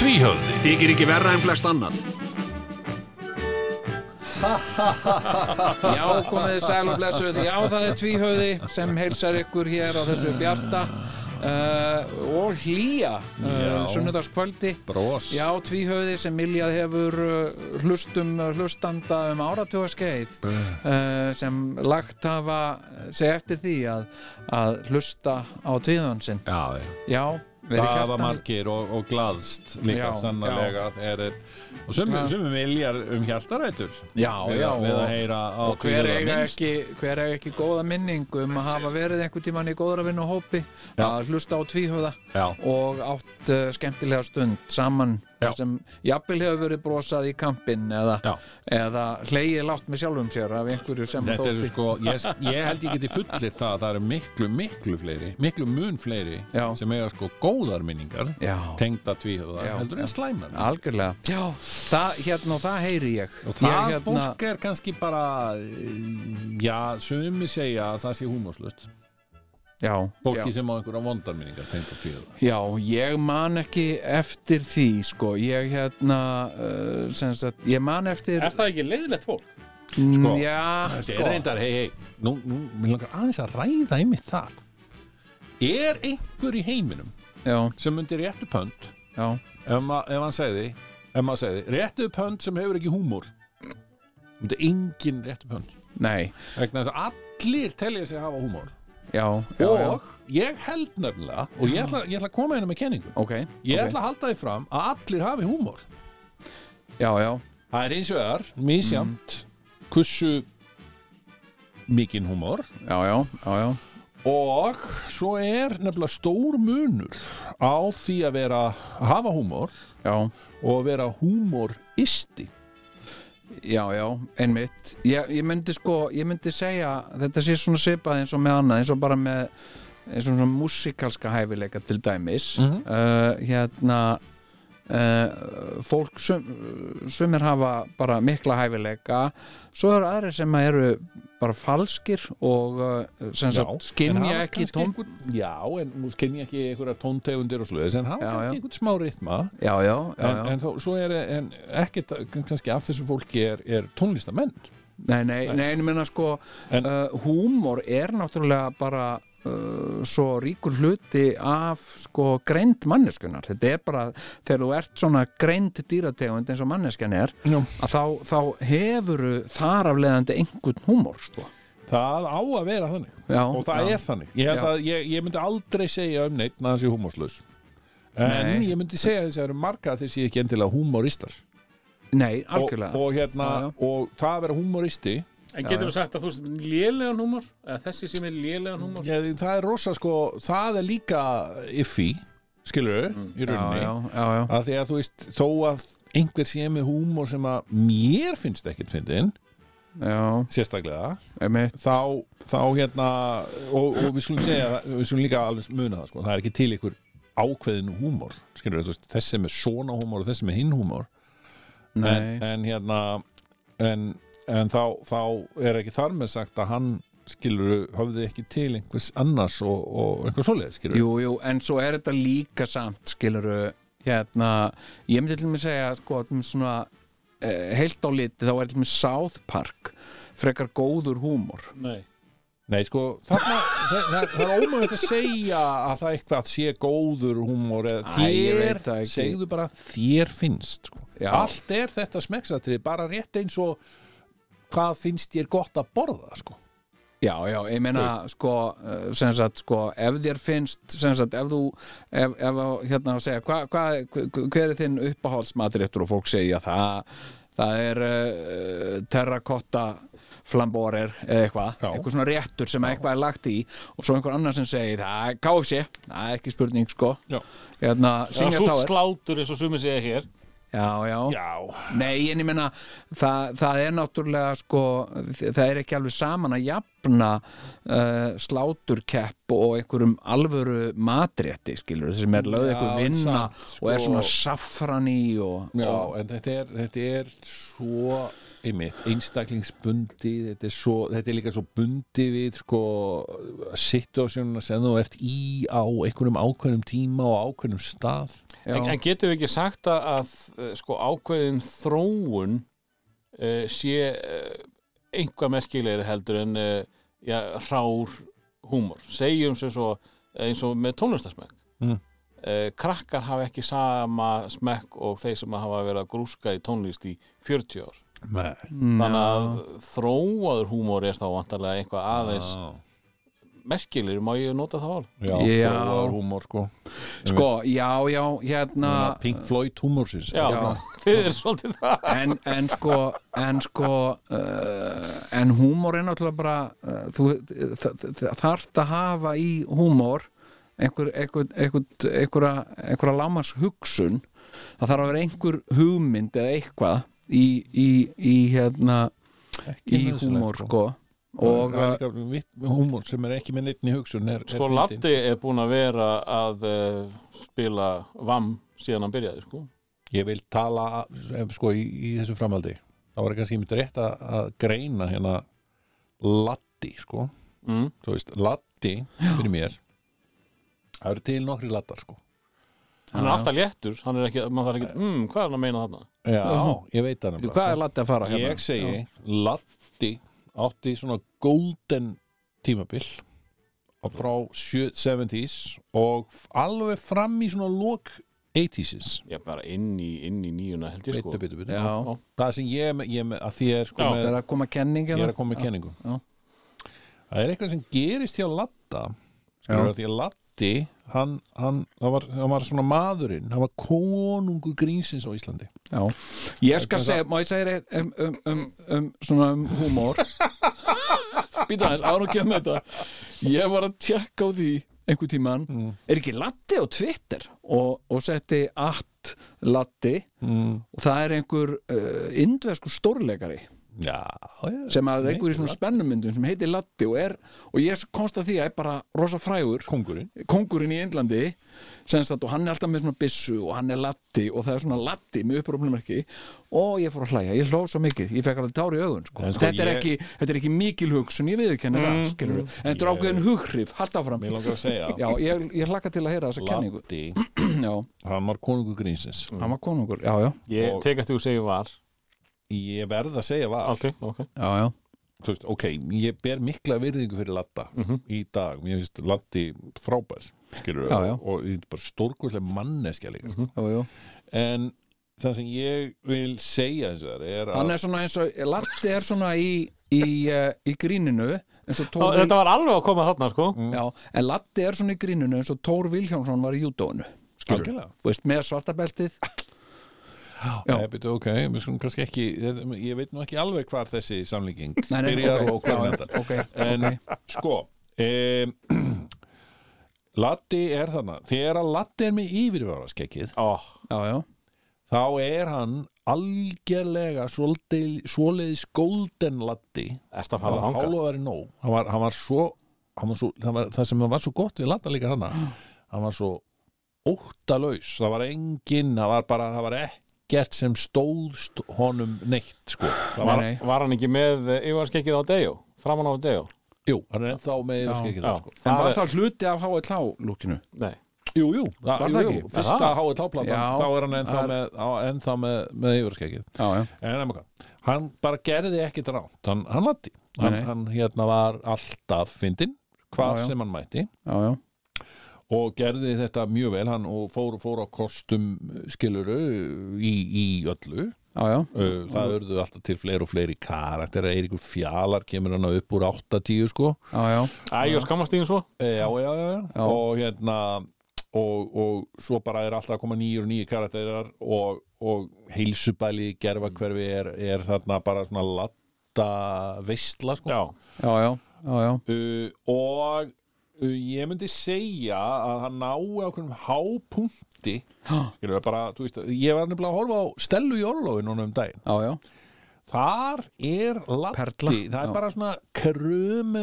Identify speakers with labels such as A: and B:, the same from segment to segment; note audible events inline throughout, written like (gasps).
A: Tvíhöfði
B: Þykir ekki verra en flest annan
C: Já, komiði sæl og blessuð Já, það er tvíhöði sem heilsar ykkur hér á þessu bjarta uh, og hlýja uh,
A: Já.
C: sunnudagskvöldi
A: Brós
C: Já, tvíhöði sem Miljað hefur uh, hlustum uh, hlustanda um áratuga skeið uh, sem lagt hafa seg eftir því að, að hlusta á tvíhöðan sinn
A: Já, já.
C: Já, verið
A: Það var
C: hjartan-
A: margir og, og glaðst líka
C: Já,
A: sannlega er, þeir- og sumum,
C: Glaðst.
A: sumum viljar um hjartarætur
C: Já,
A: við,
C: já,
A: að- við
C: og-
A: að heyra á
C: og hver
A: tvíhöfða
C: eiga,
A: minnst.
C: ekki, hver eiga ekki góða minning um að hafa verið einhvern tíman í góðra vinna hópi
A: Já.
C: að hlusta á tvíhöða
A: Já,
C: og átt uh, skemmtilega stund saman
A: Já.
C: þar sem jafnvel hefur verið brosað í kampinn eða,
A: já
C: eða hleyið látt með sjálfum sér af einhverju sem
A: Þetta eru
C: þótti
A: sko, ég, ég held ég geti fullir það að það eru miklu, miklu fleiri miklu mun fleiri
C: Já.
A: sem eiga sko góðar minningar
C: Já,
A: tengda tvíhöfða
C: Já.
A: heldur en slæmar
C: algjörlega Já, það, hérna og það heyri ég
A: og það
C: ég, hérna,
A: fólk er kannski bara eh, já, sumi segja að það sé húmóslust
C: já,
A: fólki
C: já,
A: sem á einhverja vondar minningar tengda tvíhöfða
C: já, ég man ekki eftir því sko ég hérna uh, sem sagt, ég man eftir
D: Er það ekki leiðilegt fólk?
A: Sko,
C: já,
A: Þetta
C: sko.
A: er reyndar, hei, hei, nú, nú, mér langar aðeins að ræða einmitt það. Er einhver í heiminum
C: já,
A: sem myndi réttu pönd,
C: já,
A: ef, ma, ef hann segði, ef maður segði, réttu pönd sem hefur ekki húmór? Myndi engin réttu pönd.
C: nei
A: Vegna þess að allir telja sig hafa húmór.
C: já, já, já,
A: og ég held nefnilega, og ég ætla, ég ætla að koma henni með kenningu,
C: ok,
A: ég
C: ok.
A: ætla að halda því fram að allir hafi húmór.
C: já, já,
A: Það er eins vegar, misjamt, mm. kussu mikinn húmór
C: já, já, já, já.
A: Og svo er nefnilega stór munur á því að vera að hafa húmor
C: Já,
A: og að vera húmoristi.
C: já, já, einmitt ég, ég myndi sko, ég myndi segja þetta sé svona svipað eins og með annað eins og bara með eins og svona músikalska hæfileika til dæmis mm
A: Mhm.
C: hérna uh, fólk sum, sumir hafa bara mikla hæfileika svo eru aðrir sem eru bara falskir og uh, sem
A: en
C: sagt skynja
A: hafa
C: ekki
A: kannski
C: tón
A: Einhver, já, en nú skynja ekki einhverja tóntegundir og sluðis, en hafa
C: Já, já.
A: kannski einhvern smá rithma.
C: já, já, já,
A: En,
C: já.
A: en þó, svo er en ekkert kannski af þessu fólki er, er tónlistamenn.
C: Nei, nei, nei, en ég meina sko
A: En-
C: uh, húmor er náttúrulega bara uh, svo ríkur hluti af sko greind manneskunar þetta er bara, þegar þú ert svona greind dýrategund eins og manneskan er
A: Já.
C: að þá, þá hefuru þar af leiðandi einhvern húmor sko.
A: Það á að vera þannig.
C: Já,
A: og það
C: já.
A: er þannig. Ég, held
C: Já.
A: að, ég, ég myndi aldrei segja um neitt að það sé húmorslaus. En
C: Nei.
A: ég myndi segja þess að eru marga að þeir séu ekki endilega húmoristar.
C: Nei, algjörlega
A: og, og hérna,
C: Já, já.
A: og það að vera humoristi
D: En getur þú sagt að þú veist lélegan húmor? Eða þessi sem er lélegan húmor?
A: ég, það er rosa sko, það er líka iffi, skilur í
C: já,
A: rauninni,
C: já, já, já,
A: að því að þú veist þó að einhver sé með húmor sem að mér finnst ekkert fyndin
C: já,
A: sérstaklega,
C: einmitt
A: þá, þá hérna og, og við skulum segja, við skulum líka alveg muna það, sko, það er ekki til ykkur ákveðin húmor, skilur þú veist þessi með svona húmor og þessi með hinn húmor
C: Nei,
A: en, en hérna en, en þá, þá er ekki þar með sagt að hann skilur höfði ekki til einhvers annars og, og einhvers svoleið skilur
C: jú, jú, en svo er þetta líka samt skiluru hérna, ég myndi til að segja sko, til dæmis svona eh, heilt á liti þá er til með South Park frekar góður húmor
D: Nei.
A: Nei sko, þarna, það, það, það er ómögulegt að segja að það eitthvað sé góður húmor eða
C: Æ, ég
A: þér,
C: veit það ekki.
A: segðu bara þér finnst sko.
C: Já.
A: allt er þetta smekksatrið, bara rétt eins og hvað finnst þér gott að borða sko.
C: já, já, ég meina sko, eh, sem sagt, sko, ef þér finnst sem sagt, ef þú ef, ef á, hérna að segja, hva, hva, hver- hver er þinn uppáhaldsmatréttur og fólk segja það, það er uh, terrakotta flamborer eða eitthvað,
A: Já.
C: eitthvað svona réttur sem eitthvað er lagt í og svo einhver annar sem segir, það er KFC, það er ekki spurning sko
A: Já.
C: hérna,
D: Það
C: Singer
D: er svo
C: Tower
D: slátur eins og sumir segja hér
C: já, já,
A: Já,
C: Nei, en ég meina það, það er náttúrulega sko, það er ekki alveg saman að jafna uh, sláturkepp og einhverjum alvöru matrétti, skilur, sem er lögð
A: Já,
C: einhver vinna
A: samt, sko.
C: og er svona saffran í og,
A: já
C: og
A: en þetta er, þetta er svo einmitt, einstaklingsbundið þetta er, svo, þetta er líka svo bundið við sko situasjónuna sem þú ert í á einhverjum ákveðnum tíma og ákveðnum stað
C: já,
D: En, en getum við ekki sagt að, að eh, sko, ákveðin þróun uh, sé uh, einhvað merkilegri heldur en uh, já, rár húmor. Segjum sem svo eh, eins og með tónlistarsmekk.
A: Mm.
D: Eh, krakkar hafa ekki sama smekk og þeir sem hafa verið að grúska í tónlist í 40 ár.
A: Nei,
D: Þannig að þróaður húmor er þá vantarlega einhvað aðeins merkilegri, má ég nota það ál?
A: Já,
C: Já.
A: þróaður húmor sko
C: sko, já, já, hérna
A: Svona Pink Floyd húmorsins
D: Já,
C: Já.
D: (laughs) þið er svolítið það.
C: en, en sko, en sko uh, en húmor er náttúrulega bara uh, þú þa- þa- þa- þarft að hafa í húmor einhver, einhver, einhver, einhverja, einhverja lámars hugsun það þarf að vera einhver hugmynd eða eitthvað í, í, í hérna í húmor sko og uh,
A: Húmor sem er ekki með neittni hugsun (laughs) er, er
D: Sko,
A: fyndin.
D: Latti er búin að vera að uh, spila VAM síðan hann byrjaði, sko.
A: Ég vil tala eh, sko í, í þessu framhaldi þá var kannski mitt rétt að, að greina hérna Latti sko
D: Mm.
A: þú veist, Latti fyrir mér það eru til nokkri lattar sko
D: Hann er alltaf léttur, hann er ekki, maður þarf ekki, mm, hvað er hann að meina þarna?
A: Já, ég veit það
C: uh, hvað
A: nefnilega
C: er latið að fara
A: sko.
C: hérna?
A: Ég segi, Latti átti svona golden tímabil og frá sjö- 70s og f- alveg fram í svona lok 80s
D: Ég er bara inn í, inn í nýjuna held ég, sko.
A: bitu, bitu, bitu.
C: já,
A: það sem ég, er með- ég er með, að því er sko
D: Já.
A: með
C: það er að koma kenning
A: ég
C: hérna?
A: er að koma með kenningu
C: já.
A: það er eitthvað sem gerist hjá Latta skilur
C: Já.
A: að því að Latti hann, hann, hann, var, hann var svona maðurinn hann var konungu grínsins á Íslandi
C: Já, ég skal segja, má ég segja þér eitt um, um, um, um svona um húmór Býta aðeins, árum kemur þetta Ég var að tjekka á því einhver tíman, er ekki Latti á Twitter og, og setti at Latti
A: mm.
C: og það er einhver uh, indvesku stórleikari
A: já, já,
C: sem að er einhver í
A: Snyggur
C: svona spennumyndum sem heitir Latti og er, og ég komst að því að er bara rosa frægur
A: kongurinn
C: kongurinn í Indlandi senst að og hann er alltaf með svona byssu og hann er latti og það er svona latti með upprúfnumarki og ég fór að hlæja, ég hló svo mikið ég fekk alveg tár í augun sko.
A: En sko,
C: þetta, er
A: ég- Mm,
C: ekki, þetta er ekki mikil hugsun, ég viðurkenni það skilur en þetta er
A: Ég-
C: ákveðin hughrif, haldt áfram
A: mér langar að segja
C: (laughs) já, ég, ég hlakka til að heyra þessa kenningu (clears throat)
A: Latti,
C: já,
A: hann var konungu grínsins
C: hann var konungur, já, já,
D: Ég
A: Og-
D: tek eftir þú segir var,
A: ég verð að segja var
D: alltaf, ok.
C: já, já.
A: Þú veist, ok, ég ber mikla virðingu fyrir Latta í dag, mér finnst Latti frábær skilur,
C: Mhm. Já, Mhm. já.
A: og, og þetta er bara stórkurslega manneskja líka sko.
C: já, já.
A: en það sem ég vil segja þessu þar er að
C: hann er svona eins og latti er svona í, í, uh, í gríninu eins og
D: Þá,
C: Tór Vil-
D: þetta var alveg að koma þarna, sko.
A: Mm.
C: já, en latti er svona í gríninu eins og Tór Vilhjánsson var í júdóinu skilur,
A: Algjörlega.
C: þú veist, með svartabeltið Já.
A: Nei, byrju, ok, við skulum kannski ekki þetta- ég veit nú ekki alveg hvar þessi samlíking
C: Nei, nei,
A: byrjar
C: ok,
A: og hvað
C: já,
A: með þetta
C: ok,
A: en
C: ok.
A: sko (clears throat) um, Latti er þarna þegar að Latti er með yfirvararskekkið
D: Ó,
C: já, já,
A: þá er hann algjörlega svolítið- svoleiðis golden Latti
D: erst
A: það
D: að fara að
A: var
D: hanga.
A: hálfaðari nóg hann var, hann var svo, hann var svo það, var, það sem var svo gott við Latta líka þannig
C: Mm.
A: hann var svo óttalaus það var engin, það var bara það var ekkert sem stóðst honum neitt sko það var,
C: nei, nei.
D: Var hann ekki með yfarskekkið á Dejo, framan á Dejo?
A: jú, hann er ennþá með yfirskeikin
D: Já,
A: sko.
C: En
D: það
C: var
D: er,
C: það hluti af HLH lúkinu?
D: nei.
A: jú, jú, það,
C: Var
A: jú,
C: það
A: jú,
C: ekki?
A: fyrsta háetáplatan
C: Já.
A: þá er hann ennþá
C: Það
A: með, á- ennþá með, með yfirskeikin
C: Já, já,
A: en nema hvað, hann bara gerði ekkert rátt, hann, hann latti
C: Nei,
A: hann,
C: nei.
A: hann hérna var alltaf fyndinn,
C: Já,
A: hvað
C: já.
A: sem hann mætti
C: já, já,
A: og gerði þetta mjög vel hann og fór, fór á kostum skiluru í, í öllu
C: já, já.
A: Uh, það urðu alltaf til fleiri og fleiri karakter Eiríkur Fjalar kemur hann upp úr 80 sko
C: já, já.
D: Æ, og skammast þín svo?
A: e, já, já, já, já. og hérna og, og svo bara er alltaf að koma nýjur og nýjur karakterar og, og heilsubæli gerfa hverfi er, er þarna bara svona latta veistla sko
D: Já.
C: já, já, já, já.
A: uh, og ég myndi segja að hann nái ákveðum hápunkti
C: Já,
A: skilur við bara, þú veist, ég var nefnilega að horfa á Stellu í Orlofi núna um daginn
C: já,
A: þar er Latti
C: Perla. Já.
A: það er bara svona krum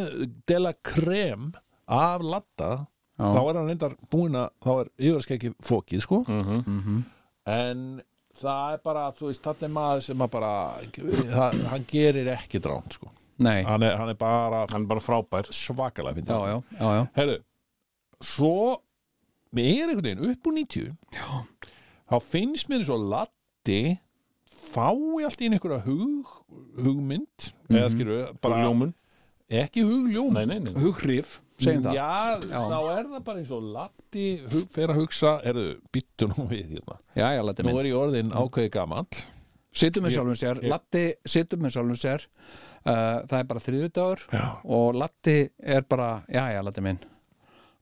A: de la krem af Latta
C: Já.
A: þá er hann reyndar búin að þá er yfirskeggi fókið sko en það er bara þú veist, þetta er maður sem að bara það, hann gerir ekki dránt sko
C: nei Já,
A: hann er, hann er bara
D: hann er bara frábær
A: svakalega fyndið
C: já, já, já,
A: Herru, svo mér er einhvern veginn upp úr 90 Já. þá finnst mér eins og Latti fái allt í einu einhverja hug, hugmynd eða skilur við, bara
D: ljómun,
A: ekki hugljómun
D: nei, nei, nei
C: hughrif, segjum það
A: Já,
C: Já.
A: þá er það bara eins og Latti hug, fer að hugsa, herru, býttu nú við hérna.
C: Já, já, lati
A: Nú
C: minn
A: er ég orðin ákveði gamall
C: Sittum með sjálfum sér, Latti sittum með sjálfum sér uh, Það er bara þriðudagur
A: Já.
C: og Latti er bara Já, já, Latti minn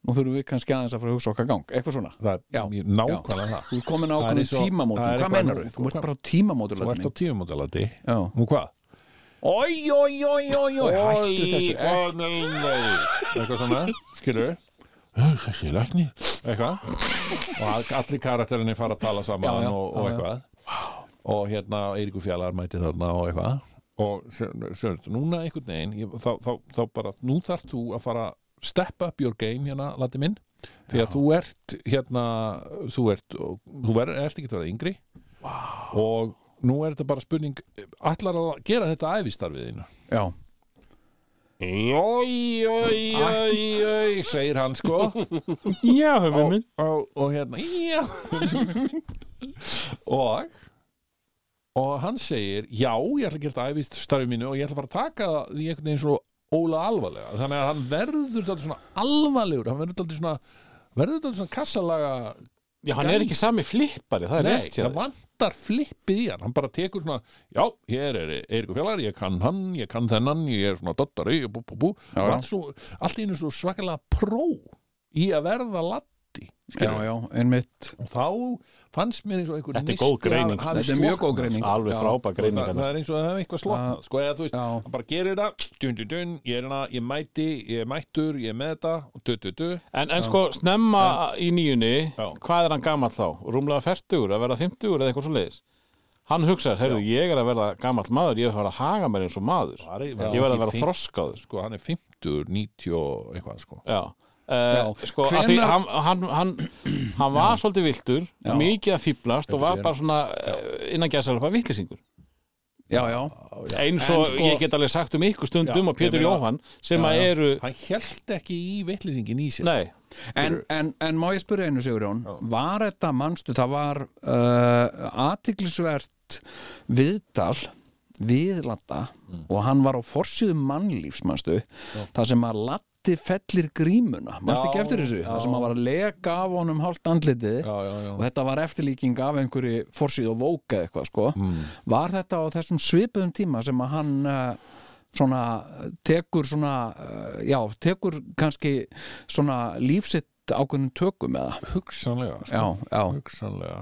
C: Nú þurfum við kannski aðeins að fara að hugsa okkar gang Eitthvað svona
A: Það er
C: Já.
A: mjög nákvæmlega það
C: Þú er komin á
A: Það er
C: ákveðum
A: eins og-
C: tímamótum
A: það
C: Hvað
A: er eitthvað-
C: meinar þú? Þú ert
A: hvað-
C: bara á tímamótum,
A: Þú
C: Latti
A: ert á
C: minn
A: tífumóta Latti
C: Já.
A: Nú hvað?
C: Oj, oj, oj, oj, oj Hættu þessu ekki.
A: eitthvað svona, skilur þessi lækni, eitthvað og allir karakterinni fara að tala saman
C: Já, já,
A: og, og
C: já, já.
A: eitthvað og hérna Eiríku Fjallar mætir þarna og eitthvað og sérst, núna einhvern veginn ég, þá, þá, þá bara, nú þarft þú að fara step up your game hérna, lati minn því að þú ert hérna, þú ert þú er, ert ekki að vera yngri wow. og nú er þetta bara spurning allar að gera þetta æfistarfið þínu
C: Já,
A: Jói, jói, jói, jói, segir hann (laughs) sko
D: já, höfum minn
A: og, og hérna
D: (laughs)
A: já. og og hann segir já, ég ætla að gera þetta æfist starfi mínu og ég ætla bara að taka því einhvern veginn svona óla alvarlega, þannig að hann verður þetta svona alvarlegur, hann verður þetta svona verður þetta svona kassalaga
D: já, hann er ekki sami flippari, það er
A: nei,
D: rétt hjá
A: það
D: þér.
A: vantar flippið í hann hann bara tekur svona, já, hér er Eiríku Fjallar, ég kann hann, ég kann þennan ég er svona dottari, bú, bú, bú
C: Já,
A: og
C: já.
A: allt, svo, allt í einu svo svakalega pró í að verða latti
C: já, já, einmitt
A: og þá fannst mér eins og einhver
D: Þetta er góð greining.
C: Þetta er mjög góð greining.
A: sko.
D: alveg
C: Já.
D: frábær
A: það,
D: greiningar
A: það er eins og það hefði eitthvað slotnað sko, eða þú veist,
C: Já.
A: hann bara gerir það dun, dun, dun, ég er hana, ég mæti, ég er mættur ég er með þetta, du, du, du
D: En, en sko, snemma í nýjunni,
A: Já.
D: hvað er hann gamall þá? Rúmlega 40, að verða 50 eða eitthvað svo leiðis? Hann hugsaði, heyrðu, ég er að verða gamall maður, ég er að fara að haga mér eins og maður.
A: Var-
D: ég
A: var ekki
D: verða að vera
A: fínt.
D: þroskaður.
A: sko, hann er 50, 90 og eitthvað sko.
D: Já. Uh,
C: Já.
D: sko, Hvenar... því
C: Hvenær-
D: hann, hann, hann, hann var svolítið viltur,
C: Já.
D: mikið að fýblast og var
A: er-
D: bara svona eh, innan gæðsælpa vittlisingur.
C: Já, já,
D: Eins
C: En
D: og
C: sko-
D: ég get alveg sagt um ykkur
A: Já,
D: stundum og
A: ég
D: Pétur
A: meina-
D: Jóhann sem
A: Já,
D: að
A: já.
D: eru,
A: hann held ekki í vitlisingin í sér sko.
D: nei,
C: En, en, en má ég spyrja einu Sigurjón var þetta, manstu, það var uh, athyglisvert viðtal við Latta
A: Mm.
C: og hann var á forsíðu mannlífs, manstu, það sem að Latti fellir grímuna, manstu ekki
A: Já,
C: eftir þessu,
A: já.
C: það sem að var að lega af honum hálft andlitið
A: já, já, já.
C: og þetta var eftirlíking af einhverju forsíðu og vóka eitthvað, sko var þetta á þessum svipuðum tíma sem að hann uh, svona eh, tekur svona, uh, já, tekur kannski svona lífsitt ákveðnum tökum eða
A: hugsanlega sko.
C: Já, já,
A: hugsanlega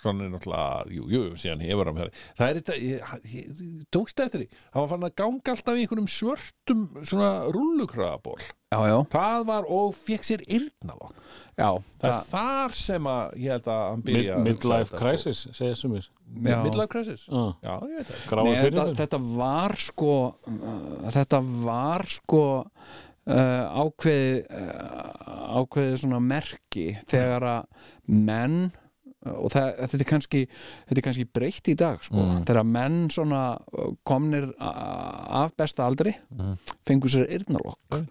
A: svona er náttúrulega, jú, jú, síðan hefur hann verið. það er þetta, ég, ég, ég tókst eftir því hann var farin að ganga alltaf í einhverjum svörtum svona rullukraðaból
C: já, já,
A: það var og fekk sér yrnavokk það,
C: já
A: er þar sem að ég held að hann
D: mid-
A: byrja að hugsa um
D: midlife
A: þetta,
D: crisis, segja sumir.
A: sko.
C: Já.
A: midlife crisis já, Ah.
D: Uh,
A: ég veit það
D: gráir
C: Nei,
D: fyrir
C: þetta, þetta var sko uh, þetta var sko uh, ákveði uh, ákveði svona merki þegar að menn uh, og það, þetta, er kannski, þetta er kannski breytt í dag sko, þegar að menn svona uh, komnir a- af besta aldri fengur sér yrnarokk mm.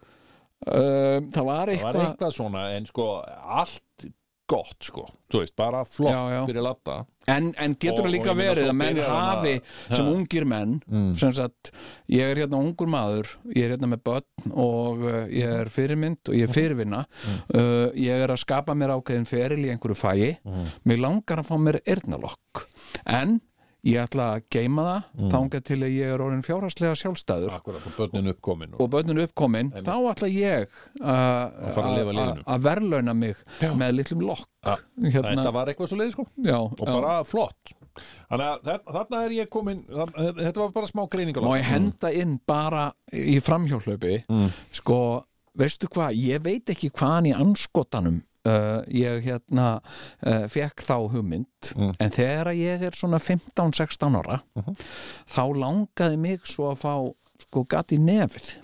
C: það var
A: það var
C: eitthvað
A: eitthvað svona, en sko allt gott, sko, þú veist bara flott
C: Já, já.
A: fyrir latta
C: En, en getur
A: Og-
C: það líka
A: og ég meina,
C: verið
A: svo
C: að menn
A: byrjar Mm. hann
C: hafi
A: að-
C: sem ungir menn sem sagt, ég er hérna ungur maður ég er hérna með börn og uh, ég er fyrirmynd og
A: Mm.
C: ég er fyrirvinna uh, ég er að skapa mér ákveðin feril í einhverju fæi
A: Mm.
C: mér langar að fá mér eyrnalokk en ég ætla að geima það
A: Mm.
C: þangað til að ég er orðin fjárhagslega sjálfstæður
A: akkurat og börnin uppkomin og,
C: og börnun uppkomin, þá ætla ég uh,
A: fara að lifa
C: að
A: lífinu.
C: að verðlauna mig með litlum lokk
A: Ja.
C: hérna,
A: þetta var eitthvað svo leið, sko
C: já,
A: og
C: já.
A: bara flott þannig að þa- þarna er ég komin eh, þa- Mm. þetta var bara smá greiningar Mm.
C: má ég henda inn bara í framhjólaupi sko veistu hvað, ég veit ekki hvaðan í anskotanum uh, ég hérna uh, fekk þá hugmynd
A: Mm.
C: en þegar að ég er svona 15-16 ára
A: Mhm.
C: þá langaði mig svo að fá sko gatt í nefið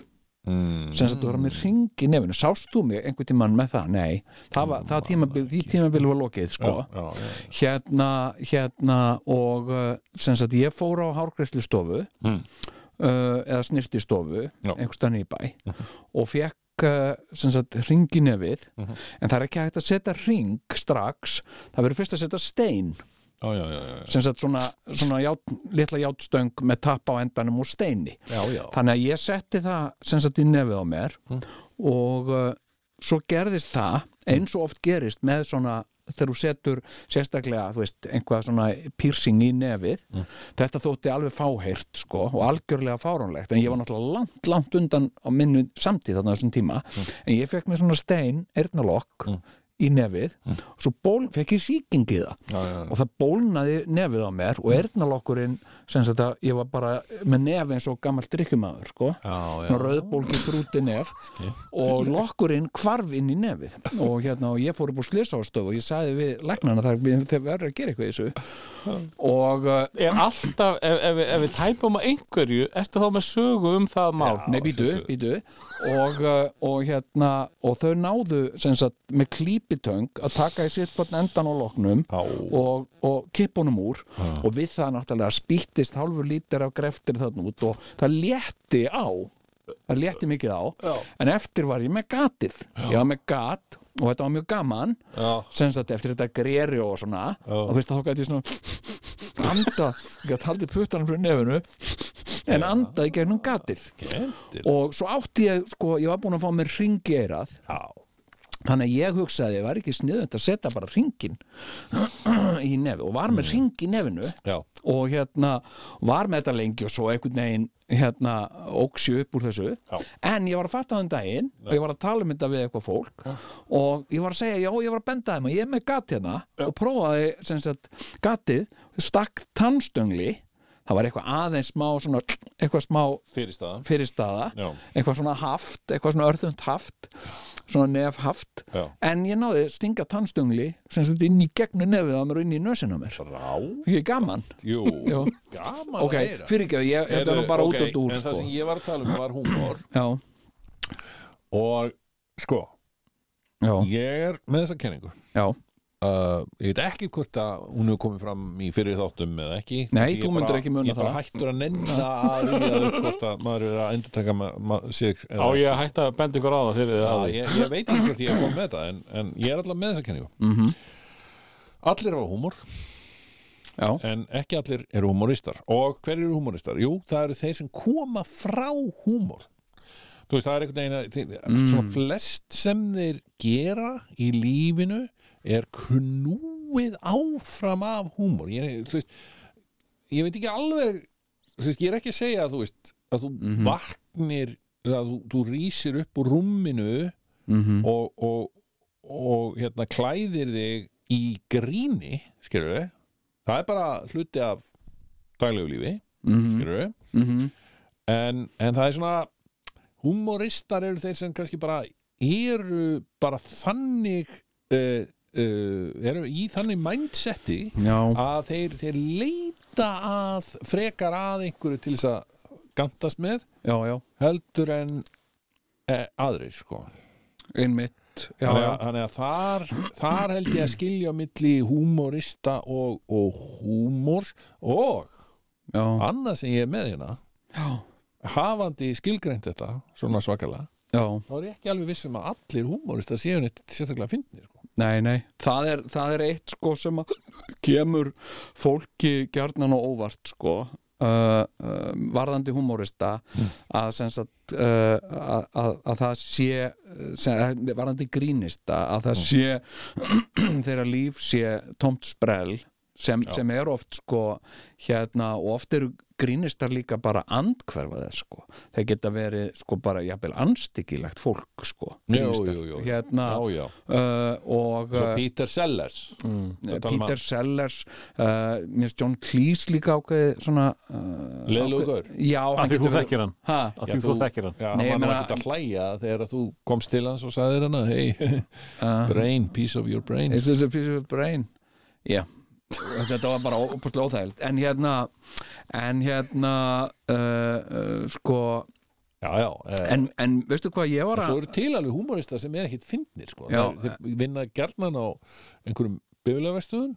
A: mm.
C: sem sagt þú verður með ring í nefinu sást þú mig einhvern tímann með það? Nei það var, það tímabil, því tímabil var lokið sko.
A: já, já, já.
C: hérna, hérna og uh, sem sagt ég fór á hárgreislu stofu
A: Mm.
C: uh, eða snirti stofu
A: Já. Mhm.
C: einhverstaðan í bæ og fekk uh, sem sagt ring í nefið
A: Mhm.
C: en það er ekki hægt að setja ring strax, það verður fyrst að setja stein
A: Já, já, já, já,
C: sem sagt svona, svona ját, litla játstöng með tappa á endanum úr steini
A: já, já. Mm.
C: þannig að ég setti það sem sagt í nefið á mér og uh, svo gerðist það eins og oft gerist með svona þegar þú setur sérstaklega þú veist, einhvað svona piercing í nefið
A: Mm.
C: þetta þótti alveg fáheyrt sko, og algjörlega fáránlegt en ég var náttúrulega langt, langt undan á minnu samtíð þarna á þessum tíma
A: Mm.
C: en ég fekk mér svona stein, eyrnalokk í nefið og svo ból, fekk ég sýkingi það
A: Mm. Já, já, já.
C: og það bólnaði nefið á mér og eyrnalokkurinn sem sagt að ég var bara með nef eins og gammal drikkjumaður sko
A: Já, já.
C: svona rauðbólki þrúti nef og lokkurinn hvarf inn í nefið og hérna og ég fór upp úr slisástöf og ég sagði við læknana þar við- þeir verður að gera eitthvað í þessu og uh,
D: er alltaf, ef, ef, við- ef við tæpum á einhverju, ertu þá með sögu um það mál?
C: Nei, býtu, býtu og, uh, og hérna og þau náðu sem sagt með klípitöng að taka í sitt börn endan á loknum
A: Á.
C: og, og kippa honum úr og við það náttúrulega spýttist hálfur lítir af greftir þarna út og það létti á það létti mikið á
D: Já.
C: en eftir var ég með gatið ég var með gat og þetta var mjög gaman
D: Já.
C: sem sagt eftir þetta greri og svona og þú veist að þá gæti ég svona (laughs) anda, ég gæti haldið puttanum frá nefinu en andaði gegnum gatið
A: Skemmtileg.
C: og svo átti ég, sko, ég var búin að fá mér ringi eirað
A: Já,
C: þannig að ég hugsaði að ég var ekki sniðund að setja bara ringin (clears throat) í nefi og var með ring í nefinu
A: já,
C: og hérna var með þetta lengi og svo einhvern veginn hérna óksju upp úr þessu
A: Já.
C: en ég var að fatta þann daginn og ég var að tala um þetta við eitthvað fólk og ég var að segja, já ég var að benda þeim að ég er með gat hérna og prófaði sem sagt gatið, stakk tannstöngli það var eitthvað aðeins smá svona, eitthvað smá
A: fyrirstaðan.
C: fyrirstaða
A: Já.
C: eitthvað svona haft, eitthvað svona örþund haft svona nef haft
A: Já.
C: en ég náði stinga tannstöngli sem þetta inn í gegnu nefið á mér og inn í nösina á mér
A: Rá,
C: ég er gaman
A: (laughs) jú,
C: Já.
A: gaman
C: ok,
A: að heyra.
C: fyrirgjöðu, ég þetta er nú
A: Heyrðu,
C: bara
A: ok,
C: út og dúr
A: En það
C: sko.
A: sem ég var að tala um var húmor
C: já,
A: og sko,
C: já,
A: ég er með þessa kenningu
C: já,
A: uh, ég veit ekki hvort að hún hefur komið fram í fyrir þáttum eða ekki
C: Nei,
A: Ég
C: þú
A: bara-
C: myndir ekki muna
A: ég bara
C: það.
A: hættur að nenna að rýja upp hvort að maður er að endurtaka ma ma sig eða-
D: Á ég að hætta að benda ykkur á það þegar þið
A: Já,
D: hafið?
A: ég, ég veit ekki hvort ég er komið með þetta en, en ég er allavega með þessa kenningu
C: mhm,
A: allir hafa húmor
C: já
A: en ekki allir eru húmoristar og hver eru húmoristar? Jú, það eru þeir sem koma frá húmor þú veist, það er einhvern veginn að,
C: Mm.
A: svona flest sem þeir gera í lífinu er knúið áfram af húmor ég, þú veist, ég veit ekki alveg þú veist, ég er ekki að segja að þú veist að þú
C: Mhm.
A: vaknir að þú, þú rísir upp úr rúminu
C: mhm,
A: og, og, og hérna klæðir þig í gríni skilur við það er bara hluti af daglegu lífi
C: mhm,
A: skilur við
C: mhm,
A: en, en það er svona humoristar eru þeir sem kannski bara eru bara þannig uh, uh, eru í þannig mindseti
C: já
A: að þeir, þeir leita að frekar að einhverju til þess að gantast með
C: já, já,
A: heldur en eh, aðrir sko
C: einmitt já,
A: þannig
C: já,
A: að, þannig að þar, þar held ég að skilja á milli húmorista og, og húmor og
C: já,
A: annað sem ég er með hérna
C: já,
A: hafandi skilgreint þetta svona svakalega
C: já
A: þá er ég ekki alveg viss um að allir húmorista séu neitt sérstaklega fyndnir sko.
C: Nei, nei, það er, það er eitt sko sem að kemur fólki gjarnan og óvart sko uh, uh, varðandi humorista
A: Mm.
C: að sem sagt uh, að, að- að það sé sem, að varðandi grínista að
A: Mm.
C: það sé (clears throat) þeirra líf sé tómt sprell sem, sem er oft sko hérna og oft eru grínistar líka bara andhverfa þess sko. þeir geta verið sko bara jafnvel anstyggilegt fólk sko grínistar.
A: jú, jú.
C: Hérna,
A: já, já.
C: uh, og
A: Svo
C: uh,
A: Eh, Peter Sellers
C: Eh, Peter,
A: tala um að-
C: Sellers uh, mér finnst John Cleese líka ákveði svona uh,
A: Leiðlegur gaur.
C: já, hann
D: Af því
C: getur
D: þú
C: verið-
D: þekkir hann
C: Ha?
D: Af
A: Já,
D: því þú
A: þú-
D: þekkir hann
A: Já,
C: Nei,
A: Nei,
C: ég
A: hann var
C: meina-
A: ekki að hlæja þegar að þú komst til hans og sagðir hann að hey,
C: Uh,
A: brain, piece of your brain
C: Is this a piece of brain? Já Þetta var bara óbúrslega óþægild En hérna En hérna uh, uh, Sko
A: Já, já, eh,
C: en, en veistu hvað ég var
A: en
C: að
A: svo eru til alveg humorista sem er ekkit fyndnir sko.
C: Já.
A: þeir, þeir vinna gjarnan á einhverjum bifilegvestuðum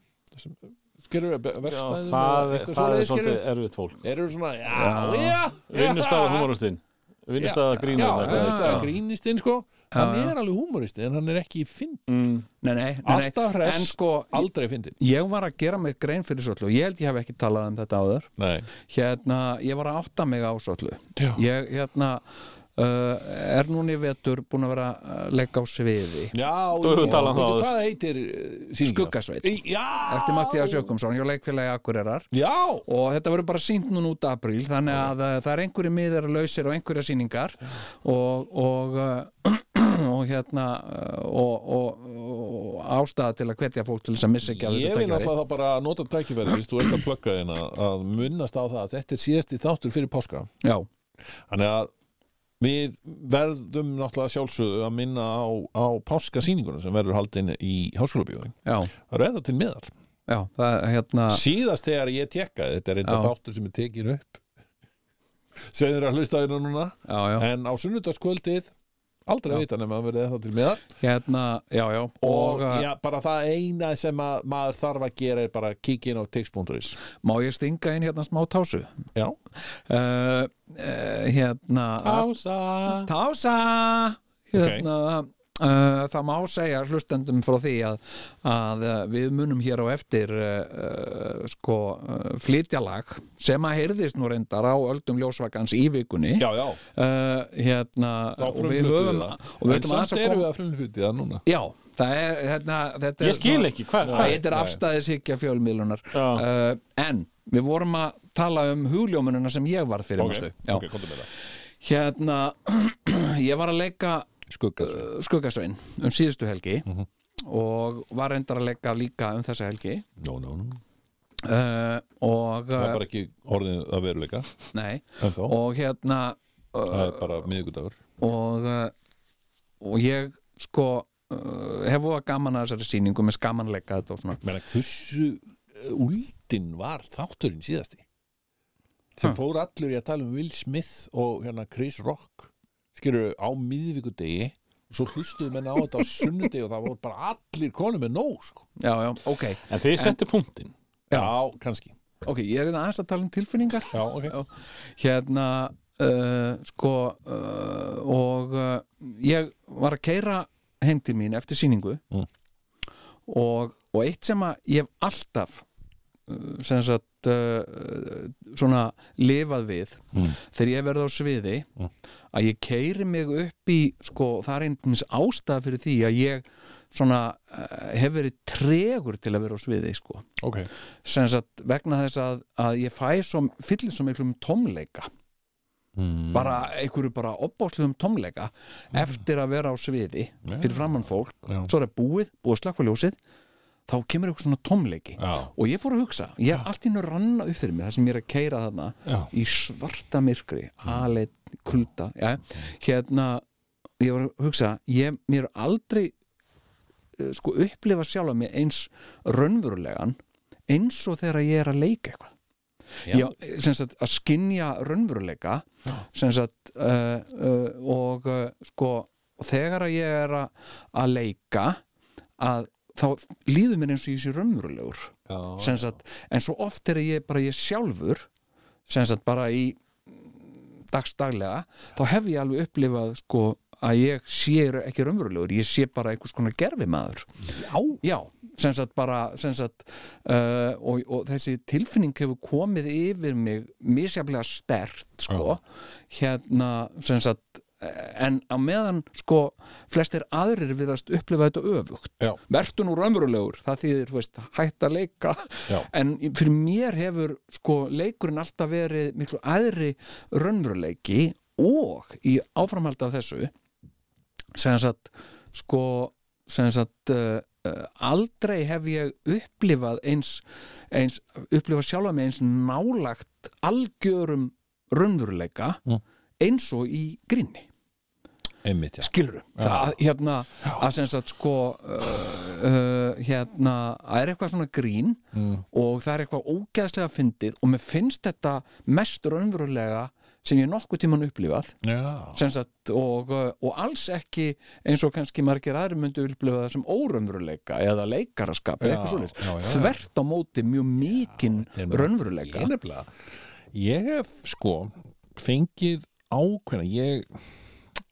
A: skerur við
D: Já,
A: verstaðum
D: það, það er svolítið erfitt (laughs) fólk
A: eru svona, já, já, já
D: Vinnustafar humoristinn Vinnustafar
A: Já,
D: grínur
A: vinnustafar grínistinn sko hann er alveg humoristi en hann er ekki fyndin
D: Mm,
C: Nei, nei, nei, nei
A: alltaf hress,
C: En sko
A: aldrei fyndin
C: Ég var að gera mig grein fyrir svo öllu og Ég held ég hef ekki talað um þetta áður
A: Nei,
C: Hérna, ég var að átta mig á svo öllu
A: já,
C: Ég, hérna Uh, er núna í vetur búin að vera að leggja á sviði
A: já
D: Þú hefur
A: já.
D: talað um það áður.
A: Hvað heitir síningar?
C: Skuggasveit
A: Já,
C: eftir Mattias Jökumsson, ég leikfélagi Akureyrar
A: Já,
C: og þetta verður bara sínt núna út apríl þannig að uh, það er einhverju miðar lausir og einhverja síningar og, og, uh, (clears throat) og hérna uh, og, og, og, og ástæða til að hvetja fólk til þess að missa ekki að
A: Ég
C: þessu
A: vil
C: tækjari
A: náttúrulega þá bara nota tækifæri fyrst þú ert að plugga þín að, að munnast á það að þetta er síðasti þáttur fyrir páska
C: Já,
A: Þannig að við verðum náttúrulega sjálfsögðu að minna á, á páskasýninguna sem verður haldin í háskólabíóðin
C: já,
A: Það eru eða til miðar
C: já, það er hérna
A: Síðast þegar ég tekkaði, þetta er eitthvað
C: Já.
A: þáttur sem er tekin upp sem þeir að hlusta hérna núna
C: Já, já,
A: en á sunnudagskvöldið aldrei
C: Já.
A: að vita nema að verði eða til miðar
C: hérna, já, já
A: og,
C: og uh,
A: já, bara það eina sem að maður þarf að gera er bara kíkin á tix.is
C: má ég stinga inn hérna smá tásu uh,
A: Já,
C: uh, hérna
D: Ása
C: Tása hérna, uh, það má segja hlustendum frá því að, að uh, við munum hér á eftir uh, uh, sko uh, flytjalag sem að heyrðist nú reyndar á öldum ljósvakans í vikunni
A: já, já
C: Uh, hérna,
A: Þá
C: og við
A: frumfluttum
C: höfum
A: við það.
C: og við
A: en
C: höfum aðeins
A: samt
C: að
A: erum við
C: koma
A: að frumfluti það núna
C: já, það er, hérna, þetta er
D: Ég skil ekki, hvað?
C: það
D: hvað?
C: heitir afstæðishyggja fjölmiðlunar
D: Já.
C: uh, en við vorum að tala um hugljómununa sem ég var fyrir manstu. Já.
A: ok, komdu með það
C: hérna, (clears throat) ég var að leika
A: Skugga svo
C: uh, Skuggasvein um síðustu helgi
D: Mhm.
C: og var reyndar að leika líka um þessa helgi
A: no, no, no.
C: uh, og,
A: Það er
C: uh,
A: bara ekki orðin að veruleika
C: nei,
A: en þá,
C: og hérna
A: það er bara miðvikudagur
C: og, uh, og ég sko uh, hef voða gaman að þessari sýningu með skamanleika þetta og svona
A: Menna, hversu úldin var þátturinn síðasti sem
C: Ha.
A: fór allur í að tala um Will Smith og hérna Chris Rock skilur á miðvikudegi og svo hlustuðu menn á þetta á sunnudegi og það voru bara allir konum með nóg sko.
C: já, já, ok,
D: En þið settu punktinn
A: já. kannski
C: ok, ég er þetta aðeins að tala um tilfinningar
A: já, okay.
C: Já. hérna uh, sko uh, og uh, ég var að keira heim til mín eftir sýningu
A: Mm.
C: og, og eitt sem að ég hef alltaf uh, sem sagt uh, uh, svona lifað við
A: Mm.
C: þegar ég hef verið á sviði
A: Mm.
C: að ég keiri mig upp í sko það er einnig mis ástæða fyrir því að ég svona uh, hef verið tregur til að vera á sviði sko
A: Okay.
C: sem sagt vegna þess að, að ég fæ svo, fyllir svo miklum tómleika
A: Mm.
C: bara einhverju bara opbáslegum tómleika eftir að vera á sviði fyrir framann fólk,
A: Já.
C: svo er það búið búið að slakka ljósið, þá kemur eitthvað svona tómleiki
A: Já.
C: og ég fór að hugsa ég er allt í nú ranna upp fyrir mér, það sem ég er að keira þarna
A: Já.
C: í svarta myrkri alit, kulda ja. hérna, ég var að hugsa ég, mér er aldrei eh, sko upplifa sjálf að mér eins raunverulegan eins og þegar ég er að leika eitthvað Já, sem sagt að skinja raunveruleika sem sagt uh, uh, og uh, sko þegar að ég er að, að leika að þá líður mér eins og ég sé raunverulegur
A: já,
C: sem sagt, en svo oft er ég bara ég sjálfur sem sagt bara í dagstaglega, þá hef ég alveg upplifað sko að ég sé ekki raunverulegur, ég sé bara einhvers konar gerfimaður
A: já.
C: Já, sem sagt bara sem sagt, uh, og, og þessi tilfinning hefur komið yfir mig misjaflega stert sko, hérna sem sagt en á meðan sko flestir aðrir viðast upplifa þetta öfugt
A: Já.
C: vertu nú raunverulegur, það þýðir þú veist, hætt að leika
A: Já.
C: en fyrir mér hefur sko leikurinn alltaf verið miklu aðri raunveruleiki og í áframhald af þessu sem sagt sko sem sagt uh, uh, aldrei hef ég upplifað eins, eins upplifað sjálfa mig eins nálagt algjörum raunveruleika
A: Mm.
C: eins og í grinni
A: einmitt, já
C: skilur það, hérna, að sem sagt sko uh, uh, hérna, það er eitthvað svona grín
A: Mm.
C: og það er eitthvað ógeðslega fyndið og mér finnst þetta mest raunverulega sem ég nokkuð tíman upplifað
A: Já,
C: sem sagt, og, uh, og alls ekki eins og kannski margir aðri myndu upplifa það sem óraunveruleika eða leikaraskap eða
A: Já,
C: eitthvað
A: já, já,
C: svoleiðis
A: já.
C: þvert á móti mjög mikinn
A: þetta er mjög-
C: raunveruleika
A: ég nefnilega ég hef sko fengið ákveðna ég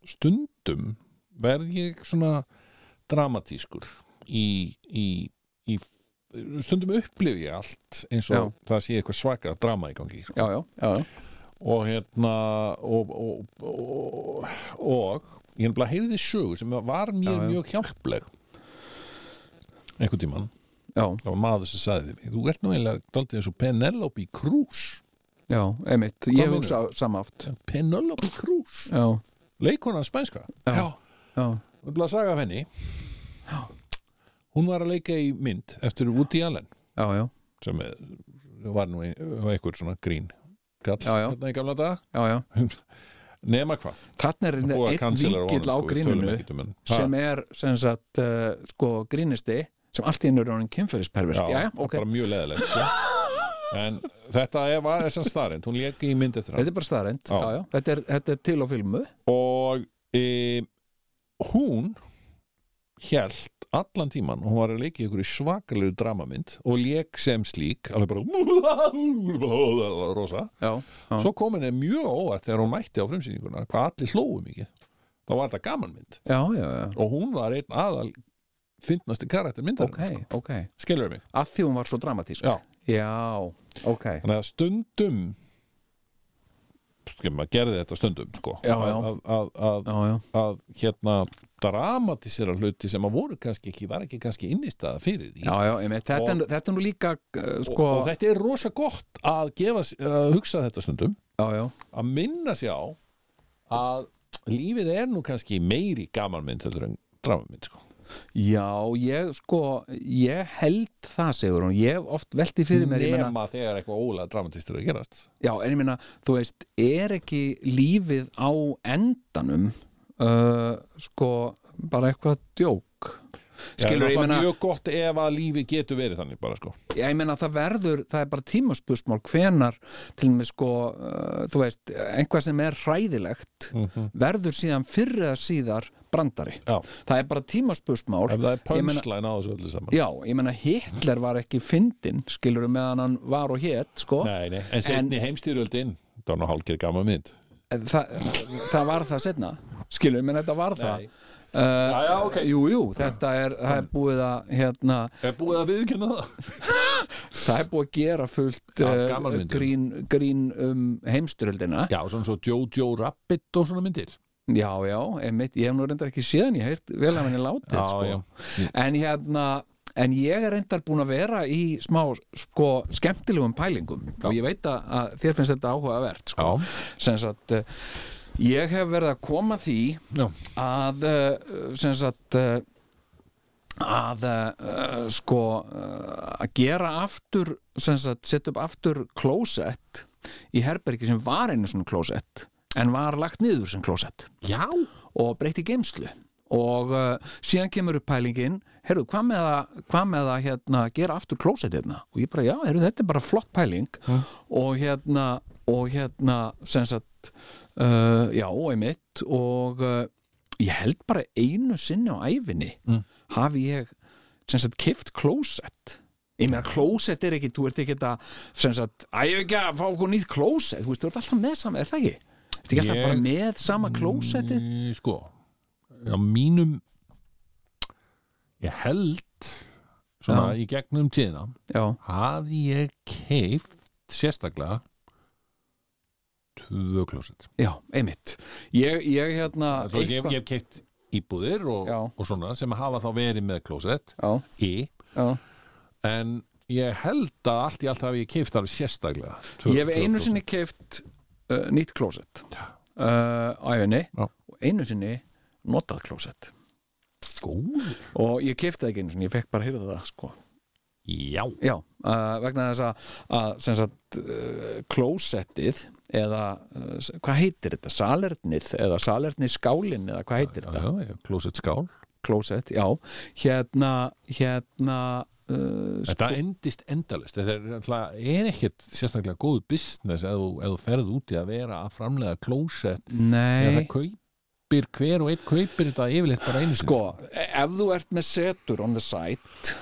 A: stundum verð ég svona dramatískur í, í, í stundum upplifi ég allt eins og það sé eitthvað svaka drama í gangi sko.
C: já, já, já, já,
A: og hérna og, og, og, og ég nefnilega heyrði sögu sem var mér
C: Já, já.
A: mjög hjálpleg einhvern tímann
C: já,
A: það var maður sem sagði því þú ert nú eiginlega daldið eins og Penelope Cruz
C: já einmitt, ég
A: meinarðu?
C: hugsa samátt
A: Penelope Cruz
C: já,
A: leikona spænska
C: Já. já,
A: við erum að saga af henni hún var að leika í mynd eftir Woody Allen
C: já, já
A: sem er- var nú ein, var einhver svona grín kall
C: Já, já.
A: hérna í gamla dag
C: Já, já,
A: nema hvað,
C: þarna er
A: búið að
C: einn
A: kansela sko,
C: vinkill á gríninu
A: um
C: sem er sem sagt, uh, sko, grínisti sem allt í einu er honum kynferðispervert já, já, ok,
A: bara mjög leðilegt sko. en þetta er, var þessan starrend hún leik í mynd eftir hann
C: þetta er bara staðrænt
A: Já.
C: já, já, þetta er, þetta er til á filmu
A: og e, hún hjælt allan tíman og hún var að leika í ykkur svakalegu dramamynd og leik sem slík alveg bara (laughs) rosa
C: já, já,
A: svo kom henni mjög óvart þegar hún mætti á frumsýninguna hvað allir hlóu mikið þá var þetta gamanmynd
C: já, já, já.
A: og hún var einn aðal fyndnasti karakter myndar
C: ok, ok
A: skilur mig
C: að því hún var svo dramatísk
A: Já.
C: Já, ok
A: þannig að stundum skilur maður gerði þetta stundum sko
C: Já, já.
A: að, að, að
C: já, já,
A: að hérna dramatisera hluti sem að voru kannski ekki var ekki kannski innistæða fyrir því
C: já, já emi, þetta, er, þetta er nú líka uh,
A: og,
C: sko,
A: og þetta er rosa gott að gefa, s- að hugsa þetta stundum
C: já, já,
A: að minna sér á að lífið er nú kannski meiri gamanmynd heldur en dramamynd sko.
C: já ég sko, ég held það segur hún, ég hef oft velti fyrir mér ég meina-
A: nema þegar eitthvað ólega dramatist er að gerast
C: Já, en ég meina, þú veist, er ekki lífið á endanum uh, sko bara eitthvað djók skilur,
A: Já,
C: ég
A: það er
C: meina,
A: mjög gott ef að lífið getur verið þannig bara sko
C: já, ég meina það verður, það er bara tímaspusmál hvenar til með sko uh, þú veist, einhvað sem er hræðilegt
A: Mhm.
C: verður síðan fyrir að síðar brandari
A: Já.
C: það er bara tímaspusmál
A: ef það er
C: Ég meina-
A: pönslæn á þessu öllu saman
C: Já, ég meina Hitler var ekki fyndin skilur meðan hann var og hét sko.
A: nei, nei. en setni heimstyrjöldin það var nú hálfgerð gamanmynd
C: Þa, það var það setna skilur, menn þetta var það
A: Nei.
C: uh, já, já, okay. jú, jú, þetta er, það er búið að hérna,
A: er búið að viðkynna það
C: það er búið að gera fullt
A: Já,
C: eh,
A: gamanmyndum.
C: grín, grín um heimsturöldina já,
A: Já, svona svo Jojo Rabbit og svona myndir
C: já, einmitt, ég hef nú reyndar ekki séðan ég heyrt vel að henni látið
A: Já,
C: sko.
A: já.
C: en hérna En ég er reyndar búin að vera í smá sko, skemmtilegum pælingum og ég veit að, að þér finnst þetta áhugavert sko.
A: Já,
C: sem sagt eh, ég hef verið að koma því
A: já,
C: að eh, sem sagt eh, að eh, sko eh, að gera aftur sem sagt, setja upp aftur klósett í herbergi sem var einu svona klósett en var lagt niður sem klósett
A: já.
C: og breytti geimslu og uh, síðan kemur upp pælingin herru, hvað með að, hvað með að hérna, gera aftur klósett hérna og ég bara, já, herru, þetta er bara flott pæling og hérna og hérna, sem sagt uh, já, einmitt og uh, ég held bara einu sinni á æfinni
A: Mm.
C: hafi ég, sem sagt, kift klósett ég meina, klósett er ekki, þú ert ekki að, sem sagt, að ég ekki að fá okkur nýtt klósett, þú veist, þú ert alltaf með sama, er það ekki? Ertu ekki alltaf
A: Ég-
C: bara með sama klósettið?
A: Í, Sko, á mínum ég held svona í gegnum tíðina
C: Já,
A: hafði ég keift sérstaklega tvö klósett
C: já, einmitt ég, ég hérna
A: Þú veist, ég, ég hef keipt íbúðir og,
C: Já.
A: og svona sem hafa þá verið með klósett
C: já,
A: í,
C: já.
A: en ég held að allt í allt hafi ég keipt alveg sérstaklega tvö-
C: ég hef
A: tvö
C: einu
A: klósett.
C: sinni keift uh, nýtt klósett uh, á efinni
A: Já.
C: og einu sinni notað klósett
A: Góð.
C: og ég keifti það ekki einu sinni, ég fekk bara að hýrða það sko
A: Já,
C: Já, uh, vegna þess að, að sem sagt, uh, klósettið eða uh, s- hvað heitir þetta, salernið eða salernið skálin eða hvað heitir
A: já,
C: þetta
A: já, já, klósett skál
C: klósett, já, hérna hérna uh, s-
A: Þetta endist endalist Þetta er, náttúrulega- er ekkert sérstaklega góðu business ef þú, ef þú ferð út í að vera að framlega klósett Þegar það
C: nei,
A: kaupir hver og einn kaupir þetta yfirleitt bara einu sinni.
C: sko ef þú ert með setur on the site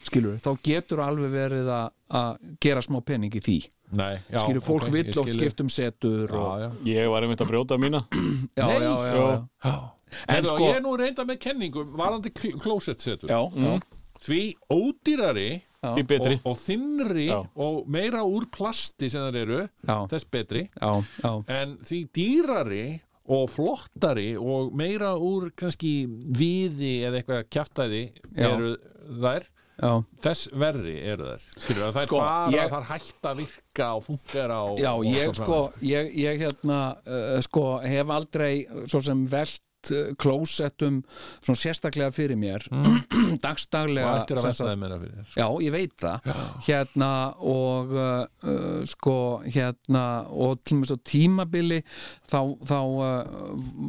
C: skilur, þá getur alveg verið að, að gera smá penning í því
A: Nei, já,
C: skilur, fólk
A: ok,
C: okay,
A: ég
C: vill oft
A: skil.
C: skiptum setur og,
A: Já, já.
D: Ég var einmitt að brjóta mína
C: já,
A: Nei,
C: já, já,
D: já.
C: já.
A: En
C: En
A: sko,
C: sko-
A: ég er nú reynda með kenningum varandi klósett setur
C: Já, já,
A: mm, Því ódýrari
C: já,
D: Því betri
A: og, og þinnri
D: Já.
A: og meira úr plasti sem það eru
C: Já.
A: þess betri
C: já, já,
A: en því dýrari og flottari og meira úr kannski viði eða eitthvað kjaftaði
C: Já.
A: eru þær
C: já.
A: þess verri eru þær skilur það, þær
C: Sko,
A: fara,
C: ég-
A: þær hætta að virka og fungera og,
C: Já,
A: og
C: ég
A: svo
C: sko, ég, ég hérna uh, sko hef aldrei uh, svo sem velt uh, klósettum svona sérstaklega fyrir mér (clears throat)
A: framvegis.
C: dagstaglega
A: Mm. og ættir að
C: sem
A: versta
C: sagt-
A: þeim meira fyrir þér, sko.
C: Já, ég veit það hérna og uh, uh, sko hérna og til mér svo tímabili þá, þá uh,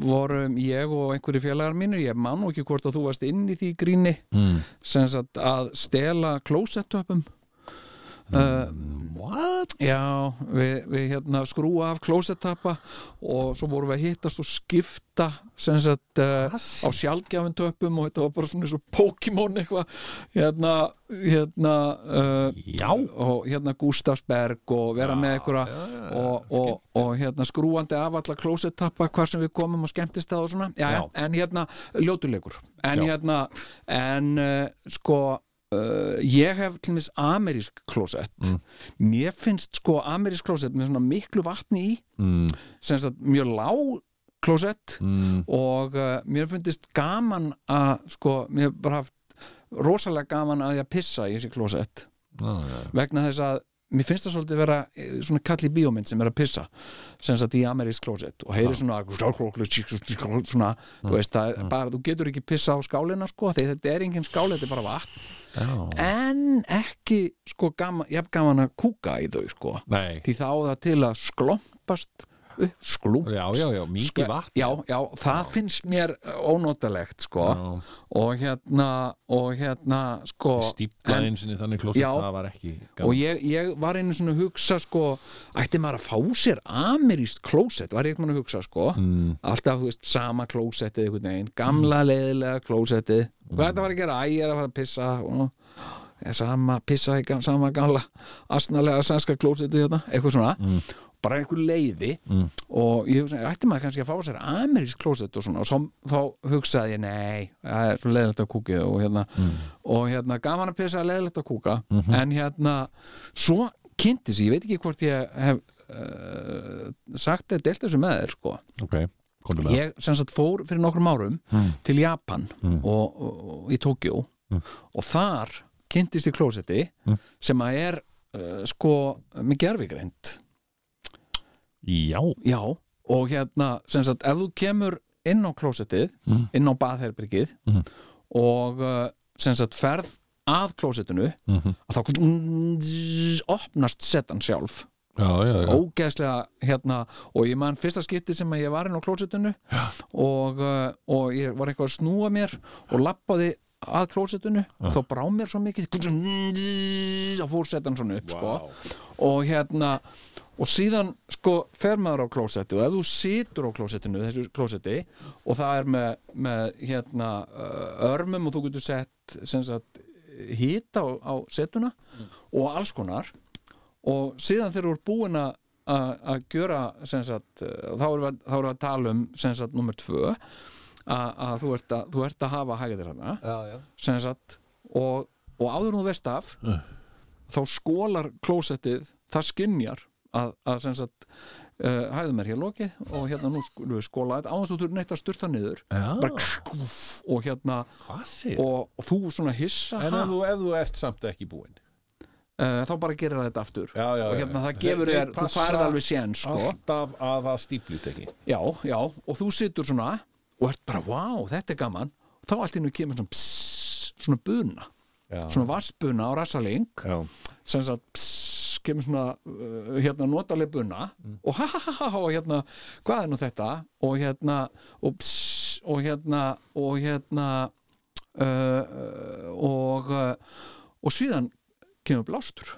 C: vorum ég og einhverju félagar mínir, ég man nú ekki hvort að þú varst inn í því gríni
A: mm.
C: sem sagt að stela klósettöpum uh,
A: What?
C: Já, við, við hérna skrúa af klósettapa og svo vorum við að hittast og skipta sem sagt
A: Ah,
C: uh, á sjálfgjafin töpum og þetta var bara svona eins og Pokémon eitthvað hérna, hérna uh,
A: Já
C: og hérna Gustafsberg og vera með einhverja og, og, og hérna skrúandi af alla klósettapa hvar sem við komum og skemmtist það og svona já,
A: Já.
C: en hérna ljótuleikur en
A: Já.
C: hérna en uh, sko uh, ég hef til mis amerísk klósett
A: Mm.
C: mér finnst sko amerísk klósett með svona miklu vatni í
A: mm.
C: sem sagt mjög lág klósett
A: Mm.
C: og uh, mér finnst gaman að sko, mér hef bara haft rosalega gaman að ég að pissa í þessi klósett
A: Já, já, já.
C: vegna þess að mér finnst það svolítið vera eh, svona kall í bíómynd sem er að pissa sem sagt í amerísk klósett og heyri svona svona,
A: Mm.
C: þú veist það er bara, þú getur ekki pissa á skálina sko, því þetta er engin skáli, þetta er bara vatn
A: Já.
C: en ekki sko gaman, jafn gaman að kúka í þau sko
A: Nei
C: því þá á það til að sklompast upp, sklump
A: Já, já, já, mikið vatn
C: já, já, það finnst mér eh, ónotalegt sko
A: Já.
C: og hérna og hérna sko en-
A: Stíplað einu sinni þannig klósett
C: Já.
A: Það var ekki
C: og ég, ég var einu svona að hugsa sko, ætti maður að fá sér ameríst klósett, var ég eitthvað að hugsa sko
A: mm.
C: alltaf, þú veist, sama klósettið einhvern veginn, gamla leiðilega klósettið
A: Mm.
C: hvað þetta var að gera, æ, ég er að fara að pissa og ég, sama, pissa í gam- sama gamla asnalega sænska klósettið þetta, eitthvað svona bara einhver leiði
A: Mm.
C: og ég hugsaði, ætti maður kannski að fá sér amerísk klósett og svona, og svo, þá hugsaði ég nei, það er svo leiðilegt að kúkið og hérna, og hérna gaman að pissa leiðilegt að kúka, en hérna svo kynnti sér, ég veit ekki hvort ég hef uh, sagt eða delt þessu með þér sko
A: Ok, komdu með
C: ég sem sagt fór fyrir nokkrum árum til Japan og, og, og í Tokjó og þar kynntist ég klósetti sem að er uh, sko með gerfigreind
A: Já,
C: já og hérna sem sagt ef þú kemur inn á klósettið
A: Mm.
C: inn á baðherbergið
A: Mhm.
C: og uh, sem sagt ferð að klósettinu
A: Mhm.
C: að þá opnast setan sjálf
A: já, já, já.
C: ógeðslega hérna og ég man fyrsta skipti sem að ég var inn á klósettinu og, uh, og ég var eitthvað að snúa mér og lappaði að klósettinu þá brá mér svo mikið að fór setan svona upp sko og hérna og síðan sko fer maður á klósetti og ef þú situr á klósettinu þessu klósetti og það er með, með hérna uh, örmum og þú getur sett sem sagt hýta á, á setuna
A: Mm.
C: og alls konar og síðan þegar þú eru búin að að að gjöra sem sagt, eh, þá erum við, að- þá erum við að tala um sem sagt nummer tvö að, að, þú, ert að þú ert að hafa hægðir hana já, já. sem sagt
A: Eh.
C: og, og áður en þú veist af þá skólar klósettið það skinjar að, að sem sagt uh, hæðum er hér lokið og hérna nú skulum við skóla þetta áðast þú þurfur neitt að sturta niður bara kskúf og hérna
A: hvað sér?
C: og, og þú svona hissa
A: En
C: ha,
A: ef þú, ef þú ert samt ekki búinn
C: uh, þá bara gerir þetta aftur
A: Já, já,
C: og
A: já,
C: hérna
A: já.
C: það gefur
A: Þeir-
C: þér,
A: þeir
C: þú
A: passa
C: færið alveg sén sko,
A: Alltaf að það stíplist ekki
C: já, já og þú situr svona og ert bara, vá, þetta er gaman og þá allt innu kemur svona pss, svona buna,
A: Já,
C: svona vassbuna á rassaling
A: já,
C: sem sagt, pss, kemur svona uh, hérna notaleg buna
A: Mm.
C: og ha ha ha ha, og hérna, hvað er nú þetta og hérna, og pss, og hérna, og hérna uh, uh, og uh, og síðan kemur blástur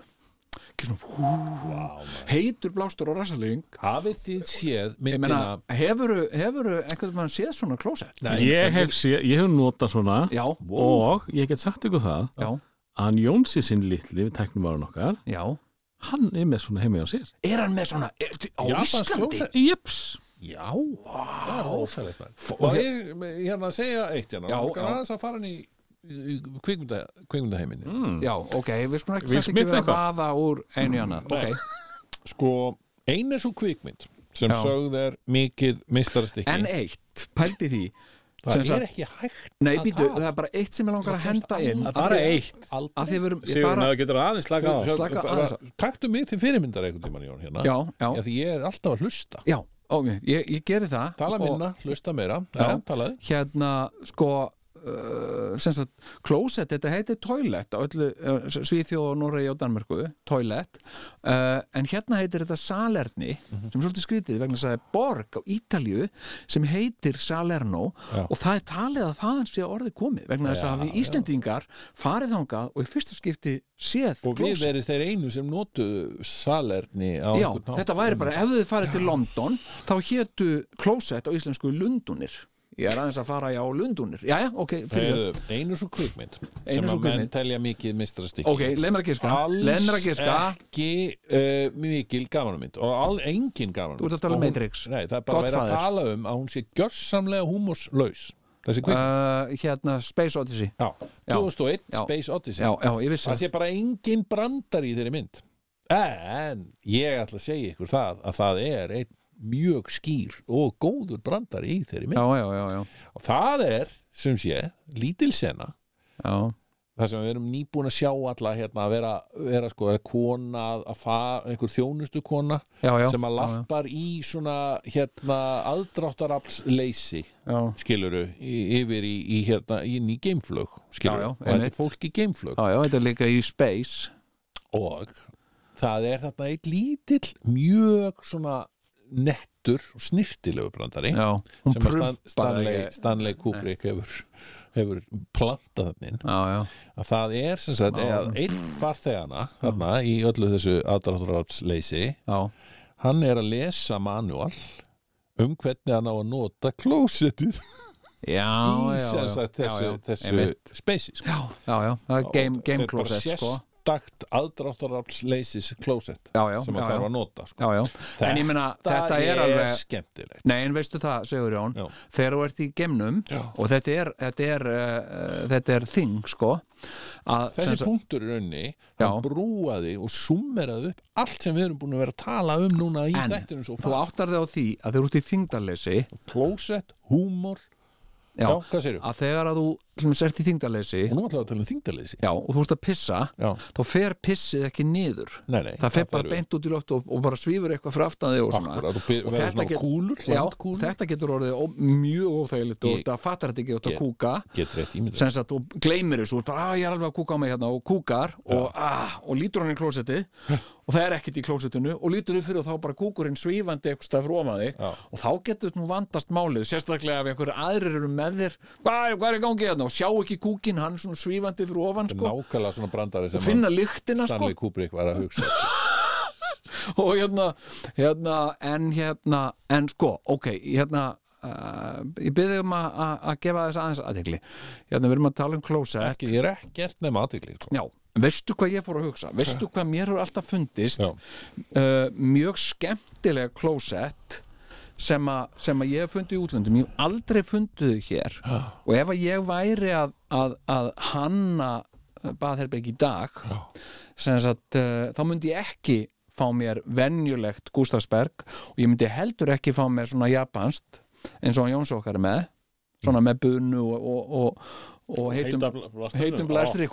C: kemur svona, hú,
A: Vá, maður.
C: heitur blástur á rassaling
A: Hafið þið séð
C: ég
A: myndina
C: meina, hefurðu, hefurðu einhvern veginn séð svona klósett?
D: ég hef, sé, ég hef notað svona
C: Já,
D: og ég get sagt ykkur það
C: já,
D: að hann Jónsi sinn litli við teknum varan okkar
C: já
D: hann er með svona heima á sér
C: Er hann með svona, er, á
A: Japans
C: Íslandi?
A: klósett?
D: Jeps,
A: Já, það er ófælið
C: og
A: Og ég hérna að segja eitt hérna
C: Já,
A: og
C: já.
A: aðeins að fara hann í, í kvikmynda, kvikmyndaheiminni
C: Já, ok, við skulum ekki
D: Will
C: samt ekki
D: Smith
C: vera að
D: eitthvað?
C: vaða úr einu í annað
A: Nei.
C: okay.
A: Sko, einu svo kvikmynd sem
C: Já.
A: sögð er mikið mistarastykki
C: En eitt, pældi því
A: Það
C: sem
A: er
C: sagt-
A: ekki hægt
C: Nei,
A: að
C: býtu,
A: tala.
C: það er bara eitt sem ég langar að henda inn
A: Að
C: af
A: bara
C: því-
A: eitt
C: Af því að við erum, ég
B: Sigurinn, ef
C: bara
B: þú getur aðeins slaka á
A: Sjá,
C: slaka
A: bara-
C: aðeins á.
A: Taktu mig til fyrirmyndar einhvern tímann Jón hérna
C: Já, já,
A: Af Því ég er alltaf að hlusta
C: já, ok, ég, ég geri það
A: Tala
C: og
A: minna, hlusta meira Já,
C: Já.
A: talaði
C: Hérna, sko uh, sem sagt, klósett, þetta heitir toilet á öllu, uh, Svíþjóð og Noregi og Danmörku, toilet uh, en hérna heitir þetta salerni
A: Mhm.
C: sem er svolítið skrítið vegna þess að það er borg á Ítalju sem heitir Salerno
A: Já.
C: og það er talið að þaðan sé orðið komið vegna þess að
A: Já,
C: hafi
A: já.
C: Íslendingar farið þangað og í fyrsta skipti séð
A: Og
C: klósett.
A: við erum þeir einu sem notuðu salerni á
C: Já,
A: einhvern hátt.
C: þetta væri bara, ef þið farið til London þá hétu klósett á íslensku Lundunir Ég er aðeins að fara já, Lundunir Jæja, ok, fyrir
A: Heyrðu, Einu svo kvikmynd
C: Einu
A: sem
C: sú
A: að menn
C: kvikmynd.
A: telja mikið mistarastykki
C: Ok, leið mér að giska Leið mér að giska
A: ekki uh, mikil gamanmynd og all, engin gamanmynd
C: Þú ert að tala um Matrix.
A: Nei, það er bara verið að
C: Godfather.
A: tala um að hún sé gjörsamlega húmorslaus Þessi kvik
C: uh, Hérna, Space Odyssey
A: Já, 2001
C: Já.
A: Space Odyssey
C: Já, já, ég vissi
A: Það sé bara engin brandar í þeirri mynd En ég ætla að segja ykkur það að það er einn mjög skýr og góður brandar í þeirri mynd
C: Já, já, já, já,
A: og það er, sem sé, lítil sena
C: já.
A: þar sem við erum nýbúin að sjá alla hérna að vera, vera sko að kona að- að fara, einhver þjónustu kona
C: Já, já,
A: sem að
C: já,
A: lappar í svona hérna aðdráttarafls leysi
C: Já,
A: skiluru, í, yfir í, í hérna, inn í geimflög skiluru,
C: Já, já,
A: og þetta
C: einmitt.
A: er fólk í geimflög
C: já, já, þetta er líka í Space
A: og það er þarna eitt lítill mjög svona nettur og snirtilegu brandari
C: Já, hún
A: sem að Stan,
C: prump-
A: Stanley,
C: bara-
A: Stanley Kubrick hefur, hefur plantað þannig
C: Já, já,
A: að það er sem sagt
C: Já.
A: að einn farþegana þarna í öllu þessu aðdrátturafsleysi
C: já
A: hann er að lesa manual um hvernig hann á að nota klósettið
C: Já,
A: í
C: já,
A: sem
C: já,
A: sagt
C: já,
A: þessu,
C: já, einmitt.
A: þessu spacey sko.
C: Já, já, já, það er game,
A: Og
C: game
A: þetta er bara
C: closet sko.
A: sérstakt aðdrátturafsleysis klósett
C: Já, já,
A: sem
C: já,
A: að þarf
C: já.
A: að nota sko.
C: Já, já, en ég meina þetta er alveg
A: skemmtilegt
C: Nei, en veistu það, segur Jón
A: Já.
C: þegar þú ert í gemnum
A: Já.
C: og þetta er, þetta er, uh, þetta er þing, sko að,
A: þessi
C: sem sagt-
A: punktur í raunni hann
C: Já.
A: brúaði og summeraði upp allt sem við erum búin að vera að tala um núna í
C: en
A: þættinum svo
C: þú áttar þig á því að þeir eru út í þingdarleysi
A: klósett, húmor
C: já,
A: Já, hvað segirðu?
C: að þegar að þú sem sagt, ert í þingdarleysi
A: og nú ætlaðu að tala um þingdarleysi
C: já, og þú ert að pissa
A: Já.
C: þá fer pissið ekki niður
A: Nei, nei,
C: það fer
A: það
C: bara
A: fer
C: beint út í loft og, og bara svífur eitthvað frá aftan þig og svona
A: Akkúrat, og be-
C: og
A: verður svona
C: get-
A: kúlur,
C: já,
A: landkúlur.
C: þetta getur orðið ó, mjög óþægilegt og
A: Ég-
C: það fattar þetta ekki út að
A: Ég-
C: kúka
A: getur rétt ímyndað
C: sem sagt, og gleymir þessu og bara, að ég er alveg að kúka á mig hérna og kúkar og, ah, og lítur hann í klósetti og það er ekkit í klósettinu og lítur upp fyrir og þá bara kúkurinn svífandi eitthvað stafur ofaði
A: Já.
C: og þá getur nú vandast málið sérstaklega ef einhverju aðrir eru með þér hvað, hvað er í gangi hérna og sjá ekki kúkin hann svona svífandi fyrir ofan
A: Þetta er
C: sko,
A: nákvæmlega svona brandari sem
C: og finna
A: hann
C: lyktina sko,
A: Stanley Kubrick var að hugsa sko.
C: og hérna, hérna en hérna, en sko, ok hérna Uh, ég byrði um að- að að gefa þess aðeins aðtegli hérna við erum að tala um klósett
A: ekki, ég er ekkert nema aðtikli sko.
C: Já, veistu hvað ég fór að hugsa? Veistu hvað mér hefur alltaf fundist?
A: Já.
C: Uh, mjög skemmtilega klósett sem, a, sem að ég hef fundið í útlöndum ég hef aldrei fundið þau hér og ef að ég væri að, að, að hanna baðherberg í dag sem sagt, uh, þá myndi ég ekki fá mér venjulegt Gustafsberg og ég myndi heldur ekki fá mér svona japanst eins og hann Jóns okkar er með svona með bunu og, og, og, og heitum, heitum blæstri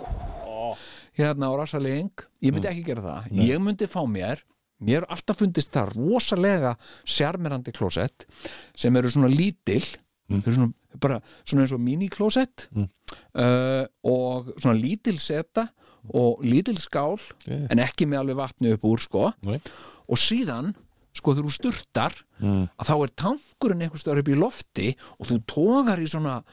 C: hérna á rasaling ég myndi ekki gera það,
A: Mm. Nei.
C: ég myndi fá mér mér hefur alltaf fundist það rosalega sjarmerandi klósett sem eru svona lítil
A: Mm.
C: mm. svona, bara svona eins og mini-klósett
A: Mm.
C: uh, og svona lítil seta og lítil skál
A: Yeah.
C: en ekki með alveg vatni upp úr sko
A: Nei.
C: og síðan sko þegar þú sturtar
A: Mm.
C: að þá er tankurinn einhvers stöður upp í lofti og þú tógar í svona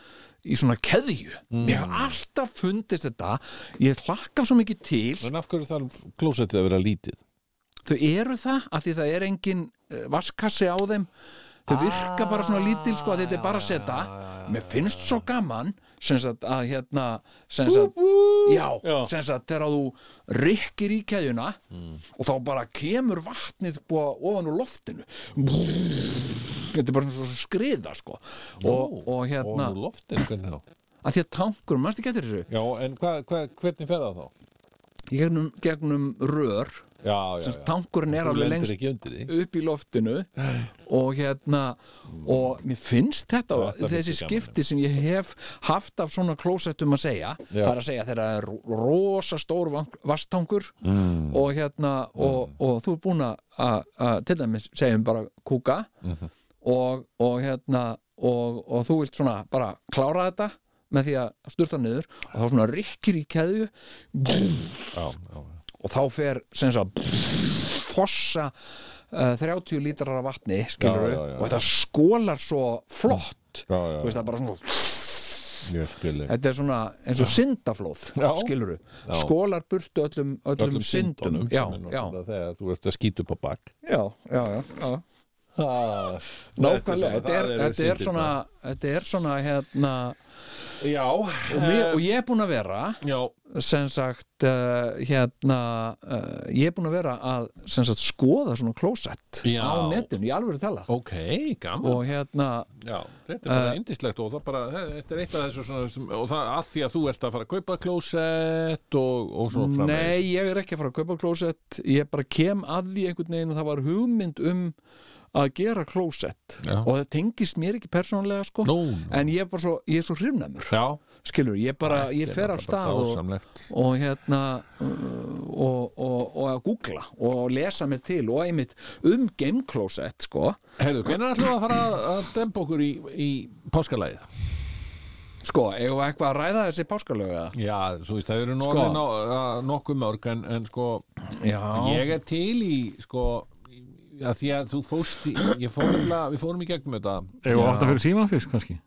C: í svona keðju mér hef alltaf fundist þetta ég hlakka svo mikið til
A: en af hverju þarf klósettið að vera lítið
C: þau eru það að því það er engin eh, vaskassi á þeim þau virka bara svona lítil sko að þetta er
A: Ah,
C: bara að setja mér finnst svo gaman sem sagt að hérna sem sagt, já,
D: Já.
C: sem sagt þegar að þú rykkir í keðjuna
A: Mm.
C: og þá bara kemur vatnið búa ofan úr loftinu þetta er bara svona svo skriða sko og, og hérna
A: og loftin, hvernig þá
C: að því að tankur, mannstu getur þessu
A: já, en hva, hva, hvernig fer það þá
C: í gegnum, gegnum rör
A: já, já,
C: sem sagt,
A: já
C: tankurinn er
A: Þú
C: alveg
A: lendir
C: lengst
A: ekki undir því
C: upp í loftinu og hérna og mér finnst þetta,
A: Þetta finnst
C: þessi
A: ég gaman,
C: skipti sem ég hef haft af svona klósettum að segja
A: Já.
C: það er að segja þegar það er ro- rosa stór vank- vastangur
A: mm.
C: og hérna og, og þú er búin að- að að til dæmis segjum bara kúka
A: Mhm.
C: og, og hérna og, og þú vilt svona bara klára þetta með því að sturta niður og þá svona rikkir í keðju
A: já, já, já.
C: og þá fer sem sagt fossa uh, 30 lítrar af vatni skilur
A: Já, já, já.
C: og þetta skólar svo flott
A: Já,
C: þú
A: já,
C: veist það er bara svona
A: mjög skilur
C: þetta er svona eins og syndaflóð
A: Já.
C: skilur
A: Já.
C: skólar burtu öllum, öllum, syndum já, já,
A: þegar þú ert að skýta upp á bakk
C: já, já, já, já. nákvæmlega, þetta er, þetta er svona þetta er svona hérna
A: já, eh,
C: og, mér, og ég er búin að vera
A: já,
C: sem sagt uh, hérna uh, ég er búin að vera að sem sagt skoða svona klósett
A: Já.
C: á netinu, ég alveg er talað
A: ok, gaman Eh.
C: og hérna,
A: Já, þetta er bara indislegt og það bara, þetta er eitt af þessu svona, sem- og það að því að þú ert að fara að kaupa klósett og, og svo framvegis.
C: nei ég er ekki að fara að kaupa klósett ég bara kem að því einhvern veginn og það var hugmynd um að gera klósett
A: Já.
C: og það tengist mér ekki persónulega sko
A: Nú, nú.
C: en ég er bara svo, ég er svo hrifnæmur
A: Já,
C: skilur, ég bara, ég fer af
A: bara
C: stað og,
A: dásamlegt.
C: og hérna uh, og, og, og að googla og lesa mér til og einmitt um gameklósett sko
A: Herðu, hvernig ætlum við að fara að- að dempa okkur í, í páskalæðið?
C: Sko, eigum við eitthvað að ræða þessi páskalöga?
A: Já, þú veist, það eru
C: Sko.
A: nógum sko. nokkuð mörg en, en sko,
C: Já.
A: ég er til í, sko, í- að því að þú fórst í, ég fór nefnilega, við fórum í gegnum þetta.
B: Eða átt að fyrir síman fyrst kannski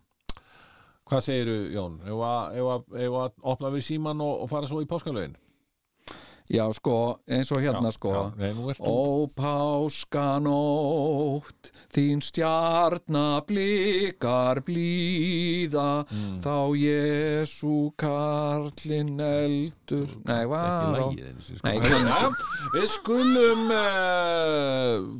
A: Hvað segiru, Jón? Ef að, ef að, ef að opna við síman og, og fara svo í páskalögin?
C: Já, sko, eins og hérna, sko.
A: Já, nei, nú ertu.
C: Ó páskanótt, þín stjarna blikar blíða,
A: Mm.
C: þá Jésu karlinn eldur. Nei,
A: ekki
C: var á...
A: lægið einu sinni sko.
C: Nei,
A: Nei,
C: ekki
A: já, við skulum uh,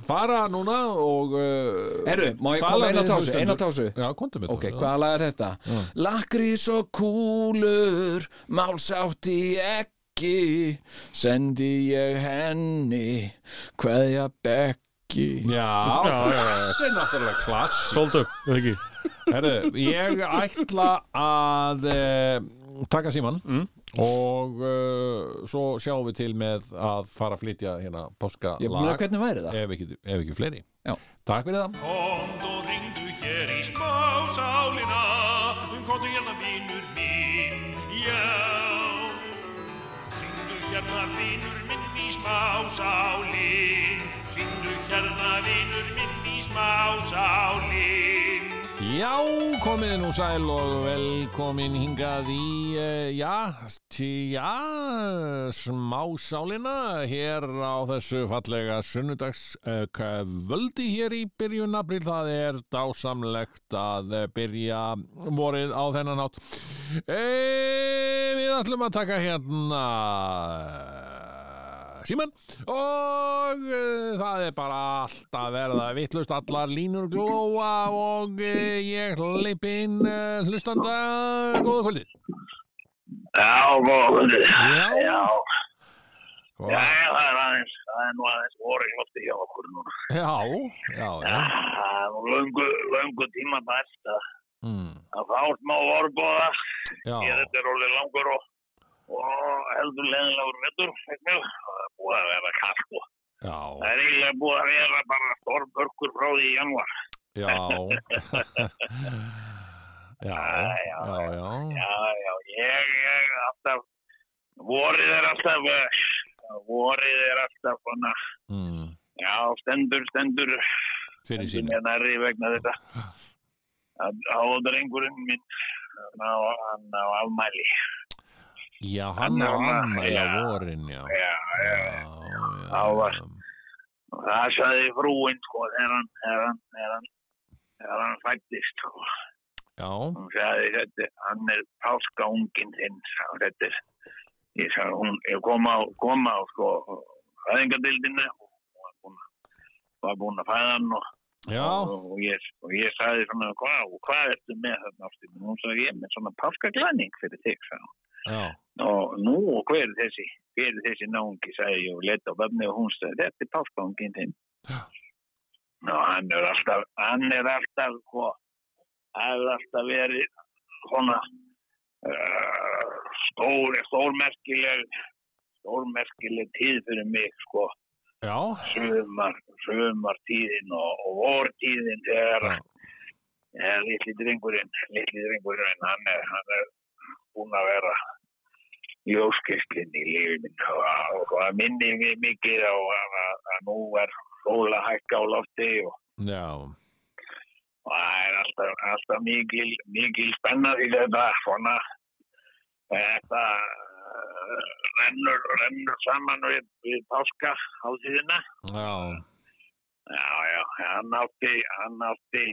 A: fara núna og uh,
C: Herru, má ég
A: Tala
C: koma eina
A: við
C: tásu,
A: hlustendur.
C: eina tásu?
A: já, kontum við
C: Ok, hvaða lag er þetta? Lakrís og kúlur, málsátti ekki, sendi ég henni, hverja bekki.
A: Já, þetta er náttúrulega klass
B: Svolítið, eða ekki
A: Herru, ég ætla að uh, taka síman og uh, svo sjáum við til með að fara að flytja hérna páska
C: Ég meina hvernig væri
D: Eh,
C: það?
A: ef, ekki, ef ekki fleiri
C: Já.
A: Takk fyrir það
E: Komdu og ringdu hér í spásálina Komdu hérna vinur minn, já Ringdu hérna vinur minn í smásálin Ringdu hérna vinur minn í smásálin
A: Já, komið nú sæl og velkomin hingað í, uh, já, tí, já, smásálina hér á þessu fallega sunnudags uh, völdi hér í byrjun april. Það er dásamlegt að eh, byrja vorið á þennan átt. E, við ætlum að taka hérna síman og uh, það er bara allt að verða vittlust allar línur glóa og uh, ég hleyp inn uh, hlustanda góða kvöldið
F: Já, góða kvöldið.
A: Já.
F: Já.
A: Hvað?
F: Já, það er aðeins, það er nú aðeins voru í lofti hjá okkur núna.
A: Já, já,
F: Það
A: já.
F: er nú Ah, löngu, löngu tíma bært að
A: Mm,
F: að fá smá orðbóða.
A: já.
F: Ég þetta er orðið langur og, og heldur leðilegur vettur. Það er búið að vera kallt og
A: Já,
F: það er eiginlega búið að vera bara stormbörkur frá því í januar.
A: já. Já, já, já.
F: Já, já, ég, ég, alltaf, vorið er alltaf, eh, vorið er alltaf svona,
A: Mm,
F: já, stendur, stendur,
A: fyrir
F: stendur
A: sínu.
F: mér nærri vegna þetta. Háðrengurinn minn, hann á, hann á afmæli.
A: Já, hann á ammæla vorin, já.
F: Já,
A: Já, já.
F: Og Það sagði frúinn, sko, þegar hann, þegar hann, þegar hann, þegar hann fættist, sko.
A: Já,
F: Hún sagði, þetta, hann er páskaungin þinn, sagði, hún, þetta er, ég sagði, hún, ég kom á, kom á, sko, fæðingadildinu, og var búin, var búin að fæða hann og,
A: já.
F: og, og ég, og ég sagði svona, hvað, og hvað ertu með þarna ástinu? Hún sagði, ég er með svona páskaglæning fyrir þig, sagði hún.
A: Já,
F: Og nú, og hver er þessi? Hver er þessi náungi, sagði ég og leta á vefni og hún sagði, þetta er páskaungin þinn.
A: Já.
F: Ná, hann er alltaf, hann er alltaf, sko, hann er alltaf verið svona uh, stór, stórmerkileg, stórmerkileg tíð fyrir mig, sko,
A: já.
F: sömar, sömartíðin og, og vortíðin þegar
A: Já.
F: ja, litli drengurinn, litli drengurinn, hann er, hann er búin að vera ljóskistlinn í lífinn og- og það minnir mig mikið á að, að, að nú er sól að hækka á lofti og,
A: Já,
F: og það er alltaf, alltaf mikil, mikil spennað í þetta svona þetta eh, rennur, rennur saman við, við páska hátíðina
A: já.
F: Já, já, hann átti, hann átti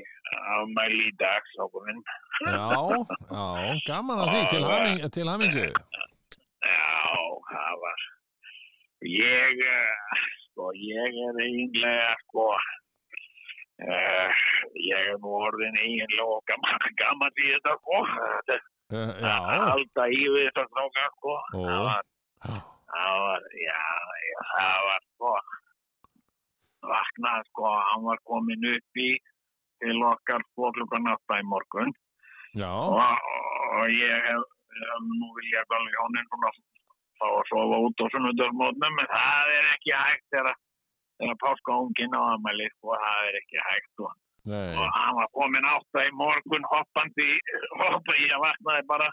F: afmæli í dag, sákurinn.
A: Já, já. Gaman að því, til haming- til hamingju.
F: Já, það var, ég, eh, sko, ég er eiginlega, sko, uh, ég er nú orðin eiginlega og gaman, (laughs) gaman í þetta, sko, þetta er
A: Eh,
F: að
A: Já,
F: halda í við þetta stráka, sko,
A: Ó.
F: það var,
A: já.
F: það var, já, já, það var, sko, vaknað, sko, hann var komin upp í, til okkar, sko, klukkan átta í morgun.
A: Já,
F: og, og ég hef, hef nú vilja alveg hjónin svona fá að sofa út á sunnudagmótnum en það er ekki hægt þegar þegar páska unginn á aðmæli sko, það er ekki hægt sko. og,
A: nei.
F: og hann var komin átta í morgun hoppandi, hoppandi ég vaknaði bara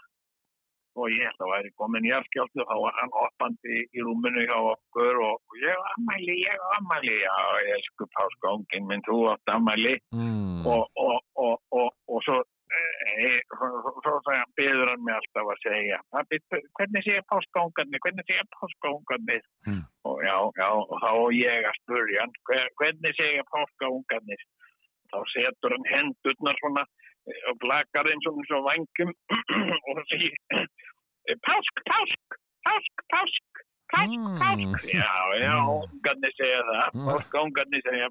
F: og ég held að væri komin í afskjáltu þá var hann hoppandi í rúminu hjá okkur og ég á aðmæli, ég á aðmæli já, ég sku páska unginn minn þú átt aðmæli
A: Mm,
F: og, og, og, og, og svo eh, svo- svo- svo sagði hann byður hann mig alltaf að segja "Pabbi, hvernig sé ég páskaungarnir hvernig sé ég páskaungarnir
A: Mm.
F: og já, já, og þá á ég að spurja hann "Hver- hvernig sé ég páskaungarnir þá setur hann hendurnar svona eh, og blakar þeim svona svo vangum (clears throat) og segir "Eh, pásk, pásk, pásk, pásk pásk,
A: Mm.
F: pásk já, já,
A: Mm.
F: ungarnir segja það
A: Mm.
F: páskaungarnir segja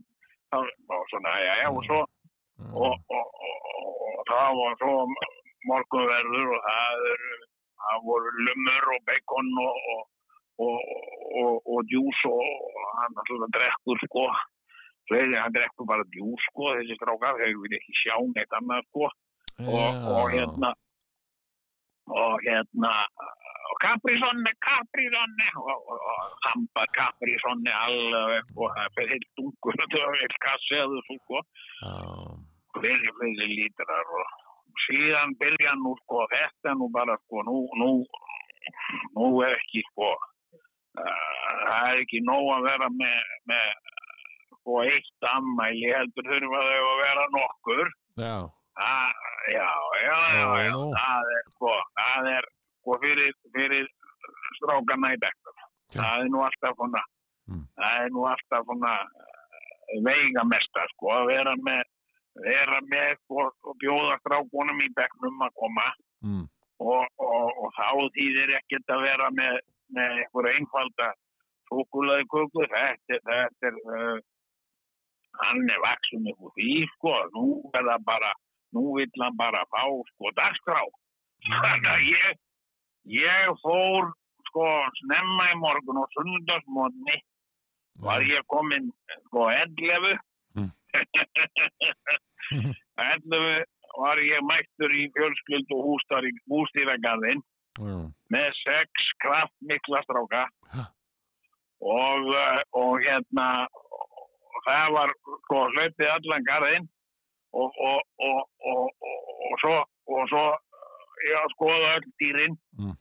F: þá- og svona, já, já, og svo og, og, og, og, og það var svo morgunverður og það, er, það voru lumur og bacon og, og, og, og, og djús og hann alltaf drekkur sko fleiri, hann drekkur bara djús sko þessi strákar, þeir vil ekki sjá neitt annað sko og, og hérna og hérna og Caprisonne, Caprisonne og, og, og Samba Caprisonne alveg og það fyrir heilt dungur (laughs) og það er kasseðu sko
A: Já,
F: fleiri, fleiri lítrar og síðan byrja nú sko þetta nú bara sko nú, nú, nú er ekki sko uh, það er ekki nóg að vera með, með sko eitt ammæli heldur þurfa þau að vera nokkur
A: já,
F: Ah, já, já, já,
A: Já,
F: já,
A: nú.
F: það er sko, það er sko fyrir, fyrir strákana í bekknum.
A: Já.
F: Það er nú alltaf svona,
A: Mm.
F: það er nú alltaf svona eh, veigamesta sko, að vera með, vera með sko og bjóða strákunum í bekknum að koma
A: mm,
F: og, og, og þá þýðir ekkert að vera með, með einhverja einfalda súkulaði kuku, þetta, þetta er, uh, hann er vaksum upp úr því, sko, nú er það bara, nú vill hann bara fá, sko, dagskrá. Þannig að ég, ég fór, sko snemma í morgun og sundagsmótni var ég kominn sko 11 (laughs)
A: Mm.
F: 11 var ég mættur í fjölskyldu hústar í bústíðagarðin
A: Já.
F: með sex kraftmikla stráka
A: Ha.
F: og, eh, og hérna það var sko hlaupið allan garðin og, og, og, og, og, og svo og svo eh, ég að skoða öll dýrin
A: Mm.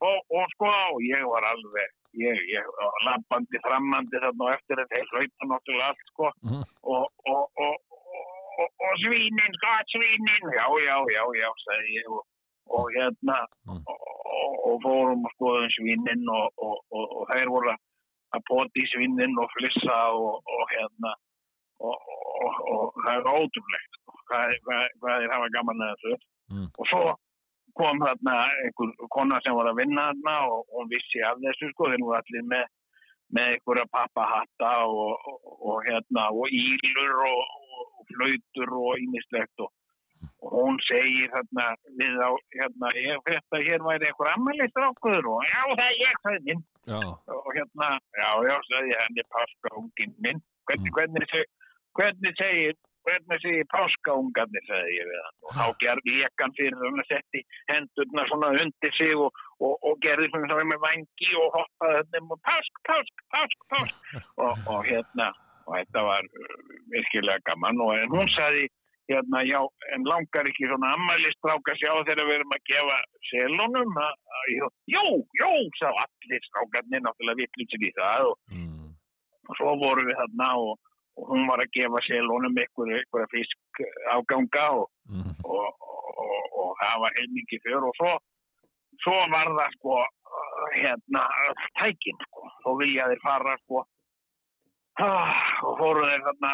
F: og, og sko ég var alveg ég, ég var lampandi framandi þarna og eftir þetta ég hlaupa náttúrulega allt sko
A: Mhm.
F: og, og, og, og, og, og svínin, gott svínin já, já, já, já, sagði ég og, og hérna
A: Mm.
F: og, og, og fórum og skoðum svínin og, og, og, og þeir voru að- að poti í svínin og flissa og, og hérna og, og, og, og það er ótrúlegt sko, hvað, hvað, hvað þeir hafa gaman að þessu
A: Mm.
F: og svo kom þarna einhver kona sem var að vinna þarna og og hún vissi af þessu sko þeir voru allir með með einhverja pappahatta og, og, og hérna og ílur og, og, og flautur og ímislegt og, og hún segir þarna við á hérna ég frétt að hér væri einhver ammælistrákur og já það er ég það minn
A: Já.
F: og hérna já já sagði henni páskaungin minn hvernig,
A: Mm.
F: hvernig, seg- hvernig segir hvernig segir páskaungarnir sagði ég við hann og þá gerði ég hann fyrir hann að setti hendurna svona undir sig og, og, og gerði svona svona með vangi og hoppaði þennum og pásk, pásk, pásk, pásk
A: (laughs)
F: og, og hérna og þetta var uh, virkilega gaman og en hún sagði hérna já en langar ekki svona ammælistráka sjá þegar við erum að gefa selunum að að- jú, jú, jú, sá allir strákarnir náttúrulega vittlýsir í það og
A: Mm.
F: og svo vorum við þarna og, og hún var að gefa selunum einhverja einhver fisk afganga og,
A: Mm.
F: og, og, og það var heilmikið fyrr og svo, svo var það sko hérna öll tækin sko og vilja þeir fara sko ah, og fóru þeir þarna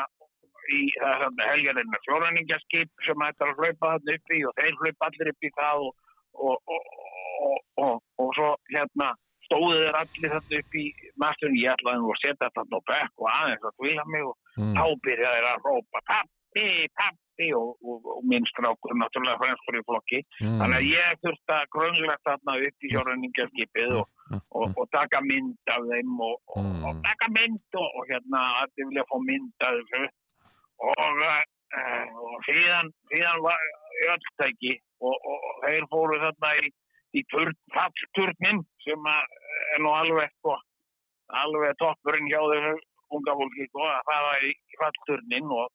F: í það er þarna helgarinn með fjóræningaskip sem ætlar að hlaupa þarna upp í og þeir hlaupa allir upp í það og, og, og, og, og, og svo hérna stóðu þeir allir þarna upp í masturinn, ég ætlaði nú að setja þarna á bekk og aðeins að kvíla mig og
A: Mm.
F: þá byrjaði þeir að rópa pappi, pappi og, og, og minn strákur náttúrulega franskur í flokki
A: Mm.
F: þannig að ég þurfti að gröngla þarna upp í hjórunningarskipið og, og, og taka mynd af þeim og, og,
A: Mm.
F: og taka mynd og, og hérna að þið vilja fá mynd af þessu og, uh, og síðan, síðan var ölltæki og, og, og þeir fóru þarna í, í turn, fallturnin sem að er nú alveg sko, alveg toppurinn hjá þessu unga fólki sko, að það var í fallturnin og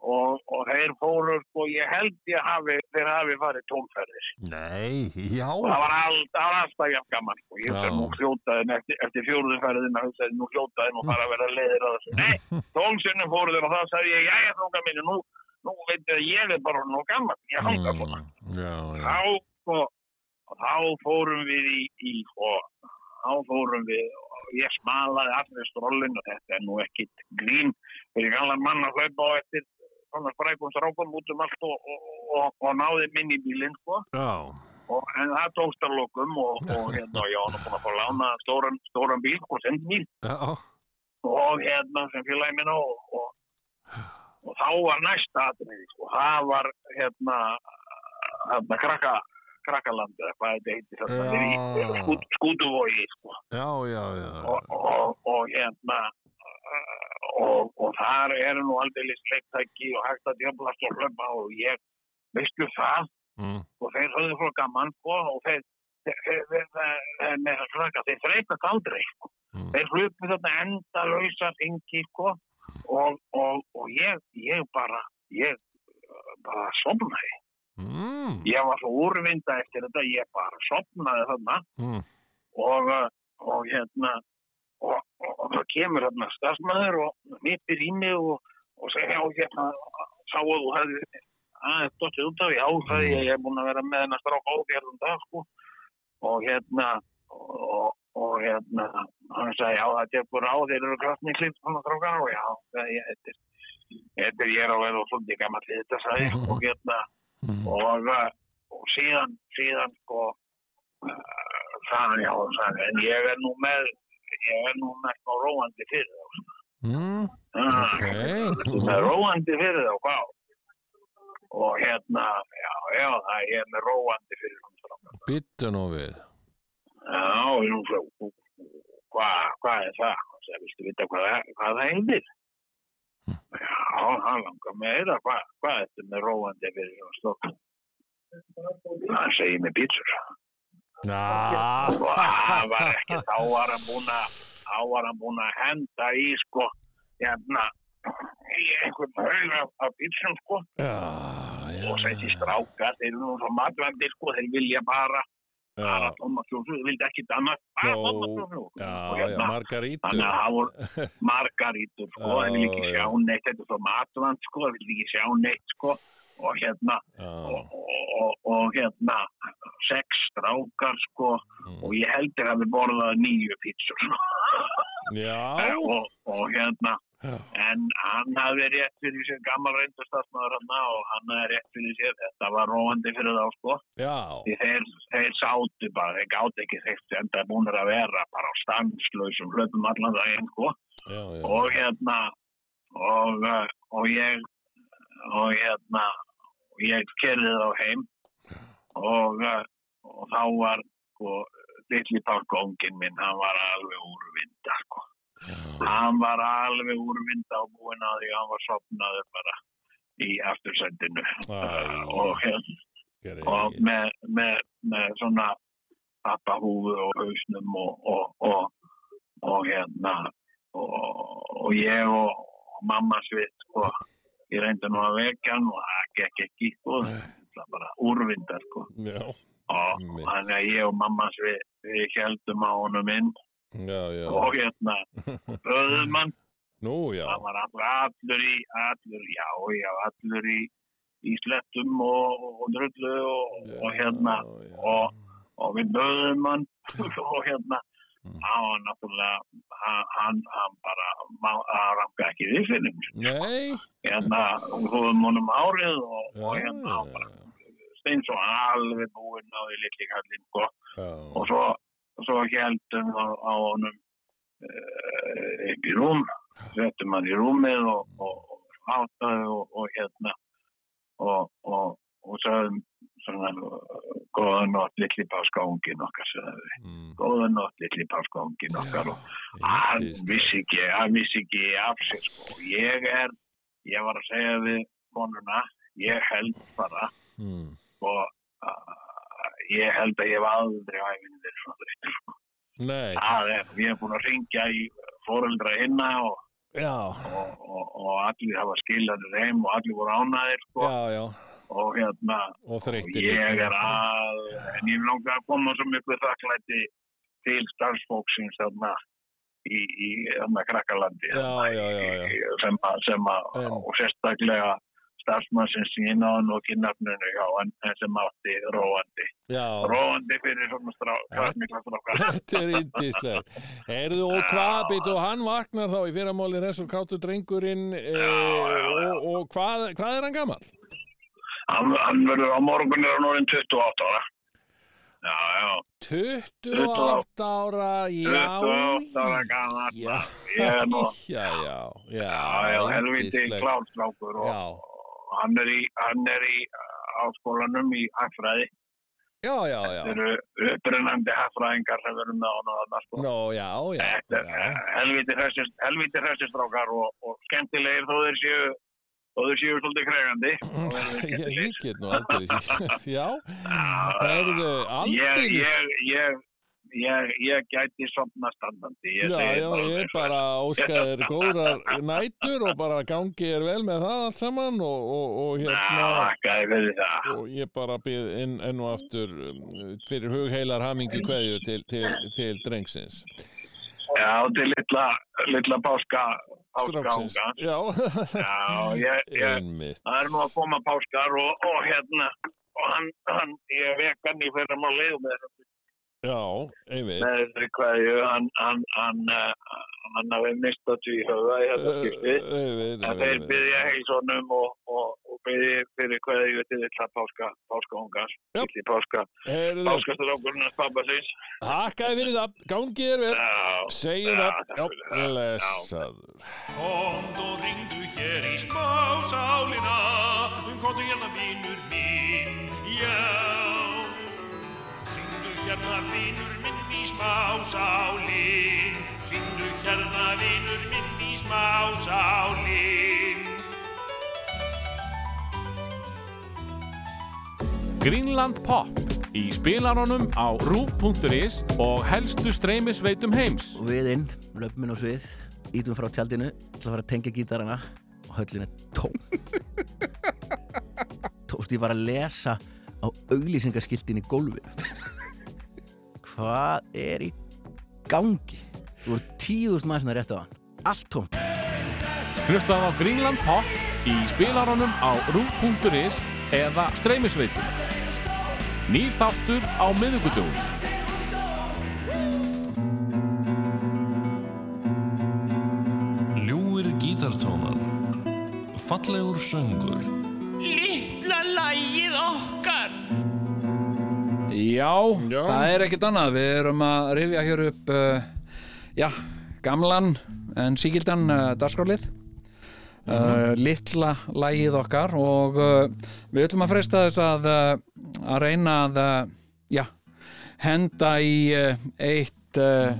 F: Og, og þeir fóru, sko, ég held ég hafi, þeir hafi farið tónferðir.
A: Nei, já.
F: Og það var, all, það var alltaf jafn gaman sko. ég
A: Já.
F: hugsaði nú hljótaðin eftir, eftir fjóruðuferðin að hugsaði nú hljótaðin og fara að vera leiðir að þessu
A: (laughs)
F: nei, tónsinnum fóruðin og þá sagði ég jæja þónga mínu, nú, nú veit ég að ég er bara nú gaman, ég hanga svona
A: Mm. Já, já.
F: þá, sko, þá fórum við í, í og, þá fórum við og ég smalaði allir strólin og þetta er nú ekkit grín fyrir allan mann að hlaupa á eftir svona sprækum strákum út um allt og, og, og, og náði minni í bílinn sko
A: Já.
F: og, en það tókst að lokum og, og hérna, já, hann er búin að fá lána stóran, stóran bíl og sendbíl
A: Já.
F: og hérna sem félagi minna og, og, og þá var næsta atriði sko, það var hérna, hérna krakka, krakkalandi eða hvað þetta heitir
A: Já.
F: þetta, ja. skút, skútuvogi sko
A: Já, já, já.
F: og, og, og hérna og, og þar eru nú aldrei sleiktæki og hægt að djöflast og hlöpa og ég, veistu það
A: Mm.
F: og þeir höfðu frá gaman sko og þeir þeir- þeir- þeir- þeir- með þess að slaka, þeir þreytast aldrei sko.
A: Mm.
F: þeir hlupu þarna enda lausa fengi sko og, og, og ég, ég bara ég uh, bara sopnaði
A: Mm.
F: ég var svo úrvinda eftir þetta ég bara sopnaði þarna
A: Mm.
F: og, uh, og hérna og, og, og það kemur þarna starfsmæður og mittir í mig og, og segja já hérna sá að þú hefði aðeins dottið út af já það ég, ég er búin að vera með hennar strák á hérna dag sko og hérna og, og hérna hann sagði já það tekur á þeir eru kraftni klipt svona strákar og já það ég þetta er Þetta er ég er á veð og svolítið gammal í þetta sagði ég, og hérna
A: Mm.
F: og, uh, og síðan, síðan sko uh, sagði já, sagði, en ég er nú með ég er nú með sko róandi fyrir þá sko.
A: Mm.
F: Ah, (laughs)
A: Ok.
F: ertu með róandi fyrir þá, hvað og hérna, já, já, það ég er með róandi fyrir þá
A: Bittu nú við.
F: Já, og hún sagði, "Hva- hvað er það? Hann sagði, viltu vita hvað, það- hvað það heitir? Já, hann langar með þeirra, hvað, hvað er þetta með róandi fyrir svona stokk? Hann segi með pítsur.
A: Já,
F: Og það var ekki, þá var hann búin að, þá var hann búin að henda í, sko, hérna, í einhvern haug af, af pítsum, sko.
A: já
F: Og þessi strákar, þeir eru nú svo matvandi, sko, þeir vilja bara, bara
A: Já,
F: tómasjósu, þeir vilja ekkit annað, bara
A: Nó,
F: tómasjósu.
A: já, já,
F: hérna,
A: margarítur
F: Þannig að það
A: (laughs)
F: voru margarítur, sko,
A: Já,
F: það vil ekki
A: já.
F: sjá neitt, þetta er svo matvand, sko, það vil ekki sjá neitt, sko, og hérna,
A: Já,
F: og, og, og hérna, sex strákar, sko,
A: Mm.
F: og ég heldur að við borðaði nýju pítsur,
A: já,
F: og, og hérna,
A: Já.
F: en hann hafði rétt fyrir sér, gammal reyndastarsmaður hann, og hann hafði rétt fyrir sér, þetta var róandi fyrir þá, sko,
A: já,
F: því þeir, þeir sátu bara, þeir gáti ekki þeir enda búinir að vera bara á stanslausum hlöpum allan daginn, sko,
A: já, já.
F: og hérna og, uh, og ég og hérna ég kerði þá heim og, uh, og þá var sko, litli pálkóngin minn hann var alveg úrvinda sko. hann var alveg úrvinda og búinn að því að hann var sopnaður bara í aftursendinu
A: Æ,
F: og, hérna,
A: gerði
F: og
A: ég.
F: með, með, með svona pappahúfu og hausnum og, og, og, og hérna og, og ég og mamma svitt sko, ég reyndi nú að vekja hann og það gekk ekki sko, það var bara úrvindar sko.
A: Já,
F: og
A: Einmitt.
F: þannig að ég og mamma svitt við heldum á honum inn
A: já, já
F: og hérna röðum hann,
A: Nú, já,
F: það var allur, allur í allur, já, já, allur í í slettum og, og drullu og, og hérna
A: Já, já.
F: og, og við böðum hann
A: (laughs)
F: og hérna
A: Mm.
F: hann var náttúrulega hann, hann- hann bara rafka ekki við finnum
A: Nei,
F: hérna húðum honum árið og, og
A: Já,
F: hérna
A: já,
F: hann bara steins og alveg búinn á því litli kallinn sko. og
A: já,
F: svo, svo heldum á, á honum uh, upp í rúm settum hann í rúmið og, og, og hátaði og, og hérna og, og, og sagðum svona eh, góða nótt litli páskaungin okkar sagði við
A: Mm.
F: góða nótt litli páskaungin okkar og hann
A: Yndist.
F: vissi ekki, hann vissi ekki af sér sko. Og ég er, ég var að segja við konuna, ég held bara
A: Mm.
F: og uh, ég held að ég var aldrei á æfinni verið svona þreyttur sko.
A: Nei,
F: það er, ég er búin að ringja í fóreldra hinna og,
A: já,
F: og, og, og allir hafa skilaður heim og allir voru ánæðir sko.
A: já, já
F: og hérna
A: Og þreytir
F: ég er að en ég langar að koma svo miklu þakklæti til starfsfóksins þarna í, í þarna krakkalandi
A: Já, já, já, já
F: sem að, sem að
A: En-
F: og sérstaklega starfsmannsins sem ég náði nú ekki nafnunu hjá en, en sem átti róandi
A: Já,
F: róandi fyrir svona strá, krakkmikla strákar
A: (laughs) Þetta er indislegt. Erðu og hvað býtt og hann vaknar þá í fyrramáli þessum kátur drengurinn e, og, og hvað, hvað er hann gamall?
F: hann, hann verður á morgun er hann orðin 28 ára já, já
A: 28 ára, já,
F: 28 ára gammal
A: já,
F: ég er nú
A: já, já,
F: Já, já,
A: já,
F: helviti
A: yndislegt.
F: klárstrákur og
A: Já,
F: og hann er í, hann er í áskólanum í hagfræði.
A: já, já, já,
F: Þeir eru upprennandi hagfræðingar sem verðum með honum þarna sko.
A: Nó, já, já,
F: Þetta er uh,
A: já,
F: helviti hressist, helviti hressist rákar og, og skemmtilegir þó þeir séu þó þeir séu svolítið
A: (laughs)
F: kregandi.
A: já, ég get nú (laughs) aldrei, já, herðu,
F: Ég,
A: aldrei,
F: ég, ég, ég, ég gæti sopna standandi. Ég
A: Já,
F: segi
A: já,
F: bara
A: ég
F: þess
A: bara óska þér góðar nætur og bara gangi þér vel með það allt saman og, og, og
F: vegna. Já,
A: hérna
F: þakka þér fyrir það.
A: og ég bara byrð inn enn og aftur um, fyrir hugheilar hamingi kveðju til, til, til drengsins
F: Já, til litla, litla páska,
A: Stráksins.
F: páskaunga.
A: Já,
F: Já, ég, ég,
A: einmitt
F: það er nú að koma páskar og, og hérna og hann, hann ég vek hann í fyrra málið með,
A: Já, einmitt
F: með þessari kvæðju hann, hann, hann, uh, hann hafi mistað því höfa í þetta
A: Eh,
F: skipti
A: einmitt,
F: en þeir
A: einmitt.
F: byrja heilsónum og, og, og byrja fyrir kvæðju til þetta páska, páska ungas
A: Já.
F: til páska,
A: Heyrðu,
F: páskastrákurnas pappasins
A: Hakkaði fyrir það, gangi þér vel
F: Já,
A: Segjum
F: Já,
A: það,
F: takk
A: já,
F: fyrir það.
A: lesaður
E: Komd og ringdu hér í spásálina um kontu hérna vinnur minn, já Ringdu hérna vinnur minn í smásálin Hringdu hérna vinur minn í smásálin
D: Greenland Pop í spilaranum á roof.is og helstu streymisveitum heims.
G: og við inn, löpum inn á svið ítum frá tjaldinu til að fara að tengja gítarana og höllin er tóm tókst ég var að lesa á auglýsingaskiltin í gólfinu hvað er í gangi þú voru tíðust maður svona hérna rétt á hann allt tóm
D: Hlustað á Greenland Pop í spilaranum á roof.is eða streymisveitum. Nýr þáttur á miðugudum.
H: Ljúir gítartónar Fallegur söngur
E: Littla lagið okkar
C: Já, það er ekkert annað Við erum að rifja hér upp uh, Já, gamlan en síkildan uh, dagskrálið
A: Mhm.
C: uh, Litla lagið okkar og uh, við ætlum að freista þess að uh, að reyna að uh, já, henda í uh, eitt uh,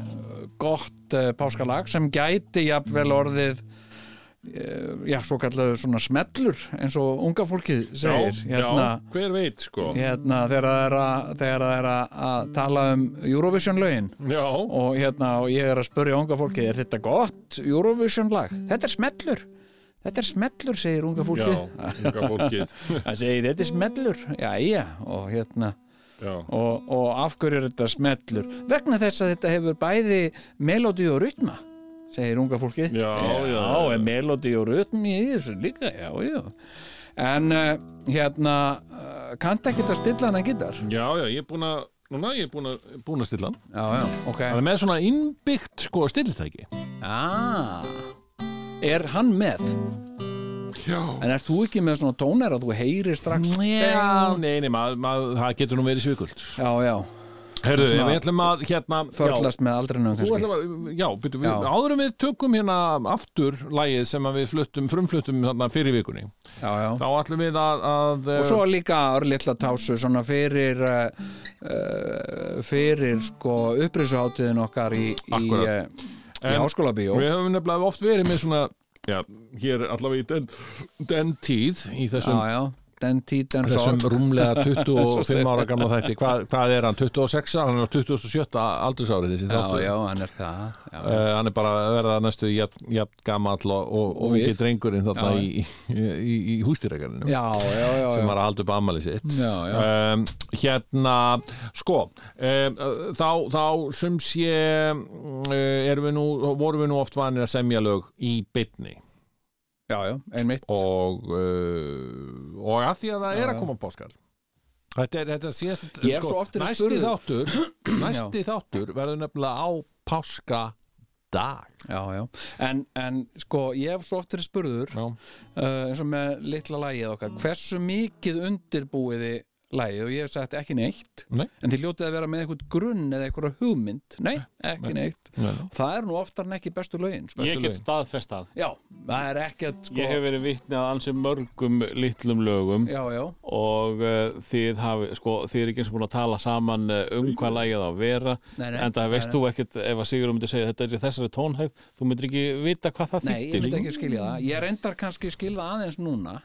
C: gott uh, páskalag sem gæti jafnvel orðið uh, já, svo kallaðu svona smellur eins og unga fólkið segir
A: já, hver veit sko
C: hérna, þegar það er að, þegar það er að, að tala um Eurovision lögin
A: Já,
C: og hérna, og ég er að spurja unga fólki er þetta gott Eurovision lag? Þetta er smellur Þetta er smellur, segir unga
A: já,
C: fólki
A: unga fólkið
C: Það segir, þetta er smellur Já, já, og hérna
A: Já,
C: og, og af hverju er þetta smellur vegna þess að þetta hefur bæði melodi og rytma segir unga fólkið
A: Já, já.
C: já er melodi og rytmi í þessu líka já, já en uh, hérna uh, kannta ekki að stilla hana gítar
A: já, já, ég er búin að Núna, ég er búin að, búin að stilla hann.
C: já, já, ok
A: Það er með svona innbyggt sko stilltæki.
C: ah, er hann með
A: Já.
C: en ert þú ekki með svona tónar að þú heyrir strax
A: Já, nei, nei, maður, maður, það getur nú verið svikult.
C: já, já,
A: Herðu,
C: Svona-
A: við ætlum að, hérna, já,
C: förlast með aldrinum
A: Þú
C: kannski
A: ætlum að, já, byrju, við,
C: Já.
A: áður en við tökum hérna aftur lægið sem að við fluttum, frumfluttum þarna fyrir vikunni,
C: já, já
A: þá ætlum við að, að
C: og svo líka örlitla tásu svona fyrir uh, uh, fyrir sko upprisuháttiðin okkar í, í,
A: Akkúrat.
C: uh, í
A: En-
C: háskóla bíó
A: við höfum nefnilega oft verið með svona, já, hér allavega í den, den tíð í þessum,
C: já, den tít en
A: þessum
C: sorg (laughs)
A: rúmlega 25 ára gamla þætti, hvað, hvað er hann, 26, hann er á 27 aldursárið þessi
C: já,
A: þáttur.
C: já, hann er það já,
A: Uh, hann er bara að verða næstu jafn, jafn gamall og, og, og
C: við.
A: ungi drengurinn þarna
C: Já.
A: í, í, í, í hústýrækarinu
C: já, já, já,
A: sem
C: já.
A: var að halda upp ammali sitt
C: Já, já.
A: Um, hérna sko um, þá, þá sem sé um, erum við nú, vorum við nú oft vanir að semja lög í bytni
C: já, já einmitt
A: og, uh, og að því að það er að koma páskar þetta er, þetta er síðast
C: Ég hef svo oft verið
A: næsti
C: spurður. (clears throat)
A: þáttur (clears throat) næsti þáttur verður nefnilega á páskadag
C: já, já. En, en sko, ég hef svo oft verið spurður
A: Já.
C: uh, eins og með litla lagið okkar hversu mikið undirbúiði lagið og ég hef sagt ekki neitt
A: Nei.
C: en þið ljótið að vera með eitthvað grunn eða eitthvað hugmynd, nei, ekki neitt það er nú oftar en ekki bestu lögin sko.
D: Ég get staðfestað.
C: Já, það er ekkert sko
D: Ég hef verið vitni að ansi mörgum litlum lögum
C: Já, já,
D: og uh, þið, hafi, sko, þið er ekki eins og búin að tala saman uh, um hvað lagið á að vera
C: Nei, nei,
D: en það
C: nei,
D: veist
C: nei.
D: þú ekkert ef að Sigurður myndi segja þetta er í þessari tónhæð þú myndir ekki vita hvað það
C: nei, ég
D: þýttir
C: myndi ekki skilja það Ég reyndar kannski skilja það aðeins núna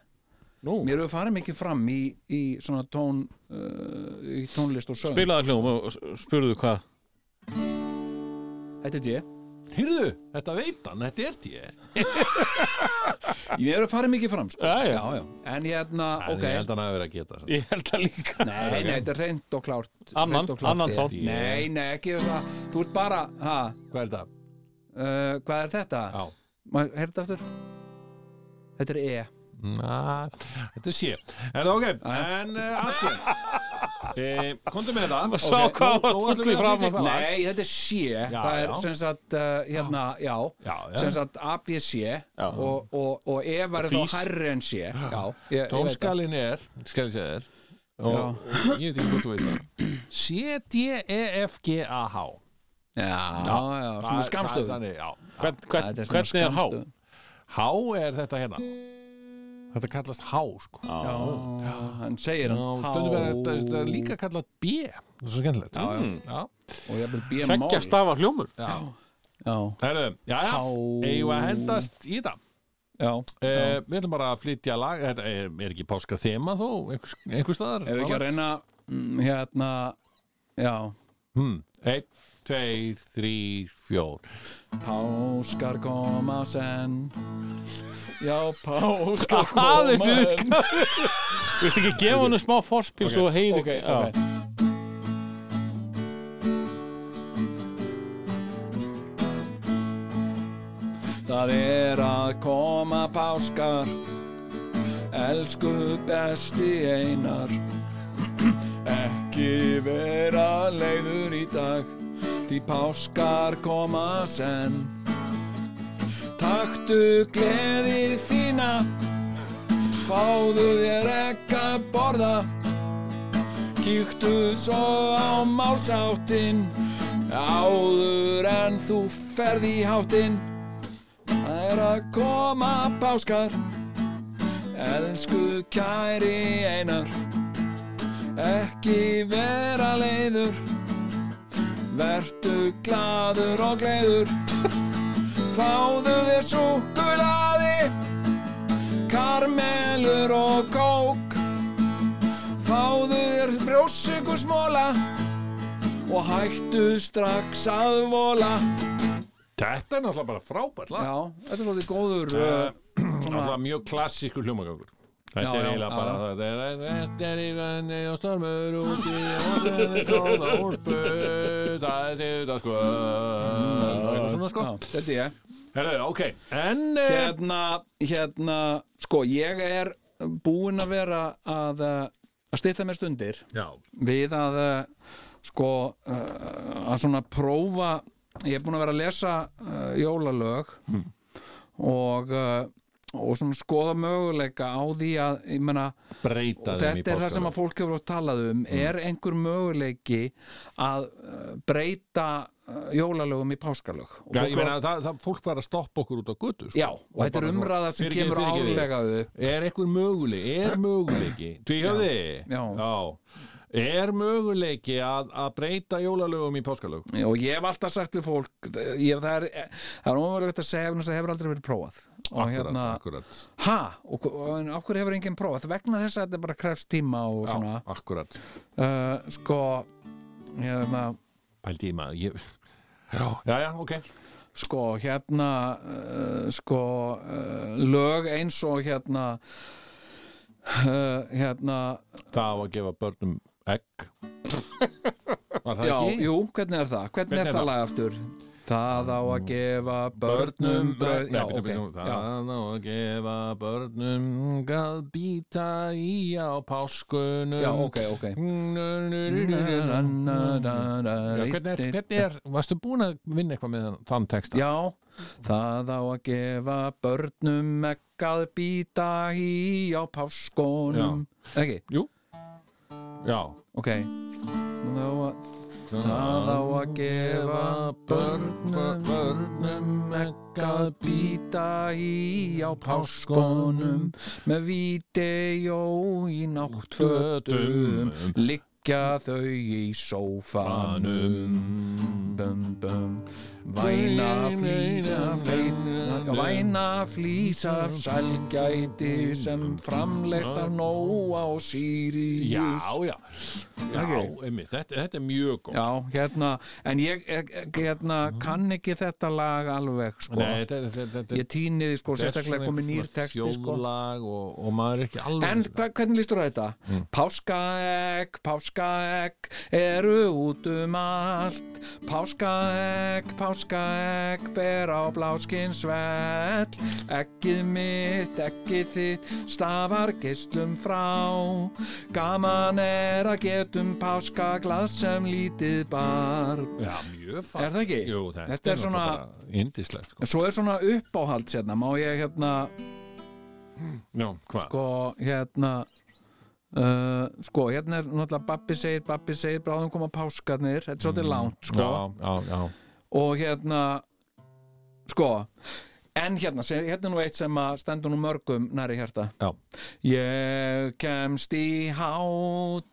D: Nú,
C: Mér hefur farið mikið fram í, í svona tón uh, í tónlist og sögn
D: spilaðu hljóðum og s- spurðu hvað
C: Þetta er ég
A: Hyrðu, þetta veit hann, þetta er því
C: Mér hefur farið mikið fram sko.
D: Já, já.
C: já, En hérna,
A: En
C: ok
A: ég held hann að vera að geta samt.
D: Ég held það líka
C: Nei, nei, þetta er reynd og klárt hreint
D: Annan-
C: og klárt,
D: annan
C: ég.
D: tón.
C: Nei, nei, ekki um það Þú ert bara, ha,
A: Hvað er þetta?
C: uh, hvað er þetta?
A: Já.
C: Má ég heyra þetta aftur? Þetta er E
A: Na, þetta sé Er það ok? En uh, allt í e, Komdu með þetta
D: Sá
A: Ok,
D: hvað
A: nú- nú
D: varst
A: ætlum
D: full í
A: við að
D: framan.
A: flytja eitthvað lag.
C: Nei, þetta er sé Það er
A: já.
C: sem sagt, uh, hérna, já,
A: Já, já.
C: sem sagt ABC og, og, og E var þá
D: Fís.
C: herri en sé Já, ég, ég veit það.
A: Tónskalinn er Skal ég segja þér og, og ég veit ekki hvort þú veit það C, D, E, F, G, A, H
C: Já, já, svona
A: Það-
C: skamstöð
A: það er þannig, já.
D: hvern, hvern,
C: Þetta
D: Hvernig er há?
C: skammstöfun.
A: H er þetta hérna Þetta kallast há, sko
D: Já,
C: já, hann segir
A: Já,
C: hann
A: Stundum er þetta þetta er líka kallað B Það er svo skemmtilegt
C: já, já.
A: Já,
C: og ég vil býja mál
D: Tveggja stafa hljómur
A: já,
C: já,
A: Herðu, já, já Eigum við að hendast í það
C: já,
A: Eh, við ætlum bara að flytja lag Þetta er, er ekki páska þema þó einhvers, einhvers staðar
C: ef við ekki að reyna mm, hérna já,
A: hmm. Einn, tveir, þrír, fjór
C: páskar koma senn já,
D: (laughs)
C: páskar
D: Það
C: koma
D: er
C: senn
D: sérna Viltu ekki gefa hennu smá forspil svo að heyri
C: ok, ok Það er að koma páskar Elsku besti einar Ekki vera leiður í dag Því páskar koma senn Taktu gleði þína Fáðu þér ekki að borða Kíktu svo á málsáttinn Áður en þú ferð í háttinn Það er að koma páskar Elsku kæri einar Ekki vera leiður Vertu gladur og gleður Fáðu þér súkulaði Karmelur og kók Fáðu þér brjósikursmóla Og hættu strax að vola
A: Þetta er náttúrulega bara frábært lag
C: Já, þetta er svolítið góður
A: Eh,
C: uh,
A: Náttúrulega mjög klassískur hljómagangur Þetta
C: Já,
A: er
C: já,
A: eiginlega
C: já,
A: bara Þetta er Þetta er í venni og stormur úti og það er góða og spöð Það er þetta sko Það er svona sko
C: Já, Þetta er ég
A: Herru, ok En eh,
C: Eh, Hérna, hérna, sko, ég er búinn að vera að, eh, að stýta mér stundir
A: Já,
C: við að eh, sko eh, að svona prófa ég er búinn að vera að lesa uh, jólalög og uh, og svona skoða möguleika á því að, ég meina,
A: breyta þeim í Mm.
C: þetta er það sem
A: páskalög.
C: að fólk hefur oft talað um er einhver möguleiki að eh, breyta eh, jólalögum í páskalög og
A: Já,
C: fólk
A: ég
C: hefur
A: meina, það, það, fólk var að stoppa okkur út á götu sko.
C: Já, og þetta er
A: bara svona,
C: umræða sem
A: fyrirgefið,
C: kemur
A: fyrirgefið.
C: álega upp
A: Er einhver möguleiki, er möguleiki Tvíhjóði,
C: Já.
A: Er möguleiki að, að breyta jólalögum í páskalög
C: og ég hef alltaf sagt við fólk ég, það er, það er ómögulegt að segja vegna þess að það hefur aldrei verið prófað og hérna,
A: akkurat,
C: ha, og, og, og okkur hefur enginn prófað vegna þess að þetta bara krefst tíma og svona,
A: akkurat
C: uh, sko hérna,
A: Pældi í maður ég... Já, já, já, ok
C: sko, hérna uh, sko, uh, lög eins og hérna uh, hérna
A: Það á að gefa börnum egg Var það
C: já,
A: ekki?
C: jú, hvernig er það? Hvernig, er það lag aftur? Það á að gefa börnum bröð
A: Nei,
C: Já,
A: byrju,
C: ok,
A: byrju,
C: já.
A: Það á að gefa börnum að býta í á páskunum
C: Já, ok, ok
A: Já, hvernig, er, hvernig er, varstu búin að vinna eitthvað með þann, þann texta?
C: Já, það á að gefa börnum ekki að býta í á páskonum Ekki,
A: Já.
C: ok Þá að- Það á að gefa börnum börnum ekki að býta í á páskonum með vídeo í náttfötum liggja þau í sófanum bum, bum. Væna flýsa feina, já, væna flýsa sælgæti sem framlegtar nóg á Sirius.
A: Já, já. Já, einmitt, þetta, þetta er mjög góð.
C: Já, hérna, en ég, ég- hérna, kann ekki þetta lag alveg, sko.
A: Nei, þetta, þetta, þetta, þetta,
C: ég týni því, sko,
A: þetta er
C: sérstaklega
A: svona
C: komið nýr
A: svona
C: texti, sko.
A: Þjóðlag og, og maður er ekki alveg
C: En hva, hvernig lístur á þetta?
A: Mm.
C: Páskaegg, páskaegg eru út um allt Páskaegg, páskaegg ber á bláskins vell Eggið mitt, eggið þitt stafar geislum frá Gaman er að getum páskaglas sem lítið barn
A: Já, mjög fann.
C: Er það ekki?
A: Jú, þetta,
C: Þetta er svona-
A: náttúrulega bara Indislegt, sko.
C: En svo er svona uppáhald sérna, má ég hérna
A: Já, hvað?
C: sko hérna uh, sko hérna er náttúrulega babbi segir, babbi segir, bráðum koma páskarnir sko. þetta er svolítið langt sko
A: Já, já, já.
C: og hérna sko En hérna, sem- hérna er nú eitt sem að stendur nú mörgum næri hjarta
A: Já.
C: Ég kemst í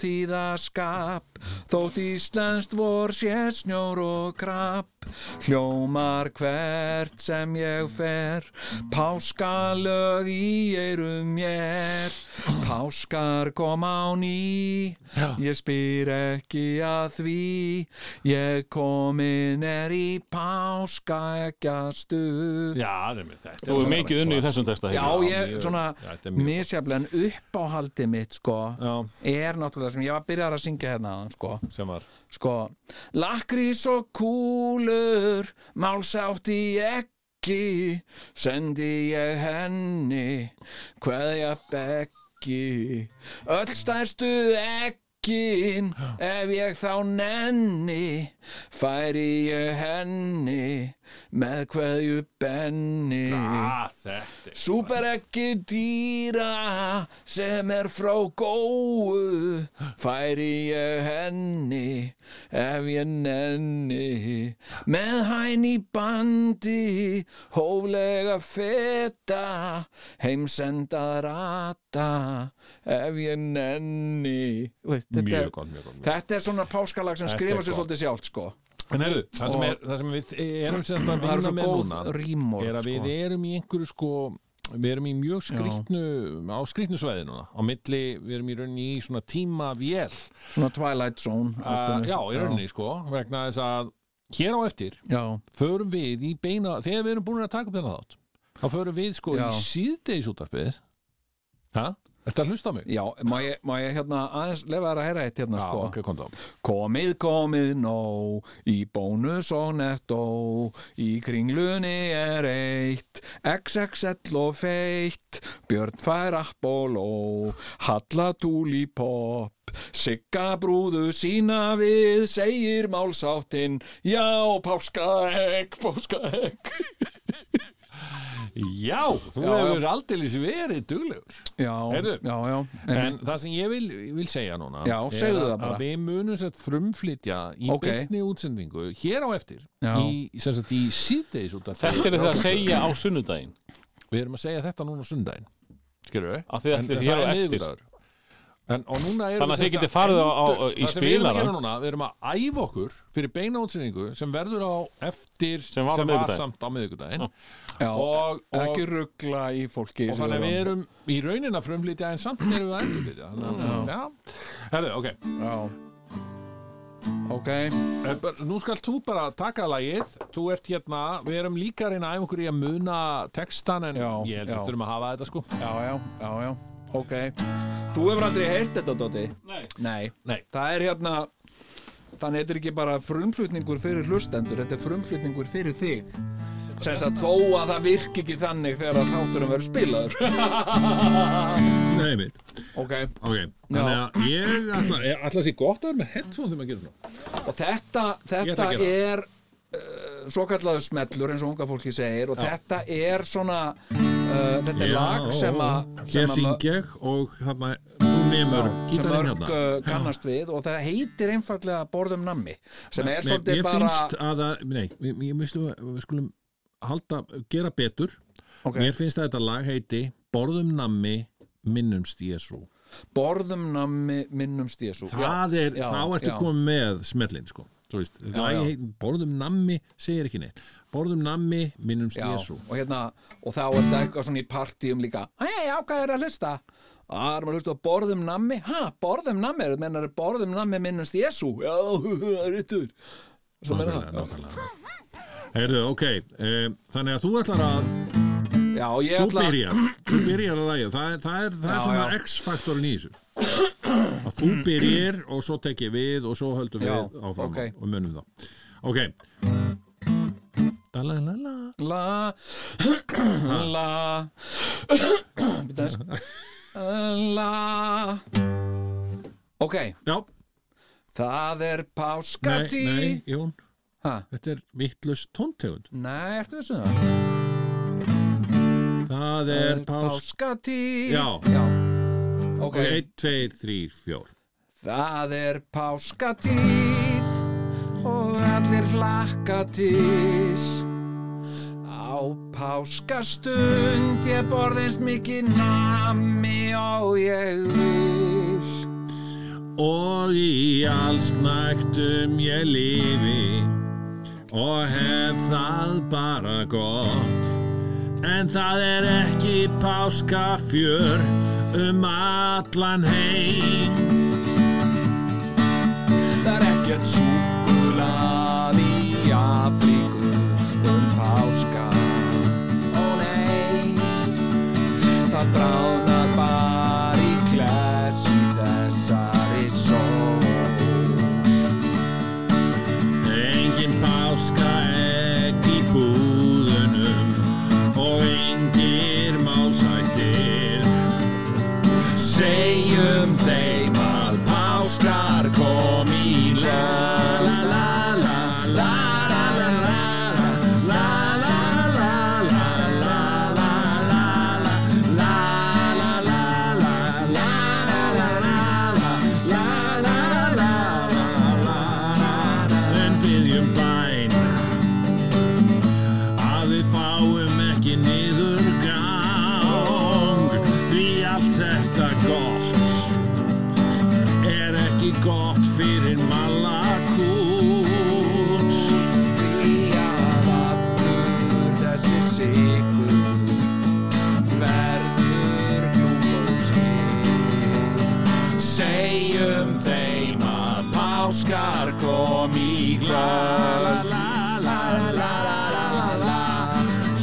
C: hátíðaskap Þótt íslenskt vor sé snjór og krap Hljómar hvert sem ég fer Páskalög í eirum mér Páskar kom á ný Ég spyr ekki að því Ég komin er í páska ekki að stuð
A: Já, það er mér þetta
D: Þú er mikið unni í þessum texta
C: Já,
D: Helgi.
C: ég, svona,
A: já, þetta er mjög-
C: misjaflega en uppáhaldið mitt, sko
A: Já,
C: er náttúrulega sem ég var byrjar að syngja hérna áðan, sko,
A: sem var
C: sko Lakrís og kúlur málsátt í ekki sendi ég henni hverja beggi öll stærstu ekkin ef ég þá nenni færi ég henni með hverju benni
A: Ah,
C: Ah,
A: þetta
C: Súper ekki dýra sem er frá góu færi ég henni ef ég nenni með hæn í bandi hóflega feta heimsenda rata ef ég nenni Veit, þetta,
A: Mjög
C: er-
A: gott, mjög gott, mjög
C: þetta er svona páskalag sem
A: Þetta er
C: skrifa sér
A: gott.
C: svolítið sjálft sko
A: En heyrðu, það sem, er, það sem við erum sem þetta
C: það
A: að
C: er
A: vinna
C: svo
A: með
C: góð
A: núna
C: rímor
A: er að
C: sko.
A: við erum í einhverju sko við erum í mjög skrýtnu á skrýtnu svæði núna, á milli við erum í rauninni í svona tíma vél
C: svona Twilight Zone
A: Uh,
C: ákveðnu.
A: já, í rauninni sko, vegna þess að hér á eftir
C: já,
A: förum við í beina, þegar við erum búin að taka upp þennan þátt, þá förum við sko
C: Já.
A: í síðdeisútarpið Hæ? Ertu að hlusta á mig?
C: Já, má ég, má ég hérna aðeins lefa þær að heyra eitt hérna sko
A: ok, kom þá
C: Komið, komið nóg í bónus og nettó í kringlunni er eitt XXL og feitt Björn fær Apollo Hallatúl í pop Sigga brúðu sína við segir málsáttinn Já, páskaegg, páskaegg
A: Já, þú
C: Já,
A: hefur aldeilis verið duglegur
C: Já,
A: Heyrðu.
C: já, já
A: En,
C: en,
A: það sem ég vil, ég vil segja núna
C: Já,
A: er
C: segðu
A: að-
C: það bara.
A: að við munum sett frumflytja í
C: Ok.
A: beinni útsendingu hér á eftir
C: Já.
A: í, sem sagt í síðdeisútarpið
D: Þetta er það að segja á sunnudaginn
A: Við erum að segja þetta núna á sundaginn Skilur við?
D: Af því að
A: En-
D: þið
A: en
D: hér
A: það
D: á
A: er
D: eftir.
A: miðvikudagur. En, og núna erum
D: Þannig að
A: við
D: þið
A: sem
D: getið
A: sagt
D: farið á- á-
A: endur-
D: í
A: það sem við erum að gera
D: spilaran.
A: núna, við erum að æfa okkur fyrir beina útsendingu sem verður á eftir
D: Sem var á miðvikudaginn.
A: samt á miðvikudaginn
C: já,
A: og, og,
C: ekki ruggla í fólki
A: og þannig að við
C: Sigurjón.
A: erum í raunin að frumlítja en samt erum við að endurlítja þannig að, já, herðu, ok
C: Já Ok
A: Eh, bara- Nú skal þú bara taka lagið Þú ert hérna, við erum líka að reyna að æfa okkur í að muna textan en
C: Já,
A: ég held
C: já.
A: við þurfum að hafa þetta sko
C: Já, já, já, já Ok Þú hefur aldrei heyrt þetta, Dóti?
D: Nei.
C: Nei
A: Nei.
C: Það er hérna Þannig þetta er ekki bara frumflutningur fyrir hlustendur Þetta er frumflutningur fyrir þig Sens að þó að það virki ekki þannig þegar að þátturum verður spilaður
A: (laughs) Nei, mitt
C: Ok
A: Ok, þannig að ég ætla, ég ætla að sé gott að vera með headphone þegar maður gerir svona.
C: Og þetta,
A: Ég
C: þetta
A: ætla að
C: er uh, svo kallaðu smellur eins og unga fólki segir og þetta er svona uh, þetta er lag sem að sem
A: Hér
C: að-
A: syng ég og hérna, þú nemur
C: sem
A: gítarinn
C: mörg
A: hérna.
C: uh, kannast við og það heitir einfallega borðum nammi sem er
A: Nei,
C: svolítið
A: Mér
C: bara
A: finnst að það, nei, ég, ég myndi að við skulum halda, gera betur.
C: Ok.
A: Mér finnst að þetta lag heiti Borðum nammi minnumst Jésu.
C: borðum nammi minnumst Jésu
A: Það er,
C: já,
A: þá ertu
C: já.
A: komið með smellin, sko. Þú veist, lagi
C: já.
A: heitir Borðum um nammi segir ekki neitt. Borðum nammi minnumst
C: já,
A: Jésu.
C: og hérna og þá er þetta eitthvað svona í partíum líka hei, á hvað er að hlusta Það er maður að hlusta á borðum nammi ha, borðum nammi, þú mennar borðum nammi minnumst Jésu já, (laughs) það er yttur svo meina það já.
A: nákvæmlega. Heyrðu, ok, um, þannig að þú ætlar að
C: já, ég
A: Þú
C: ætla
A: byrjar, þú byrjar að ræja Það, er- það er það
C: Já,
A: sem
C: já.
A: er X-faktorin í þessu að Þú byrjar og svo tek ég við og svo höldum
C: Já,
A: við áfram
C: ok.
A: og munum þá Ok Dalalala
C: La (clears throat) La Bíddu aðeins.
A: (laughs)
C: La Ok,
A: Já,
C: það er
A: nei,
C: páskatí
A: nei, Jón
C: Ha?
A: Þetta er vittlust tóntegund
C: Nei, ertu þessu það?
A: Það
C: Það
A: er pás
C: páskatí
A: Já.
C: Já Ok,
A: 1, 2, 3, 4
C: það er páskatíð og allir hlakka til á páskastund ég borðins mikið nami og ég vil
E: Og í allsnægtum ég lifi Og hef það bara gott En það er ekki páskafjör Um allan heim
C: Það er ekkert súkulað í Afríku um páska Ó nei, það bráðnar bara í klæs í þessari sól
E: Engin páska egg í búðunum og engir málsættir Segjum þeim að páskar kom í la la la la la la la la la la la la la la la la la la la la en byggjum bæn að við fáum ekki niður gang því allt þetta gott er ekki gott fyrir malakút
C: Því að allur þessi sykur verður glúkóskir
E: segjum þeim að páskar kom í glöð la la la la la la la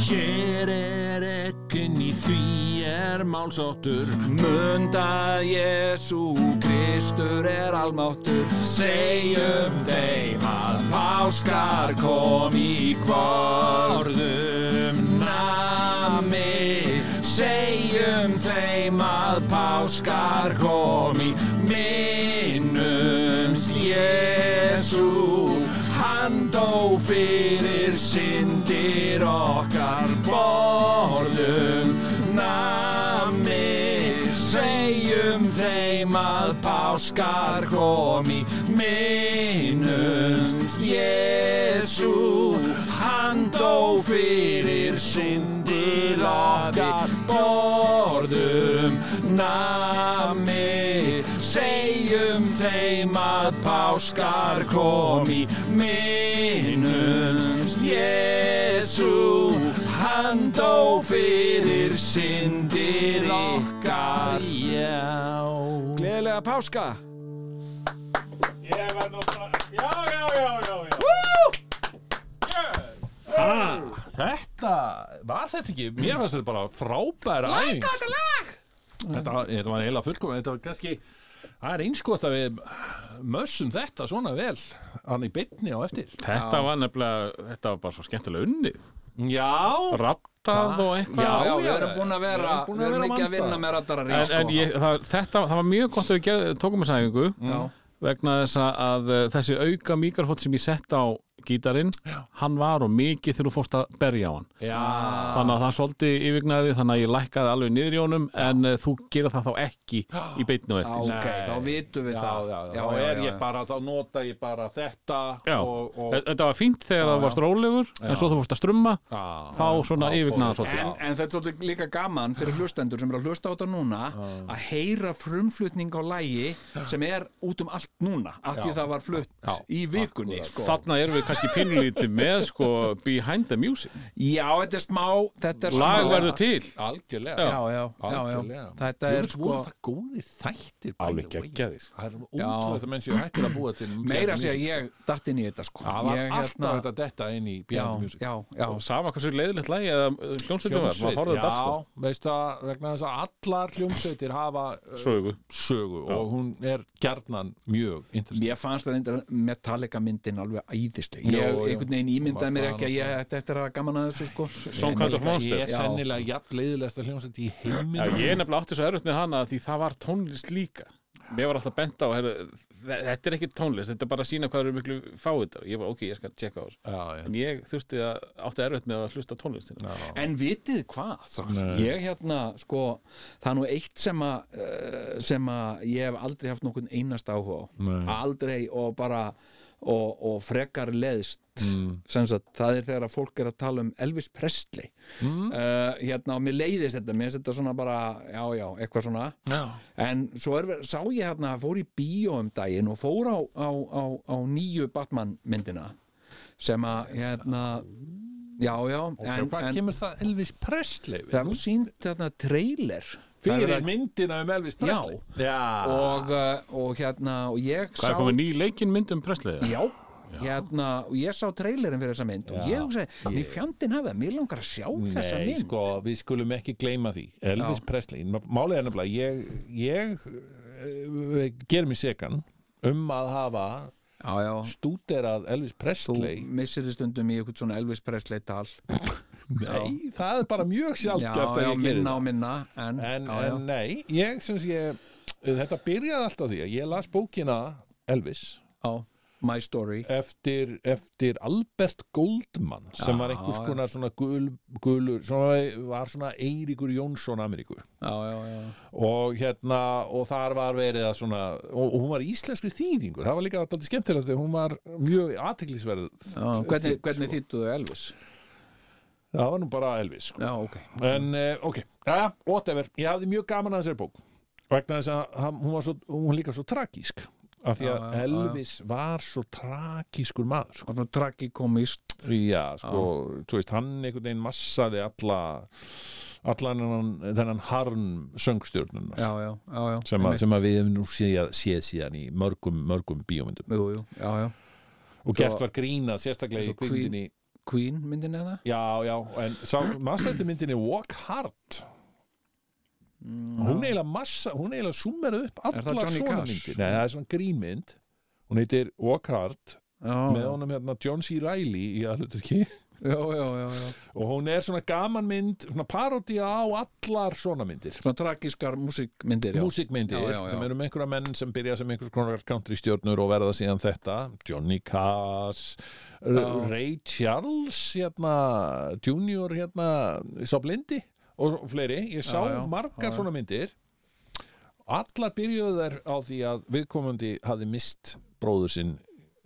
E: hér er ekkin í því er málsóttur
C: Munda Jésu Kristur er almáttur Segjum þeim að páskar kom í hvorðum nami Segjum þeim að páskar kom í minnumst Jésu Hann dó fyrir syndir okkar borðum nami Segjum þeim að páskar komi minnumst Jésu Hann dó fyrir syndir okkar borðum nami Segjum þeim að páskar komi minnumst Jésu Hann dó fyrir syndir okkar Já Gleðilega páska
D: Ég var nú bara, já, já, já, já, já.
A: Þetta, var þetta ekki, mér fannst þetta bara frábæra æfing Læk þetta lag Þetta, var heila fullkomun, þetta var kannski Það er einskott að við mössum þetta svona vel hann í bytni á eftir
D: Þetta var nefnilega, þetta var bara svo skemmtilega unnið.
A: Já,
D: Rattað og eitthvað.
C: Já, við erum búin að vera,
A: búin að
C: við erum
A: vera
C: ekki að
A: vanda.
C: vinna með rattarar
D: En, en ég, það, þetta, það var mjög gott að við gerð, tókum þessa æfingu vegna þess að, að eh, þessi auka mikrofót sem ég sett á gítarinn, hann var og mikið þegar þú fórst að berja á hann. Já.
C: Ah.
D: Þannig að það svolítið yfirgnaði þannig að ég lækkaði alveg niður í honum en uh, þú gera það þá
C: (gasps)
D: ekki í beitni og eftir.
C: Ah, Ok, þá vitum við það
A: þá
C: já,
A: er
C: já,
A: ég bara, þá nota ég bara þetta
D: Já,
A: og, og
D: þetta var fínt þegar það varst rólegur en svo þú fórst að strumma
C: Ah,
A: Já.
D: þá svona yfirgnaða svolítið.
C: En, en þetta er svolítið líka gaman fyrir hlustendur sem eru að hlusta á þetta núna að heyra frumflutning á lægi sem er út um allt núna af því það var flutt í vikunni sko.
D: Þarna erum við kannski pínulítið með sko behind the music
C: Já, þetta er smá þetta er
D: Lag
C: smá-
D: verður til
A: algjörlega
C: já, já, já, já.
A: Algjörlega.
C: Þetta er sko
A: það góðir þættir by
D: Alveg
A: the way.
D: geggjaðir.
A: Það er útrúlega þetta menn sem ég hættir að búa
C: (laughs)
A: til
C: meira
A: Bjarni
C: að segja
A: Music.
C: ég datt inn í þetta sko
A: Það var
C: ég,
A: alltaf þetta detta inn í
C: já,
A: Bjarni Music
C: já, já,
D: og sama hversu leiðilegt lagi eða uh, hljómsveitin var, maður horfði
A: já,
D: þetta allt sko
A: veist það, vegna þess að allar hljómsveitir hafa uh,
D: Sögu.
A: sögu og hún er gjarnan mjög interessant.
C: Mér fannst það reyndar Metallica myndin alveg æðisleg
A: Já,
C: Ég
A: já.
C: einhvern veginn ímyndaði mér
A: Var það
C: ekki að ég ætti eftir að hafa gaman að þessu sko
D: Some kind of monster
A: Ég er
C: Já.
A: sennilega jafn leiðilegasta hljómsveit í
D: Já,
A: heiminum.
D: Ég er nefnilega átti svo erfitt með hana því það var tónlist líka Mér var alltaf bent á, heru, þetta er ekki tónlist þetta er bara að sína hvað eru miklu fáið þetta Ég var ok, ég skal tjekka á þessu
A: Já, já.
D: En ég þurfti að átti erfitt með að hlusta á tónlistina
C: En vitið hvað? Ég hérna, sko, það er nú eitt sem að eh, sem að ég hef aldrei haft nokkurn einast áhuga á Aldrei og bara og, og frekar leðst
D: Mm.
A: Mm.
C: sem sagt, það er þegar að fólk er að tala um Elvis Presley mm. hérna og mér leiðist þetta, mér finnst þetta svona bara já, já, eitthvað svona
A: Já.
C: en svo er, ver- sá ég hérna að fór í bíó um daginn og fór á, á, á, á nýju Batman myndina sem að hérna já, já,
A: En,
C: en,
A: hvað
C: en
A: kemur það Elvis Presley við?
C: það var sínt hérna trailer Það er
A: Fyrir
C: að-
A: myndina um Elvis
C: Já.
A: Presley? Já.
C: og, uh, og hérna og ég
D: Hvað
C: sá
D: er komið ný leikinn um myndum presslega?
C: já, hérna, og ég sá trailerin fyrir þessa mynd og ég hugsaði, mér fjandinn hafa mér langar að sjá þessa
A: Nei,
C: mynd
A: sko, við skulum ekki gleyma því Elvis Presley, Ma- málið er nefnilega ég, ég uh, ger mig sekan um að hafa
C: já, já,
A: stúderað Elvis
C: þú
A: Presley
C: missir þið stundum í eitthvað svona Elvis Presley tal
A: Nei, það er bara mjög
C: já,
A: sjálfgeft að
C: já,
A: ég gerir
C: minna
A: það
C: og minna en,
A: en,
C: já, já,
A: en nei, ég syns ég þetta byrjaði allt á því að ég las bókina Elvis
C: já, my story
A: eftir, eftir Albert Goldman sem var einhvers konar svona gul, gulur, svona, var svona Eiríkur Jónsson Ameríkur
C: já, já, já,
A: og hérna og þar var verið að svona og, og hún var í íslenskri þýðingu, það var líka alltaf skemmtilegt þegar hún var mjög athyglisverð sko.
C: já hvernig, hvernig þýttuðu Elvis
A: það var nú bara Elvis sko.
C: já, ok,
A: en eh, ok, ja, whatever ég hafði mjög gaman að þessari bók vegna þess að hann- hún var svo, hún var líka svo tragísk af því
C: Já, já,
A: að
C: já, já.
A: Elvis var svo tragískur maður sko.
C: og nú tragikomist
A: já, sko, þú veist, hann einhvern veginn massaði alla allan þennan- þennan harm
C: já,
A: söngstjörnun
C: já, já, já,
A: sem, að, sem að við hefum nú séð, séð síðan í mörgum, mörgum bíómyndum
C: jú, jú, já, já,
A: og gert var grínað sérstaklega í
C: Svo Queen-
A: kvíndinni
C: Queen myndin eða
A: já, já, en maður þetta myndinni Walk Hard hún eiginlega massa hún eiginlega summerið upp
C: Er það
A: allar
C: Johnny
A: svona
C: Cash?
A: myndir nei, það er svona grínmynd hún heitir Walk Hard með
C: já,
A: honum hérna John C. Reilly í aðluturki
C: já, já, já, já
A: og hún er svona gaman mynd svona parodía á allar svona myndir
C: svona tragískar músikmyndir já.
A: músikmyndir
C: Já, já, já.
A: sem eru um einhverja menn sem byrja sem einhvers konar country stjórnur og verða síðan þetta Johnny Cass R- Ray Charles hérna, Junior hérna, sá blindi og fleiri, ég sá
C: já,
A: margar svona myndir allar byrjuðu þær á því að viðkomandi hafði mist bróður sinn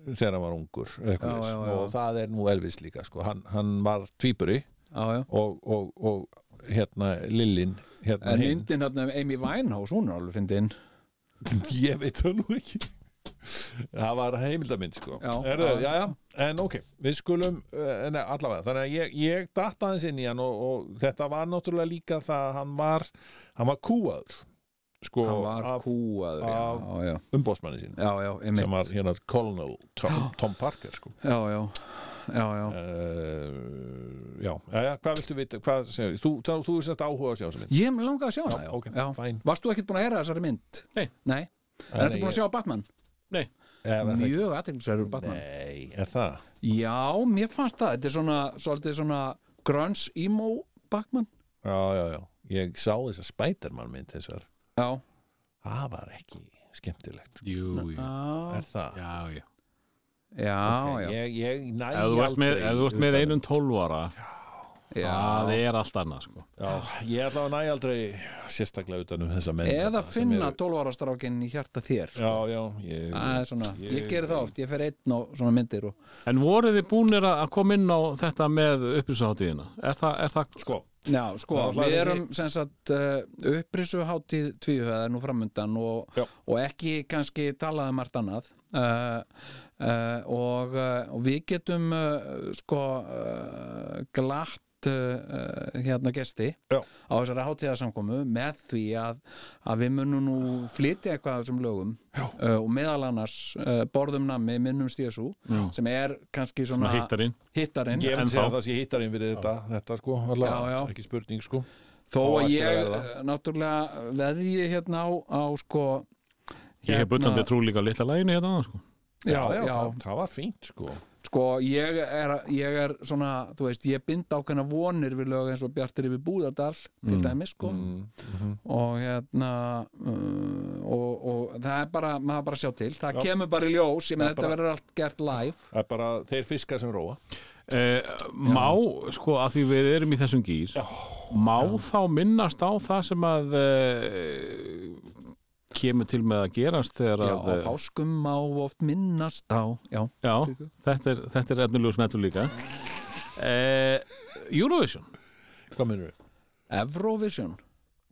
A: þegar hann var ungur já,
C: Já, já, já.
A: og það er nú Elvis líka sko. hann, hann var tvíburi
C: já, já
A: og, og, og hérna Lillin hérna
C: En
A: hin.
C: myndin hérna um Amy Winehouse, hún er alveg fyndin
A: Ég veit það nú ekki Það var heimildamind sko
C: Já.
A: Herðu, já, En ok, við skulum eh, nei, allavega, þannig að ég, ég datt aðeins inn í hann og, og þetta var náttúrulega líka það að hann var hann var kúaður sko,
C: Hann var
A: af
C: kúaður, já,
A: af-
C: já
A: umbóðsmanni sín
C: Já, já, einmitt
A: sem var hérna Colonel Tom, Tom Parker sko
C: Já, já, já, já
A: Uh, já, já, já, hvað viltu vita hvað, segir, þú, þá, þú er sérst áhuga að sjá sem minn
C: Ég hef langað að sjá hana, já,
A: ok,
C: já.
A: fine.
C: Varst þú ekkert búin að heyra þessari mynd?
D: Nei.
C: Nei En ertu
A: nei,
C: búin að
A: ég-
C: sjá Batman?
D: Nei,
C: Mjög aðteglisverður Batman
A: Nei, er það?
C: Já, mér fannst það, þetta er svona svolítið svona grunge emo Batman
A: Já, já, já, ég sá þess að Spiderman mynd þess var
C: Já,
A: það var ekki skemmtilegt
D: jú, jú,
A: er það?
D: já, já
C: já, já,
A: Ég, ég næ
D: Ef þú ert með,
A: aldrei um-
D: ef þú ert með einum tólvara
C: já.
D: það er allt annað sko.
A: Já, ég ætla að næ aldrei sérstaklega utan um þessa menn
C: Eða
A: þarna sem
C: finna
A: eru-
C: 12 ára strákin í hjarta þér
A: Já, já, ég
C: Það er svona, ég, ég geri það oft, ég fer einn á svona myndir og
D: En voruð þið búnir að að koma inn á þetta með upplýsaháttíðina? Er það, er það
A: Sko,
C: Já, sko,
A: Það var
C: við
A: þessi-
C: erum sem sagt uh, upprisuhátíð tvíhöðar nú framundan og,
A: Já.
C: og ekki kannski talað um margt annað uh, uh, og, uh, og við getum uh, sko uh, glatt uh, hérna gesti
A: Já.
C: á þessari hátíðarsamkomu með því að, að við munum nú flytja eitthvað af þessum lögum uh, og meðal annars uh, borðum nammi minnum stésu sem er kannski svona
D: Svona hittarinn.
C: hittarinn.
A: ég vil
D: En
A: segja
D: þá-
A: að það sé hittarinn fyrir þetta, þetta sko, allavega,
C: Já, já.
A: ekki spurning sko
C: þó
A: Á
C: að
A: eftir
C: ég
A: að verða.
C: eh, náttúrulega veði ég hérna á, á sko
D: Ég hef bullandi trú líka á litla læginu hérna áðan, sko.
C: já, já,
A: Það, það var fínt sko
C: sko ég er, ég er svona, þú veist, ég bind ákveðna vonir við lög eins og Bjartir yfir Búðardal til dæmis sko og hérna uh, og, og það er bara, maður bara sjá til það kemur bara í ljós, ég menn þetta verður allt gert live
A: Það er bara þeir fiskar sem róa
D: Eh, má, sko, að því við erum í þessum gýr, má þá minnast á það sem að eh, kemur til með að gerast þegar
C: Já,
D: að eh,
C: á páskum má oft minnast á Já,
D: Já, þetta er, þetta er efnilegur smettur líka eh, Eurovision
A: Hvað minnur við?
C: Eurovision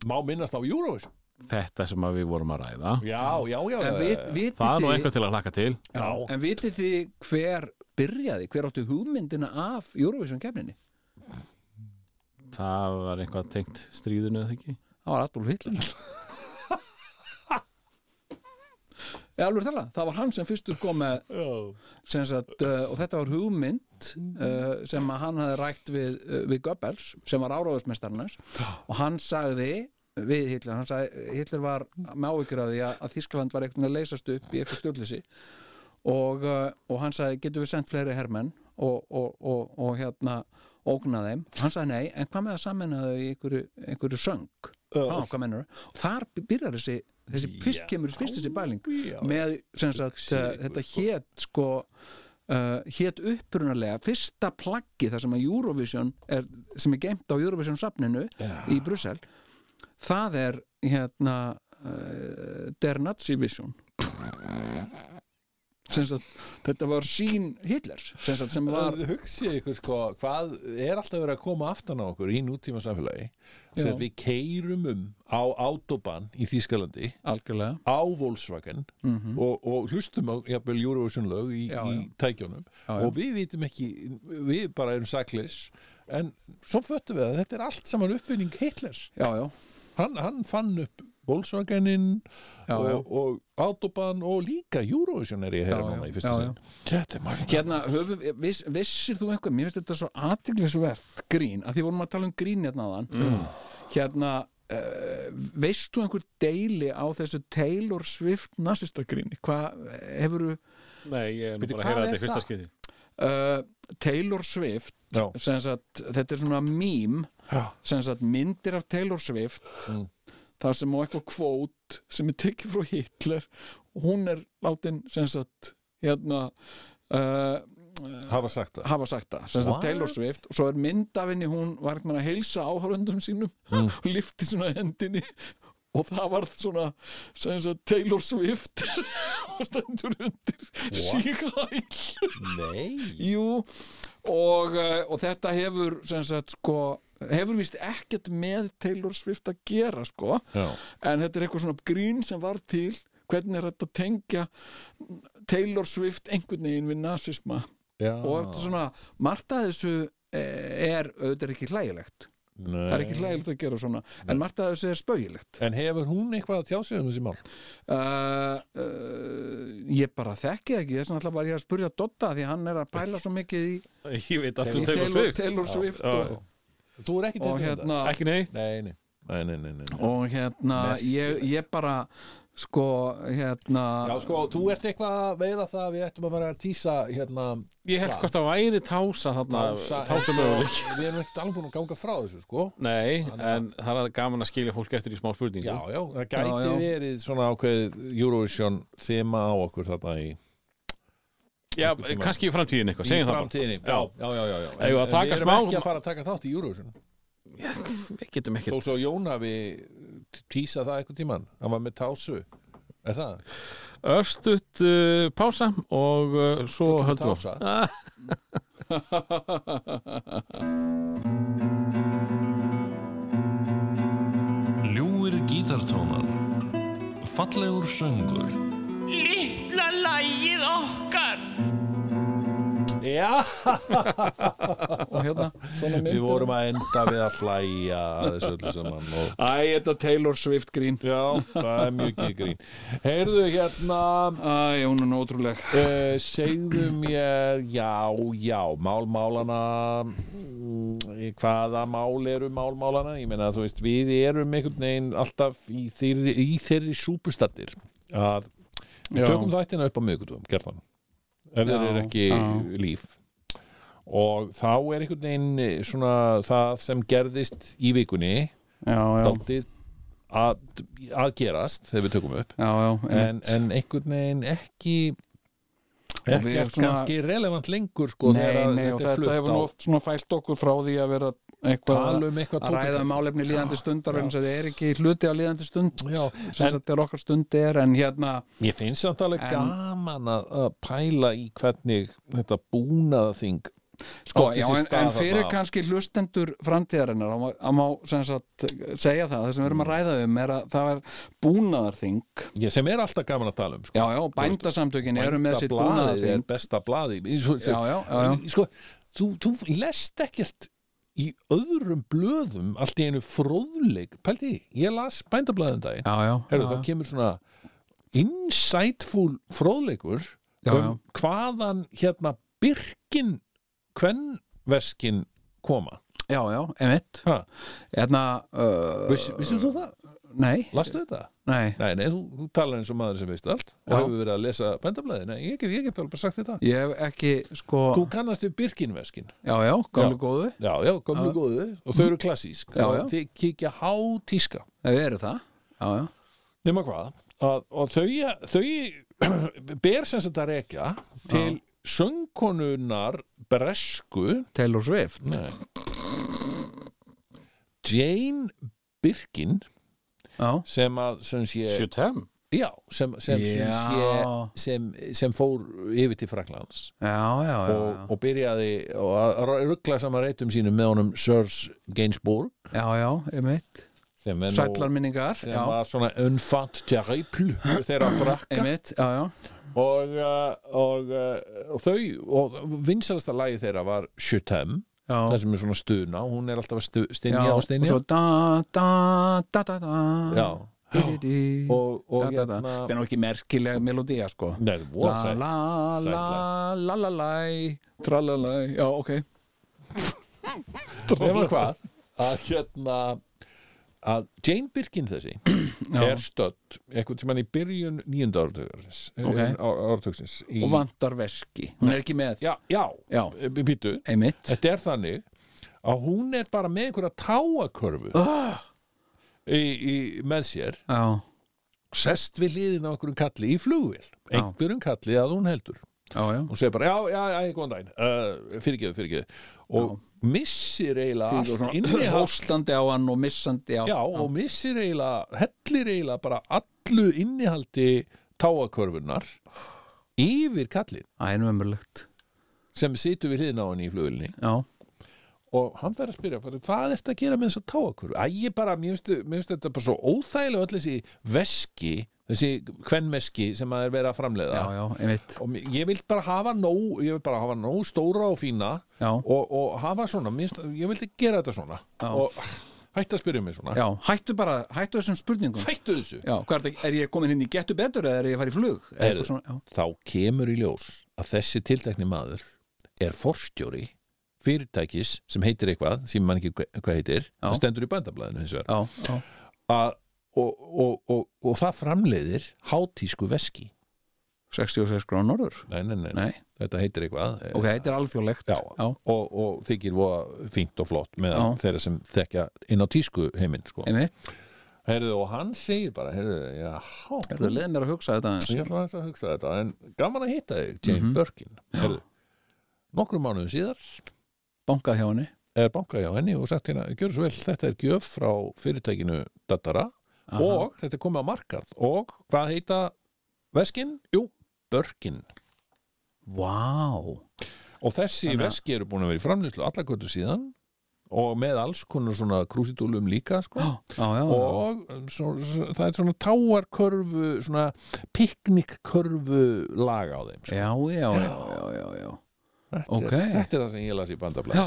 A: Má minnast á Eurovision?
D: Þetta sem að við vorum að ræða
A: Já, já, já
C: En
A: já,
C: vit,
A: já.
C: vitið
D: Það er nú
C: þið-
D: eitthvað til að hlaka til
A: Já,
C: En vitið þið hver byrjaði, hver áttu hugmyndina af Eurovision kefninni?
D: Það var eitthvað tengt stríðinu eða ekki
C: Það var Adolf Hitler Ég alveg tala, það var hann sem fyrstur kom með sem sagt, uh, og þetta var hugmynd uh, sem að hann hafði rækt við, uh, við Goebbels sem var áráðusmestarnas og hann sagði við Hitler, hann sagði Hitler var með áhyggjur af því að, að Þískaland var einhvern veginn að leysast upp í eitthvað stjórnleysi og, uh, og hann sagði getum við sendt fleiri hermenn og, og, og, og hérna ógna þeim, hann sagði nei, en hvað með að sameina þau í einhverju, einhverju söng uh. hvað mennur, og þar byrjar þessi, þessi fyrst kemur fyrst þessi bæling með sem sagt, uh, þetta hét sko Uh, hétt upprunalega fyrsta plaggi þar sem að Eurovision er, sem er geimt á Eurovision safninu í Brussel það er hérna uh, Der Nazi Vision sem sagt, þetta var sín Hitlers sem, sagt, sem var
A: Það hugsið ykkur sko hvað er alltaf verið að koma aftan á okkur í nútíma samfélagi sem
C: Já.
A: við keirum um á autoban í Þýskalandi
C: algjörlega
A: á Volkswagen og, og hlustum á jafnvel Eurovision lög í,
C: Mhm. Já,
A: í tækjónum og við vitum ekki, við bara erum saklis en svo föttum við að þetta er allt saman uppfinning Hitlers
C: já, já,
A: hann, hann fann upp Volkswagenin
C: Já, já.
A: og, og autoban og líka Eurovision er ég að heyra
C: Já, já,
A: núna í
C: já,
A: fyrsta sinn Þetta er margt
C: hérna höfum, viss, vissir þú eitthvað mér finnst þetta svo aðtiklisvert grín að því vorum að tala um grín hérna aðan mm. hérna Uh, veist þú einhver deili á þessu Taylor Swift nazistagríni hvað hefur uh,
D: Nei, ég er nú
A: Bíddu,
D: bara að heyra
A: hvað
D: þetta
A: er
D: í fyrsta
A: það?
D: skipti
C: eh, Taylor Swift
A: Já.
C: sem sagt, þetta er svona mím
A: Já.
C: sem sagt, myndir af Taylor Swift
A: Mm.
C: þar sem á eitthvað kvót sem er tekið frá Hitler og hún er látin sem sagt, hérna uh,
A: hafa sagt það
C: hafa sagt það, sem sagt
A: What?
C: Taylor Swift og svo er mynd af henni, hún var eitthvað að heilsa áhörundum sínum (laughs) og lifti svona hendinni og það var svona sem sagt Taylor Swift (laughs) og stendur undir síkæl
A: Nei
C: Jú, og, eh, og þetta hefur sem sagt sko hefur vist ekkert með Taylor Swift að gera sko
A: Já.
C: en þetta er eitthvað svona grín sem var til hvernig er þetta að tengja Taylor Swift einhvern veginn við nazisma
A: Já.
C: og þetta er svona, margt að þessu eh, er auðvitað er ekki hlægilegt
A: Nei.
C: það er ekki hlægilegt að gera svona en margt að þessu er spögilegt
A: En hefur hún eitthvað að tjá sig um þessi mál?
C: uh, uh, ég bara þekki það ekki þess að alltaf var ég að spurja Dotta því hann er að pæla svo mikið í
D: Ég veit aftur
C: í
D: um Taylor Swift
C: Taylor Swift
D: Já,
C: og,
A: Þú er ekki
C: og hérna
D: Ekki neitt
A: Nei, nei, nei, nei, nei, nei.
C: og hérna ég, ég bara sko hérna
A: Já, sko, þú ert eitthvað að veiða það að við ættum að vera að tísa hérna
D: Ég held hvort það væri tása þarna Tása möguleik
A: Við erum ekkert alveg búin að ganga frá þessu, sko
D: Nei, en það er gaman að skilja fólk eftir í smá spurningu
A: Já, já, það gæti
C: Já, já.
A: verið svona ákveð Eurovision þema á okkur þarna í
D: Já, eh, kannski í framtíðin eitthvað, segjum það bara
A: framtíðinni Já, já, já, já, já. En,
D: Eigum við að
A: en
D: taka
A: við erum
D: smá-
A: ekki að fara að taka þátt í Eurovision
D: Við getum
A: Þó
D: ekkert
A: svo Jóna við tísa það eitthvað tíman Hann var með tásu Er það?
D: Örstutt uh, pása og uh, svo,
A: kemur
D: höldum
A: tása.
D: við Ah,
H: Ljúir gítartónar Fallegur söngur
E: Litla lægið okkar
A: Já
C: og hérna svona
A: Við
C: myndir
A: vorum að enda við að hlæja að þessu öllu saman og
C: Æ, þetta Taylor Swift grín
A: Já, það er mjög ekki grín Heyrðu hérna
C: Æ, hún er nú ótrúleg
A: uh, segðu mér já, já, málmálana mm, hvaða mál eru málmálana ég meina þú veist, við erum einhvern veginn alltaf í þeirri, í þeirri súpustattir að við
C: Já.
A: tökum þættina upp á miðgutum, gerðan ef þeir eru ekki
C: já.
A: líf og þá er einhvern veginn eh, svona það sem gerðist í vikunni
C: já, já,
A: daldið að, að gerast þegar við tökum upp
C: já, já
A: en, en einhvern veginn ekki ekki
C: við
A: er
C: svona-
A: kannski relevant lengur sko
C: nei,
A: þegar að
C: nei, og
A: þetta er
C: þetta
A: flutt
C: hefur
A: á
C: nú oft svona fælt okkur frá því að vera eitthvað
A: tala um eitthvað
C: að ræða um álefni líðandi stundar en það er ekki hluti af líðandi stund
A: Já,
C: sem
A: en
C: þetta er okkar stundir en hérna
A: ég finnst samt alveg
C: En-
A: gaman að, að pæla í hvernig þetta búnaða þing
C: sko,
A: átti
C: já,
A: sér
C: en,
A: stað
C: en fyrir
A: þarna.
C: kannski hlustendur framtíðarinnar að má, að má sem sagt, segja það, það sem við erum að
A: Mm.
C: ræða um er að það er búnaðarþing
A: Ég sem er alltaf gaman að tala um sko.
C: já, já, bændasamtökin eru með sitt
A: Bændablaðið er
C: búnaðarþing
A: besta blaði svo,
C: já, já, já, já.
A: Sko, þú, þú lest ekkert í öðrum blöðum allt í einu fróðleik Pældi, því, ég las bændablaðum daginn
C: Já, já,
A: Herru,
C: já,
A: þá kemur svona insightful fróðleikur
C: Já,
A: um hvaðan hérna byrkin kvennveskin koma
C: já, já, emitt
A: Ha.
C: Hérna, uh,
A: Viss, Vissum þú það?
C: nei,
A: Lastu þetta?
C: nei
A: Nei, nei, þú, þú talar eins og maður sem veist allt og
C: Já.
A: hefur verið að lesa bændablaði Nei, ég get, ég get alveg bara sagt þetta
C: Ég hef ekki, sko,
A: Þú kannast við byrkinveskin
C: já, já,
A: Já.
C: gamlu góðu
A: Já, já, gömlu góðu og þau eru klassísk
C: Já, já.
A: og þið kíkja hátíska
C: Þau eru það, já, já
A: nema hvað að, og þau, þau (clears throat) ber sem þetta rekja til söngkonunar bresku
C: Taylor Swift
A: Jane Birkin
C: Já,
A: sem að sem sé,
D: Sjötem?
A: já, sem, sem, sem,
C: Já.
A: sé, sem, sem fór yfir til Fraklands
C: já, já, já,
A: og, og byrjaði og að ruggla saman reytum sínum með honum Sirs Gainsbourg
C: já, já, emitt
A: sem, er nú-
C: Sællar minningar,
A: sem
C: já,
A: var svona unfatt terrible þeirra frakka
C: emitt, já, já
A: og, uh, og, uh, og þau og vinsalasta lagi þeirra var Shutem,
C: Já.
A: það sem er svona stuna hún er alltaf að stu,
C: já,
A: stinja og
C: og
A: stinja
C: svo da, da, da, da, da
A: Já.
C: di, di, di,
A: og, og
C: da, da, da.
A: hérna
C: þetta er nú ekki merkileg melodía sko
A: Nei, það
C: la,
A: voru sætt
C: la,
A: sæt
C: la,
A: lag.
C: la, la, la tralalai, já, ok
A: nema hvað að hérna að Jane Birkin þessi er stödd eitthvað tímann í byrjun nýjunda áratugsins
C: Ok.
A: áratugsins í,
C: og vantar veski, hún er ekki með
A: já, já,
C: já,
A: býtu
C: emitt
A: þetta er þannig að hún er bara með einhverja táakörfu oh. í, í, með sér
C: já,
A: sest við hliðin á einhverjum kalli í flugvél einhverjum kalli að hún heldur
C: já, já
A: hún segir bara, já, já, já, góðan daginn uh, fyrirgeðu, fyrirgeðu og missir eiginlega
C: og
A: allt
C: svona (laughs)
A: innihald
C: hóstandi á hann og missandi á
A: já, og missir eiginlega, hellir eiginlega bara allu innihaldi táakörfunnar yfir kallin
C: ænum ömurlegt
A: sem situr við hliðin á henni í flugvélinni
C: já,
A: og hann þarf að spyrja, bara, hvað ertu að gera með þess að táakörfu? Æ, ég bara, mér finnst, mér finnst þetta bara svo óþægilega öll þessi veski, þessi kvenmeski sem að er verið að framleiða
C: já, já, emitt
A: og mér- ég vil bara hafa nóg ég vil bara hafa nóg stóra og fína
C: Já.
A: og, og hafa svona minnst, ég vildi gera þetta svona já. og hættu að spyrja mig svona
C: já, hættu bara, hættu þessum spurningum
A: hættu þessu
C: já, hvað er, þetta- er ég komin hinn í getu betur eða er ég að fara í flug Eða
A: Heyrðu.
C: eitthvað svona,
A: þá kemur í ljós að þessi tiltekni maður er forstjóri fyrirtækis sem heitir eitthvað sem mann ekki hva- hvað heitir
C: Já.
A: það stendur í bændablaðinu hins vegar
C: já, já, já
A: að, og, og, og, og það framleiðir hátísku veski
C: 66 grána norður
A: nei, nei, nei,
C: Nei.
A: þetta heitir eitthvað
C: ok, þetta er alþjóðlegt
A: Já,
C: já,
A: Og, og þykir voða fínt og flott með
C: Já.
A: þeirra sem þekja inn á tísku heiminn sko.
C: einmitt
A: heyrðu, og hann segir bara heyrðu, já,
C: þetta leðið mér að hugsa þetta aðeins
A: ég ætla aðeins að hugsa þetta en gaman að hitta þig,
C: Mhm.
A: Jane Birkin heyrðu, nokkrum mánuðum síðar
C: bankað hjá henni
A: er bankað hjá henni og sagt hérna, gjör svo vel þetta er gjöf frá fyrirtækinu Dattara og þetta er komið á markað og hvað heita veskin? Jú, Birkin
C: wow.
A: og þessi
C: Þannig að-
A: veski eru búin að vera í framlýslu allakötu síðan og með alls konar svona krúsitúlum líka sko.
C: já, já, já.
A: og um, svo, svo, það er svona táarkörfu svona piknikkörfu lag á þeim sko.
C: já, já, já, já, já, já.
A: þetta,
C: ok.
A: er, þetta er það sem ég las í bandabla
C: Já,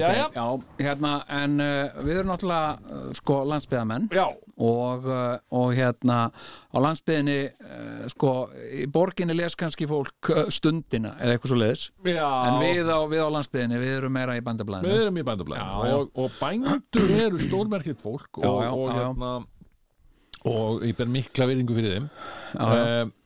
C: ok,
A: jæja.
C: hérna, en uh, við erum náttúrulega uh, sko landsbyðamenn
A: já,
C: og, uh, og hérna á landsbyðinni uh, sko, í borginni les kannski fólk uh, stundina eða eitthvað svo leiðis
A: já
C: en við á, við á landsbyðinni, við erum meira í
A: við
C: bandablaðinu
A: erum í bandablaðinu
C: Já, já.
A: og, og bændur eru stórmerkitt fólk og,
C: Já, já,
A: og,
C: já, já.
A: hérna, og ég ber mikla veringu fyrir þeim
C: já.
A: um,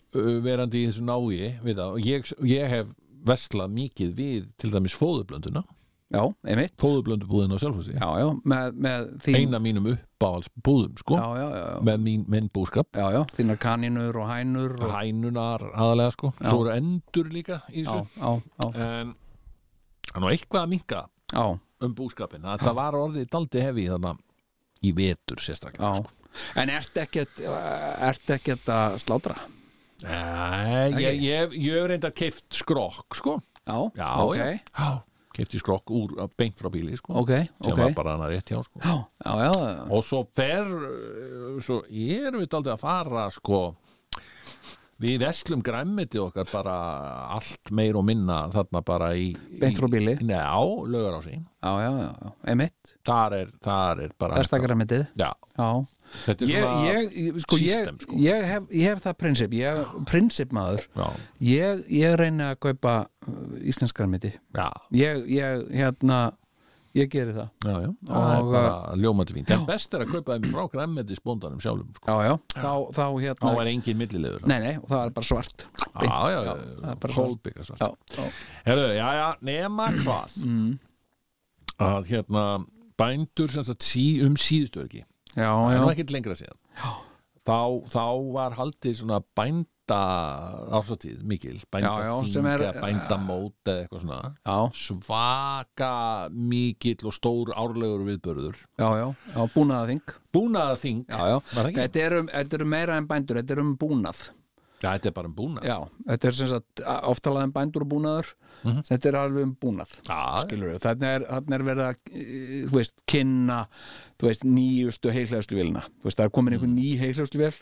A: verandi í þessu nági við það og ég, ég hef verslað mikið við til dæmis fóðublönduna
C: já, einmitt
A: fóðublöndubúðin á sjálfhósi
C: já, já, með, með þín
A: eina mínum uppáhalds búðum sko,
C: já, já, já, já.
A: með mín, minn búskap
C: já, já, þínar kanínur og hænur og,
A: hænunar aðalega sko, svo eru endur líka í
C: já,
A: þessu
C: já, já,
A: en það er nú eitthvað að minka
C: já,
A: um búskapin þetta var orðið daldi hefi þarna í vetur sérstaklega
C: Já. En ert ekkert, ert ekkert að slátra?
A: Nei, ég, ég, ég, ég hef reynda keift skrokk sko
C: Já,
A: já,
C: ok,
A: já. já. keifti skrokk úr beint frá bíli sko
C: ok,
A: sem
C: ok
A: var bara hana rétt hjá sko
C: Já, já, já, já.
A: og svo fer eh, svo erum við aldrei að fara sko við veslum græmmiti okkar bara allt meir og minna þarna bara í
C: Beint frá bíli.
A: í, já, lögur á sín
C: já, já, já, já. Einmitt,
A: þar er, þar er bara
C: besta græmitið
A: já,
C: Já,
A: þetta er
C: ég,
A: svona
C: ég, ég- sko,
A: system,
C: ég,
A: sko.
C: ég, hef, ég hef það prinsip, ég, prinsip maður
A: Já,
C: ég, ég reyna að kaupa uh, íslensk græmiti
A: já,
C: ég, ég, hérna ég geri það
A: já, já. það er
C: Og, uh,
A: bara ljómandi fínt en best er að kaupa þeim frá græmmetisbóndanum sjálfum sko.
C: já, já. Þá, þá
A: þá
C: hérna
A: er engin millilegur
C: nei, nei, og það er bara svart
A: já, já,
C: það er bara
A: kólbyggar
C: já,
A: svart
C: já, Mm.
A: Herðu, já, já,
C: (clears throat)
A: nema hvað að hérna bændur sem sagt sí, um síðustu ekki
C: já,
A: það er
C: já.
A: nú ekkert lengra síðan þá, þá var haldið svona bænda ásatíð mikil
C: Já, já, sem
A: bændaþing
C: er-
A: eða bændamót eða eitthvað svona
C: Já,
A: svaka mikill og stór árlegur viðbörður
C: já, já, já, búnaða þing
A: búnaðaþing
C: Já, já,
A: Var það ekki?
C: þetta er, um, þetta er um meira en bændur, þetta er um búnað
A: Já, þetta er bara um búnað
C: Já, þetta er sem sagt oftalega um bændur og búnaður þetta er alveg um búnað
A: Já,
C: skilur við, þannig er, þannig er verið að e, þú veist, kynna þú veist, nýjustu heiklæðuslu vilina þú veist, það er komin einhver ný heiklæðuslu vil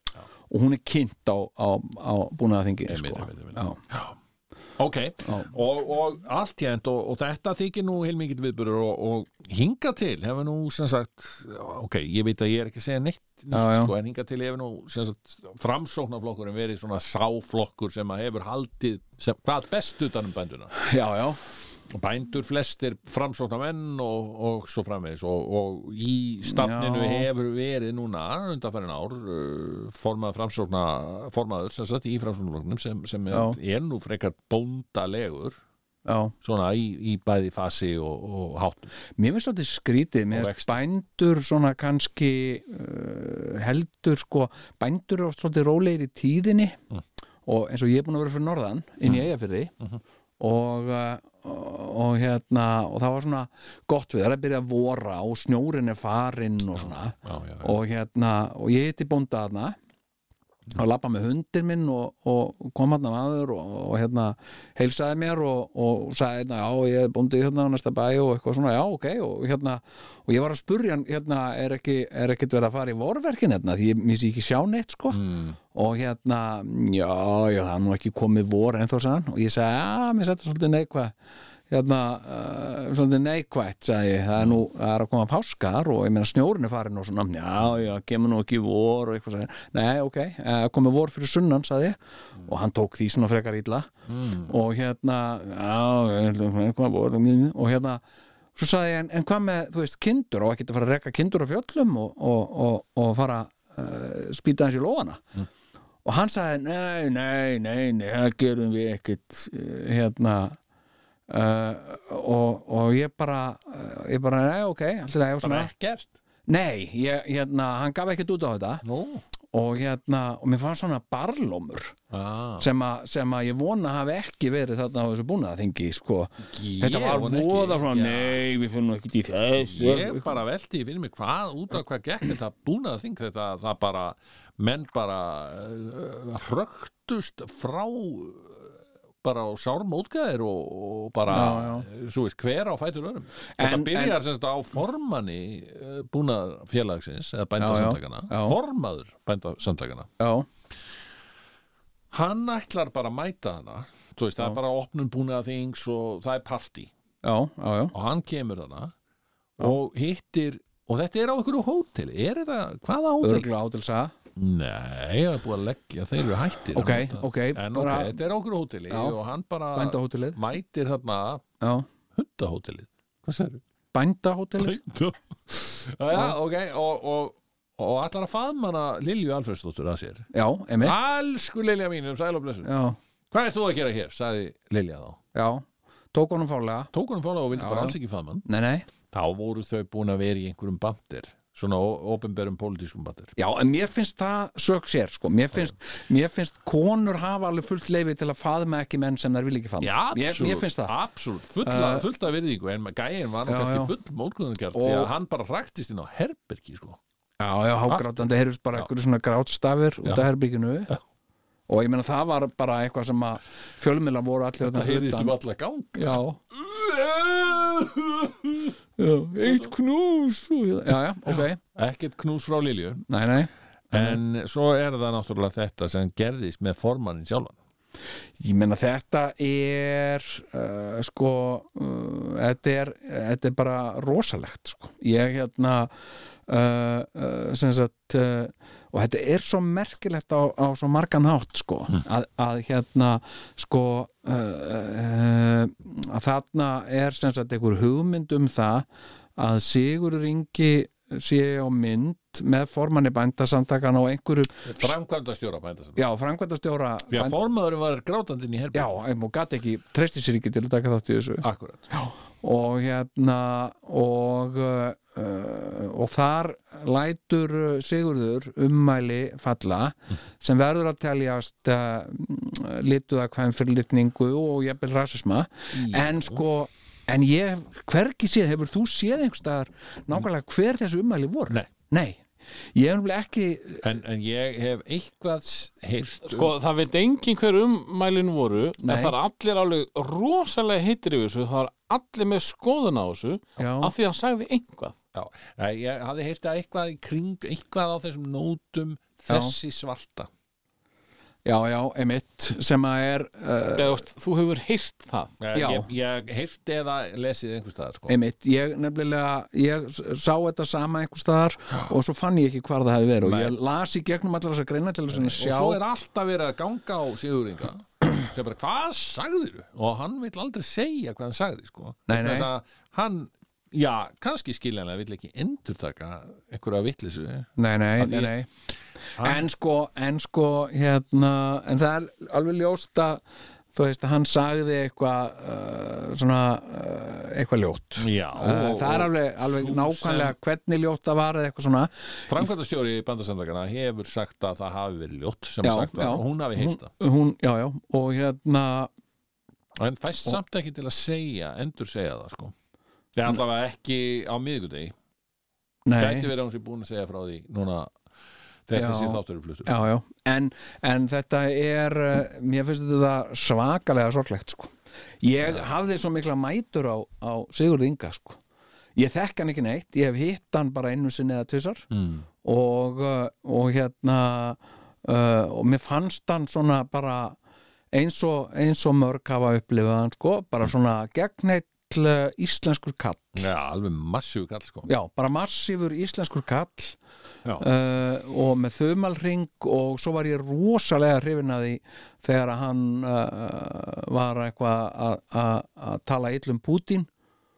C: og hún er kynnt á, á, á búnaðaþingi
A: Einmitt,
C: sko.
A: einmitt, einmitt.
C: Já.
A: ok og, og allt ég og, og þetta þykir nú heilmikið viðbörður og, og hinga til hefur nú sem sagt ok, ég veit að ég er ekki að segja neitt nýtt,
C: Já, já.
A: Sko, en hinga til hefur nú sem sagt framsóknarflokkurinn verið svona sáflokkur sem að hefur haldið sem, hvað best utanum bænduna
C: já, já,
A: og bændur flestir framsóknarmenn og, og svo framvegis og, og í stafninu
C: Já.
A: hefur verið núna undanfærin ár uh, formað framsókna formaður sem sagt í framsóknarflokknum sem, sem
C: Já.
A: er, er nú frekar bóndalegur
C: já
A: svona í, í bæði fasi og, og hátt
C: Mér finnst þetta skrítið, mér
A: Og
C: finnst bændur svona kannski uh, heldur sko, bændur er oft svolítið rólegir í tíðinni
A: Mm.
C: og eins og ég er búin að vera fyrir norðan inn í eigafyrði
A: Mm-hmm.
C: og, uh, og hérna og það var svona gott við það er að byrja að vora og snjórin er farinn og svona
A: já, já, já.
C: og hérna og ég hitti bónda þarna og lappa með hundin minn og, og kom hann maður og, og hérna heilsaði mér og, og sagði hérna, já ég er bóndið hérna á næsta bæ og eitthvað svona, já ok og hérna, og ég var að spurja hann hérna, er ekki, er ekkert verið að fara í vorverkin hérna, því ég missi ekki sjá neitt sko mm. og hérna, já, já það er nú ekki komið vor ennþá sann og ég sagði, já, mér setja svolítið neikvað hérna, uh, svolítið neikvætt sagði ég, það er nú, það er að koma páskar og ég meina snjórinn er farin og svona já, já, kemur nú ekki vor og eitthvað sagði. nei, ok, uh, komið vor fyrir sunnan sagði ég, og hann tók því svona frekar illa og hérna já, eh, koma vor og hérna, svo sagði ég en, en hvað með, þú veist, kindur og ekki að fara að rekka kindur á fjöllum og, og, og, og fara uh, spýta hans í lófana og hann sagði, nei, nei, nei, nei það gerum við ekkert eh, hérna uh, og, og ég bara eh, ég bara, nei, ok, alltaf það svona,
A: ekkert
C: nei, ég, hérna, hann gaf ekkert út á þetta
A: Nú?
C: og hérna, og mér fannst svona barlómur
A: Ah,
C: sem, a, sem að ég vona hafi ekki verið þarna á þessu búnaðaþingi sko. þetta var
A: vona ekki.
C: voða svona,
A: Já.
C: nei, við finnum ekki í þess
A: ég bara velti fyrir mig hvað út af hvað gekk þetta búnaða þing þetta það bara menn bara uh, hröktust frá eh, bara á sárum útgæðir og, og bara eh, svo veist hver á fætur örum þetta
C: En-
A: byrjar semst á formanni eh, búnaðarfélagsins eða bændasamtakana
C: Já, já, já.
A: formaður bændasamtakana
C: já,
A: hann ætlar bara að mæta hana þú veist það er bara opnum búnaða þings og það er partí
C: já, já, já
A: og hann kemur hana og hittir og þetta er á einhverju hótel er þetta, hvaða hótel?
C: örgulega átilsa
A: Nei, það er búið að leggja, þeir eru hættir
C: Ok,
A: að nota.
C: ok,
A: en
C: bara-
A: ok, þetta er á einhverju hóteli
C: Já.
A: og hann bara
C: Bændahótelið.
A: mætir þarna
C: já,
A: hundahótelið hvað sér?
C: bændahótelið
A: Já, ok, og, og, og allar að faðma hana Lilju Alfreðsdóttur að sér
C: já, emi,
A: Elsku Lilja mín um sæl og blessum
C: já,
A: Hvað er þú að gera hér, sagði Lilja þá
C: já tók honum fálega,
A: Tók hann fóla og vildi
C: Já,
A: bara
C: já.
A: alls ekki faðma hann
C: nei, nei
A: þá voru þau búin að vera í einhverjum bandir svona ofinberum pólitískum batir
C: Já, en mér finnst það sök sér sko. mér, finnst, mér finnst konur hafa alveg fullt leifi til að faðma ekki menn sem þær vil ekki faðma mér, mér finnst það
A: absolutt, fulla,
C: Uh,
A: fulla virðingu en gæin var nú
C: já,
A: kannski
C: já.
A: full mólkuðunarkjart
C: Og-
A: því að hann bara raktist inn á herbergi sko.
C: Já, já, hágrátandi heyrðist bara einhverju svona grátstafir út af herbygginu og ég meina það var bara eitthvað sem að fjölmiðla voru allir þarna
A: það heyrðist
C: utan.
A: um alla gang
C: Já Já, eitt knús og- Já, já, ok,
A: ekkert knús frá Lilju
C: nei, nei
A: en svo er það náttúrulega þetta sem gerðist með formannin sjálfan
C: Ég meina þetta er uh, sko uh, þetta, er, þetta er bara rosalegt sko. ég hérna uh, uh, sem sagt uh, og þetta er svo merkilegt á, á svo margan hátt sko
A: Hmm.
C: að, að hérna sko uh, uh, að þarna er sem sagt einhver hugmynd um það að Sigurður Ingi sé á mynd með formanni bændasamtakana og einhverju,
A: framkvæmda stjóra bænda sem
C: já, framkvæmdastjóra
A: því að formaðurinn var grátandi inn í herbergi
C: já, em, og gati ekki, treysti sér ekki til að taka þátt í þessu
A: akkurat
C: og hérna og uh, og þar lætur uh, Sigurður ummæli falla sem verður að teljast uh, lituða hvaðum fyrirlitningu og jafnvel rasisma en sko en ég, hvergi séð, hefur þú séð einhverstaðar nákvæmlega hver þessu ummæli voru?
A: Nei.
C: Ég hef nefnilega ekki
A: en, en ég hef eitthvað s- heyrt um-
D: Sko, það veit engin hver ummælin voru en
C: Nei.
D: það er allir alveg rosalega heitir yfir þessu, það er allir með skoðun á þessu
C: Já.
D: af því að hann sagði einhvað
A: Já, nei, ég hafði heyrt að eitthvað í kring, eitthvað á þessum nótum þessi svarta.
C: Já, já, emitt sem að er uh,
D: Eða, þú veist, þú hefur heyrt það
A: Eh, Ég,
C: Já.
A: ég, ég heyrti eða lesið einhvers staðar, sko.
C: Einmitt, ég nefnilega, ég s- sá þetta sama einhver staðar og svo fann ég ekki hvar það hefði verið og ég las í gegnum allar þessar greina til þess að
A: og svo
C: sjá
A: er alltaf verið að ganga á Sigurðinga sem bara, hvað sagðir og hann vill aldrei segja hvað hann sagði, sko.
C: Nei,
A: Vegna
C: nei.
A: þess að Hann, já, kannski skiljanlega vill ekki endurtaka einhverja vitleysu.
C: Nei, nei,
A: Að
C: nei,
A: ég-
C: nei En sko, en sko, hérna en það er alveg ljóst að þú veist að hann sagði eitthvað uh, svona uh, eitthvað ljótt
A: Já,
C: Uh, það er alveg, alveg nákvæmlega hvernig ljótt það var eða eitthvað svona
A: Framkvæmtastjóri í bandasamtakana hefur sagt að það hafi verið ljótt sem
C: Já,
A: sagt var
C: já. Mhm.
A: og hún hafi heyrt það.
C: hún, já, já, og hérna
A: En fæst samt ekki til að segja, endur segja það sko Það er allavega ekki á miðvikudegi
C: Mm. nei,
A: Gæti verið að hún sér búin að segja frá því núna þegar
C: Já.
A: þessi þáttur er fluttur
C: já, já. En, en þetta er eh, mér finnst þetta svakalega sorglegt sko. ég hafði svo mikla mætur á, á Sigurð Inga sko. ég þekk hann ekki neitt, ég hef hitt hann bara einu sinni eða tvisar
A: mm.
C: og, eh, og hérna uh, og mér fannst hann svona bara eins og, eins og mörg hafa upplifað hann sko, bara svona gegneill eh, íslenskur kall
A: Já, alveg massíu kall sko
C: já, bara massífur íslenskur kall
A: Já.
C: uh, og með þumalring og svo var ég rosalega hrifin að því þegar að hann uh, var eitthvað að- að að tala illum Putin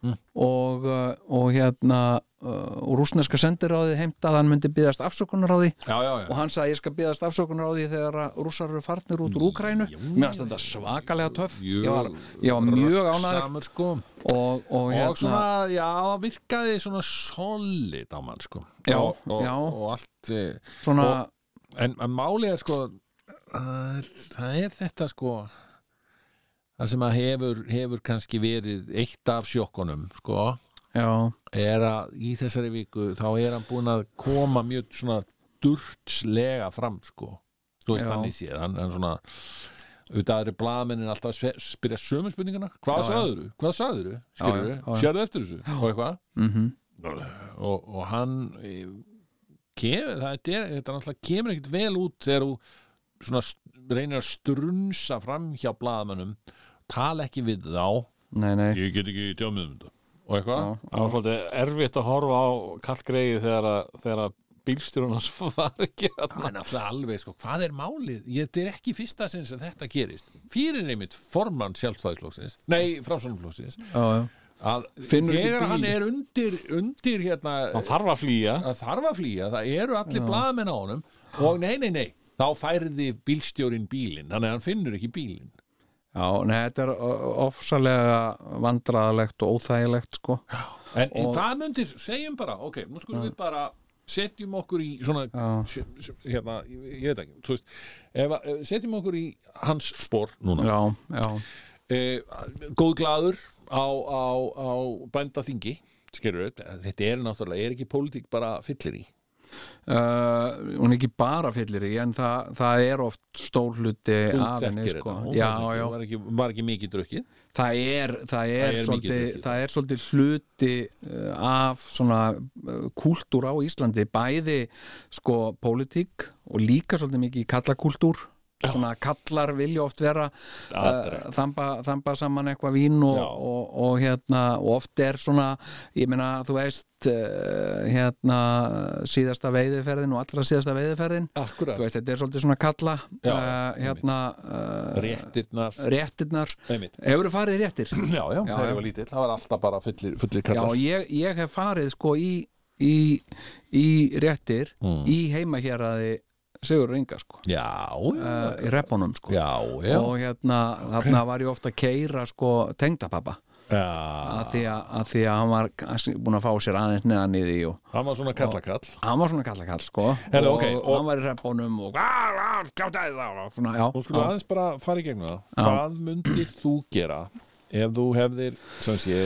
A: Mm.
C: og, uh, og hérna uh, og rúsneska sendiráðið heimtað að hann myndi byðast afsökunar á því
A: já, já,
C: og hann sagði ég skal byðast afsökunar á því þegar að rússar eru farnir út úr Úkrænu mér finnst þetta svakalega töff ég var, ég var mjög ánæður
A: Samur sko
C: og, hérna- og,
A: Og svona, já, það virkaði svona solid á mann sko
C: Já,
A: og, og,
C: já.
A: og allt eh,
C: svona
A: og- en, en málið er sko það er, það er þetta sko það sem að hefur, hefur kannski verið eitt af sjokkunum sko
C: já
A: er að í þessari viku þá er hann búin að koma mjög svona durtslega fram sko þú veist
C: Já.
A: þannig séð hann, hann svona auðvitað eru blaðmennin alltaf að spe- spyrja sömu spurninguna hvað sagður þú, hvað sagður þú,
C: Já,
A: skilur
C: já, já, já.
A: sérðu eftir þessu og eitthvað
C: mm -hmm.
A: og, og hann eh, kemur, það er, þetta er náttúrulega kemur ekkert vel út þegar þú svona st- reynir að strunsa fram hjá blaðmennum tala ekki við þá
C: nei, nei
A: ég get ekki tjáð með um þetta og eitthvað
C: Já.
D: það var svolítið erfitt að horfa á kallgreið þegar að, þegar að bílstjórun hans (laughs) var ekki
A: Það er
D: þarna
A: náttúrulega alveg, sko, hvað er málið? Ég, þetta er ekki fyrsta sinn sem þetta gerist. Fyrir neymitt formann sjálfstæðisflóksins, nei, framsvonumflóksins,
C: já, já.
A: að
C: Finnur ekki
A: þegar
C: bíl.
A: hann er undir, undir hérna,
D: hann þarf að flýja
A: að þarf að flýja, það eru allir blaðamenn á honum og nei, nei, nei, þá færði bílstjórin bílinn, þannig að hann finnur ekki bílinn.
C: Já, nei, þetta er o- ofsalega vandræðalegt og óþægilegt sko.
A: En
C: Og-
A: það myndir, segjum bara, ok, nú skulum við bara setjum okkur í svona
C: Já.
A: s- s- hérna, ég, ég veit ekki þú veist, ef, að- ef, setjum okkur í hans spor núna
C: já, já,
A: e, góð glaður á, á, á bændaþingi skerur þetta er náttúrulega, er ekki pólitík bara fyllir í
C: Uh, hún er ekki bara fyllir í en það, það er oft stór hluti
A: Þú
C: af henni
A: þekkir
C: sko.
A: þetta, hún
C: já,
A: var,
C: já,
A: ekki- Var, ekki, var ekki mikið drukkið
C: það er, það er,
A: Það er mikið
C: svolítið,
A: drukkið.
C: það er svolítið hluti uh, af svona uh, kúltúr á Íslandi bæði sko pólitík og líka svolítið mikið kallakúltúr svona kallar vilja oft vera uh,
A: Atrekt.
C: þamba, þamba saman eitthvað vín og,
A: Já.
C: og, og hérna og oft er svona, ég meina þú veist uh, hérna síðasta veiðiferðin og allra síðasta veiðiferðin
A: akkurat,
C: þú veist, þetta er svolítið svona kalla
A: Já,
C: uh, hérna uh,
A: réttirnar
C: réttirnar
A: einmitt
C: hefur farið í réttir?
A: Já, já, þegar
C: Eh, já.
A: ég var lítill, það var alltaf bara fullir, fullir
C: Já,
A: kallar
C: ég, ég hef farið sko í, í, í réttir
A: Mm.
C: í heimahjaraði Sigur Ringa sko
A: Já, já,
C: uh, í repunum sko
A: já, já,
C: og hérna þarna var ég ofta að keira sko tengdapappa
A: já.
C: að því að, að því að hann var búin að fá sér aðeins neðan í því og
A: Hann var svona kallakall
C: hann var svona kallakall sko
A: Heyrðu,
C: og,
A: ok, og-
C: hann var í repunum og skjátaði það og svona, já,
A: Nú skulum við
C: já.
A: aðeins bara fara í gegnum það Hvað myndir þú gera ef þú hefðir, sem sé,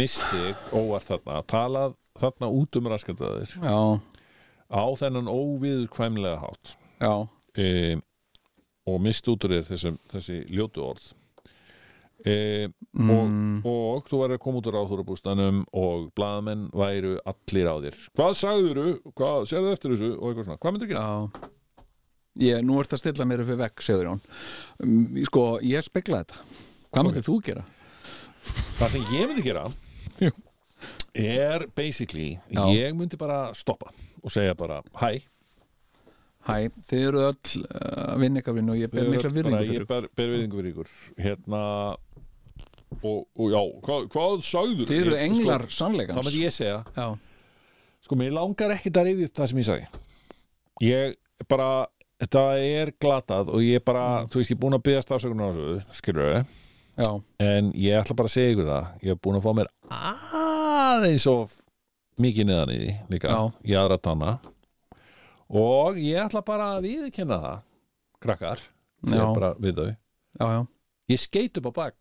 A: mistið óvart þarna talað þarna út um raskataður
C: Já,
A: á þennan óviðurkvæmlega hátt
C: já,
A: um, og mist út úr þér þessum, þessi ljótu orð um,
C: Mm.
A: og, og þú væri að koma út úr áþúrabústanum og blaðamenn væru allir á þér hvað sagður þú, hvað sérðu eftir þessu og eitthvað svona, hvað myndir gera?
C: já. Ég, nú ert að stilla mér upp við vekk, Sigur Jón Mm, sko, ég spekla þetta hvað myndir þú gera?
A: Það sem ég myndi gera er basically
C: Já.
A: ég myndi bara stoppa og segja bara hæ,
C: Hæ, þið eru öll uh, vinnekafinn og ég ber
A: Þið
C: mikla
A: eruð
C: virðingu
A: bara-
C: fyrir
A: ég ber, ber virðingu fyrir ykkur hérna og, og já, hvað, hvað sko, sagður
C: Þið
B: sko-
C: eru englar sannleikans
A: þá myndi ég segja,
C: Já,
A: sko mér langar ekki að reyði upp það sem ég sagði ég bara, þetta er glatað og ég bara,
C: Mm.
A: þú veist, ég er búin að byggja stafsökunar á þessu, skilur við
C: já,
A: en ég ætla bara að segja ykkur það ég hef búin að fá mér aðeins of mikið neðan í því líka,
C: Já.
A: í aðra tanna og ég ætla bara að viðkenna það krakkar,
C: Já.
A: segja bara við þau
C: já, já
A: ég skeit upp á bak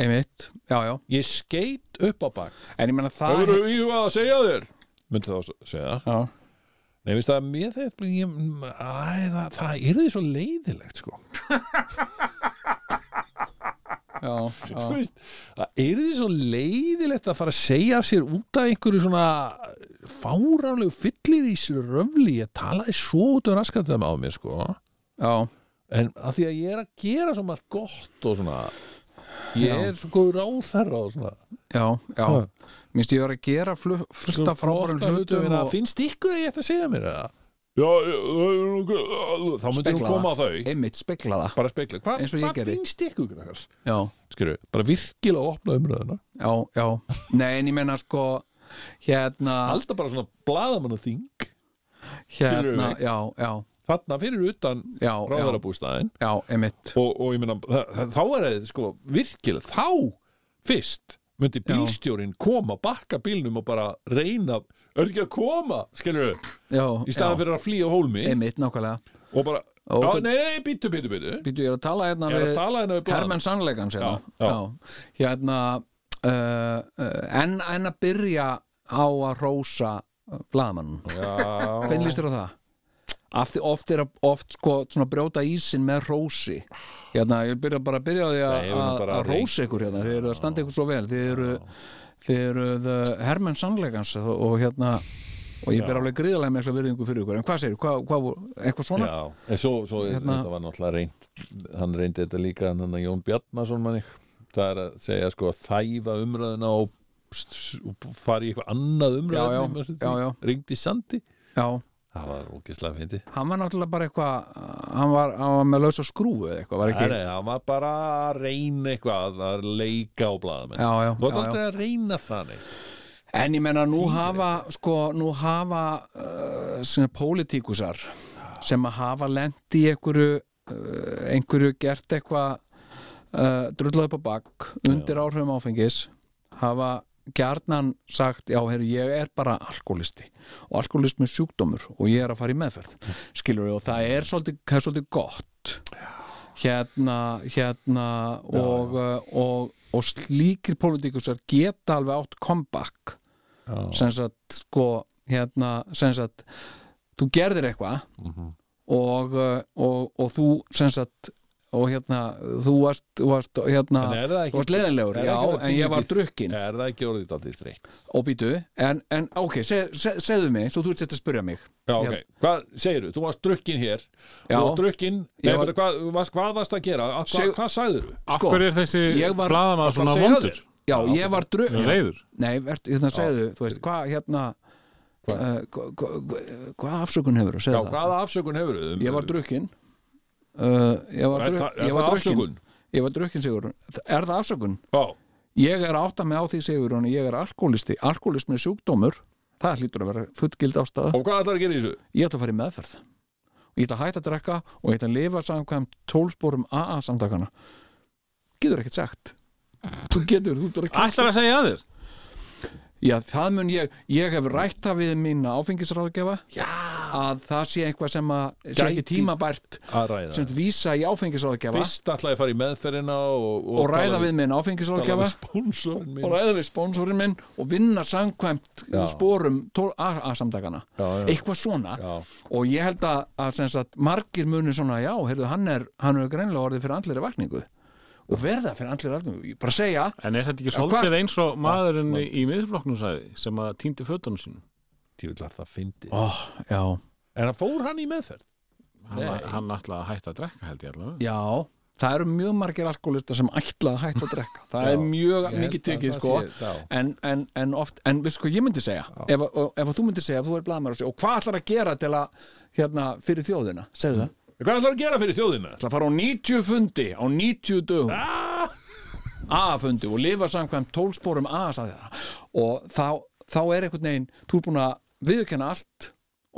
C: Einmitt, já, já
A: ég skeit upp á bak
C: En ég menna það
A: hefur þú íhugað að segja þér myndi þá að segja
C: Já,
A: Nei, veist það, mér þetta ég, æ, það, það er því svo leiðilegt sko.
C: já,
A: (laughs)
C: já
A: Þú veist, það er því svo leiðilegt að fara að segja af sér út af einhverju svona fáránlegu fyllir í sér röfli ég talaði svo út um raskatum á mér sko.
C: Já,
A: en að því að ég er að gera svo margt gott og svona ég er svo góður ráðherra og svona
C: já, já Minnst ég var að gera flu- fullt af frábærum hlutum hérna. og...
A: og... finnst ykkur að ég ætti að segja mér það? Já, ég- þá myndi hún
C: Spegla
A: koma á þau
C: Einmitt, spekla það
A: bara spekla, Hva,
C: Eins og ég
A: hvað
C: gerði.
A: finnst ykkur krakkar?
C: Já,
A: skilju, bara virkilega opna umröðuna
C: já, já Nei, en ég menna sko Hérna,
A: alltaf bara svona bladamanna þing skilurðu
C: hérna,
A: mig?
C: já, já
A: þarna fyrir utan
C: Já, já,
A: ráðarabústæðin
C: já, einmitt
A: og, og ég meina, þa- þa- þá er þetta sko virkilega, þá fyrst myndi bílstjórin koma bakka bílnum og bara reyna er ekki að koma, skilju
C: Já,
A: í
C: já,
A: staðan fyrir að flýja hólmi
C: einmitt nákvæmlega
A: og bara,
C: Ó,
A: já,
C: þú-
A: nei, nei, býttu, býttu, býttu
C: Býtu, ég er að tala hérna
A: ég er
C: við-
A: að tala hennar við
C: Hermenn sannleikans hérna.
A: Já, já.
C: hérna uh, uh, en, en að byrja á að rósa blaðmann
A: blaðamann
C: hvernig lístur á það? Af því oft er að oft sko, svona, brjóta ísin með rósi hérna, ég byrja bara að byrja á því
A: Nei, við
C: að-
A: erum
C: að
A: bara
C: að
A: að
C: rósa ykkur hérna, þið eru að standa ykkur svo vel þið eru, þið eru hermenn sannleikans og, og hérna og ég ber alveg gríðarlega með virðingu fyrir ykkur en hvað segir, hvað, hvað, eitthvað svona?
A: já, en svo, svo
C: Hérna-
A: þetta var náttúrulega reynd hann reyndi þetta líka, hann hann Jón Bjarnason manni, það er að segja sko að þæfa umröðuna og, s- og fara í eitthvað annað
C: Já, já,
A: umröðin
C: já, já.
A: ringdi sandi
C: já.
A: það var ógislega fyndi
C: hann var náttúrulega bara eitthvað eh, hann var, hann var með lausa skrúfu eða eitthvað var ekki,
A: Nei, nei, hann var bara að reyna eitthvað að leika á blaðamenn
C: Já, já,
A: Þú ert
C: já,
A: aldrei að reyna það neitt
C: en ég menna nú hafa sko, nú hafa uh, sem pólitíkusar sem að hafa lent í einhverju uh, einhverju gert eh, eitthvað uh, drullað upp á bakk undir áhrifum áfengis hafa gjarnan sagt, já, heru, ég er bara alkoholisti og alkoholismi er sjúkdómur og ég er að fara í meðferð skilur við og það er svolítið, það er svolítið gott hérna, hérna og, og, og, og slíkir pólitíkusar geta alveg átt comeback sem sagt sko hérna sem sagt þú gerðir eitthvað
A: Mhm.
C: og, uh, og, og þú sem sagt og hérna þú varst, þú varst hérna,
A: En er það ekki-
C: þú varst leiðinlegur
A: Er það
C: já,
A: ekki
C: en ég var
A: pínlítið-
C: drukkin
A: Er það ekki orðið daldið þreytt?
C: og býtu, en, en ok, seg, seg, segðu mig svo þú ert sett að spyrja mig
A: Já, ok. Hvað segirðu? Þú varst drukkin hér.
C: Já.
A: Þú varst drukkin.
C: Ég
A: Nei,
C: var-
A: var... hvað, þú varst, hvað varst að gera? Hva,
C: Seg-
A: Hvað sagðirðu?
B: Af
C: Sko,
B: hverju er þessi
C: ég var-
B: blaðamaður svona
A: Ætlar að segja
B: vondur?
A: þér?
C: já, ég var drukkin
B: Reyður?
C: nei, vert, hérna segðu, þú veist, hvað hérna
A: Hvað?
C: hvað uh, hva, hva, hva- hvað afsökun hefur
A: Já,
C: segðu það,
A: hvaða afsökun hefur þau?
C: ég var drukkin uh, ég var,
A: Er
C: druk,
A: það- er
C: ég
A: það
C: var
A: afsökun?
C: drukkin ég var drukkin Sigur, er það afsökun?
A: Já,
C: ég er að átta mig á því Sigur og ég er alkoholisti, alkoholismi er sjúkdómur það hlýtur að vera fullgild ástæða
A: og hvað ætlar að gera í þessu?
C: ég ætla að fara í meðferð og ég ætla að hætta að drekka og ég ætla að lifa samkvæmt tólsporum AA samtakana getur ekkert sagt þú getur, þú getur ekki
B: Ætlar að segja að þér?
C: já, það mun ég, ég hef rætt það við mína áfengisráðgefa já. að það sé eitthvað sem að sé ekki
A: Gæti-
C: tímabært
A: Að ræða.
C: sem sagt vísa í áfengisráðgefa
A: Fyrst ætlaði að fara í meðferðina og,
C: og ræða
A: tala
C: við minn
A: tala
C: áfengisráðgefa
A: við spónsorinn minn.
C: og ræða við spónsorinn minn og vinna samkvæmt spórum AA-samtakana
A: Já, já.
C: eitthvað svona
A: Já.
C: og ég held að, að sem sagt, margir muni svona já, heyrðu, hann er, hann er greinlega orðið fyrir andlera vakningu og verða fyrir andlera vakningu ég bara segja,
B: En er þetta ekki
C: hvað-
B: svolítið eins og maðurinn í- í miðflokknum sagði sem að týndi fötunum sínum?
A: Ég vil að það fyndi.
C: oh, já,
A: Ah. En hann fór hann í meðferð?
B: Hann, hann ætlaði að hætta að drekka held ég allavega.
C: já það eru mjög margir alkoholista sem ætla að hætta að drekka það er mjög
A: Ég held
C: mikið
A: að
C: tekið
A: það
C: sko
A: sé- já.
C: en, en, en oft, en veist hvað ég myndi segja ef, að- og- ef að þú myndi segja, ef þú er blamar og, segja, og hvað ætlar að gera til að hérna, fyrir þjóðina, segðu það
A: Hvað ætlar að gera fyrir þjóðina?
C: ætla að fara á 90 fundi á 90 dögum
A: Ah!
C: A-fundi og lifa samkvæmt tólsporum A sagði það. og þá, þá er einhvern veginn þú er búin að viðurkenna allt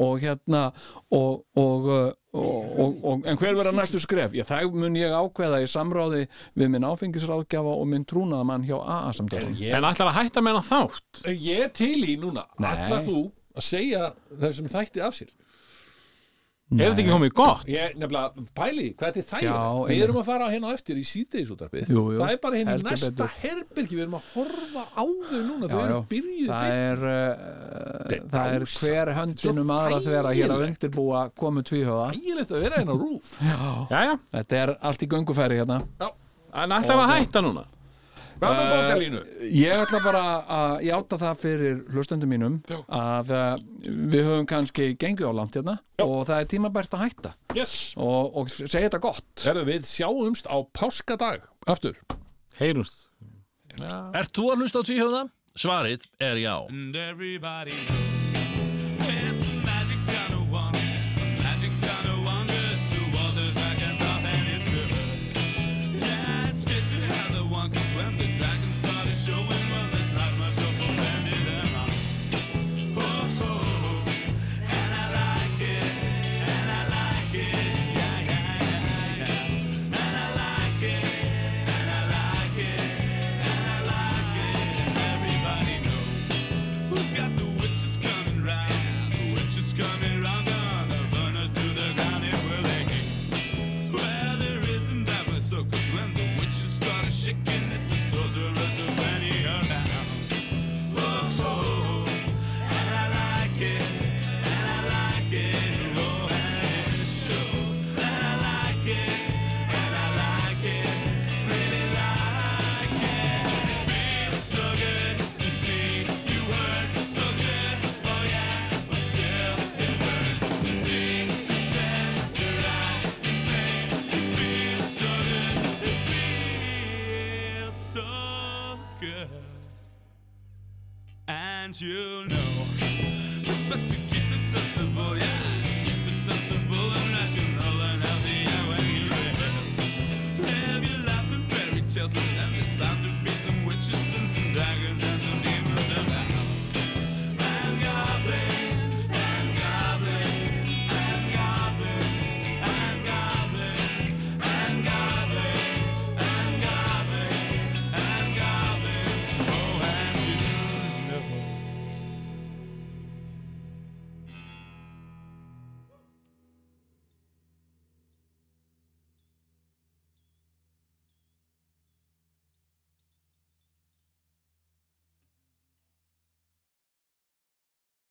C: og hérna og, og, uh, og, og, og en hver verða næstu skref? Já, það mun ég ákveða í samráði við minn áfengisráðgjafa og minn trúnaðamann hjá AA-samtökum
B: En ætlar að hætta með hann þátt?
A: Ég er til í núna. Ætlar þú að segja þessum þætti af sér?
B: Er þetta ekki komið gott?
A: Ég nefnilega pæli, því, hvað þetta er
C: Já,
A: þægilegt Við
C: einmitt.
A: erum að fara hérna á eftir í síðdeisútarpið
C: Jú, jú.
A: Það er bara hérna
C: Heldur
A: næsta
C: betur.
A: herbergi Við erum að horfa á þau núna Þau
C: Já,
A: eru
C: já.
A: byrjuð
C: það
A: byrjuð.
C: er, uh, það er hver höndin um aðra þvera hér að undirbúa komu tvíhjóða
A: Þægilegt að vera hérna á rúf
B: Jæja,
C: þetta er allt í göngufæri hérna
B: en ætlar að hætta núna?
A: Hvað með borgarlínu?
C: Ég ætla bara að játa það fyrir hlustendum mínum að uh, við höfum kannski gengið á langt hérna og það er tímabært að hætta
A: Yes
C: og, og segja þetta gott
A: Herru, við sjáumst á páskadag Aftur
B: Heyrumst.
H: Ert þú að hlusta á tvíhjóða? Svarið er já.
I: And everybody knows it's a magic kind of wonder, a magic kind of wonder to all the dragons off and it's good. Yeah, it's good to have the one, cause when the dragons started showing, well, there's not much hope for any of them. Oh, oh, and I like it, and I like it, yeah, yeah, yeah, yeah. And I like it, and I like it, and I like it, and everybody knows. We've got the witches coming round. The witches coming round. Gonna burn us to the ground if we're late. Well, there isn't that much so, cause when the witches started shaking it, the sorcerers are plenty around. Oh, oh, and I like it. And I like it. Oh, and it shows. And I like it. And I like it. Really like it. It feels so good to see you work. So good. Oh, yeah. But still, it hurts to see the tender eyes in pain. It feels so good. It feels so good. And you know it's best to keep it sensible, yeah. Keep it sensible,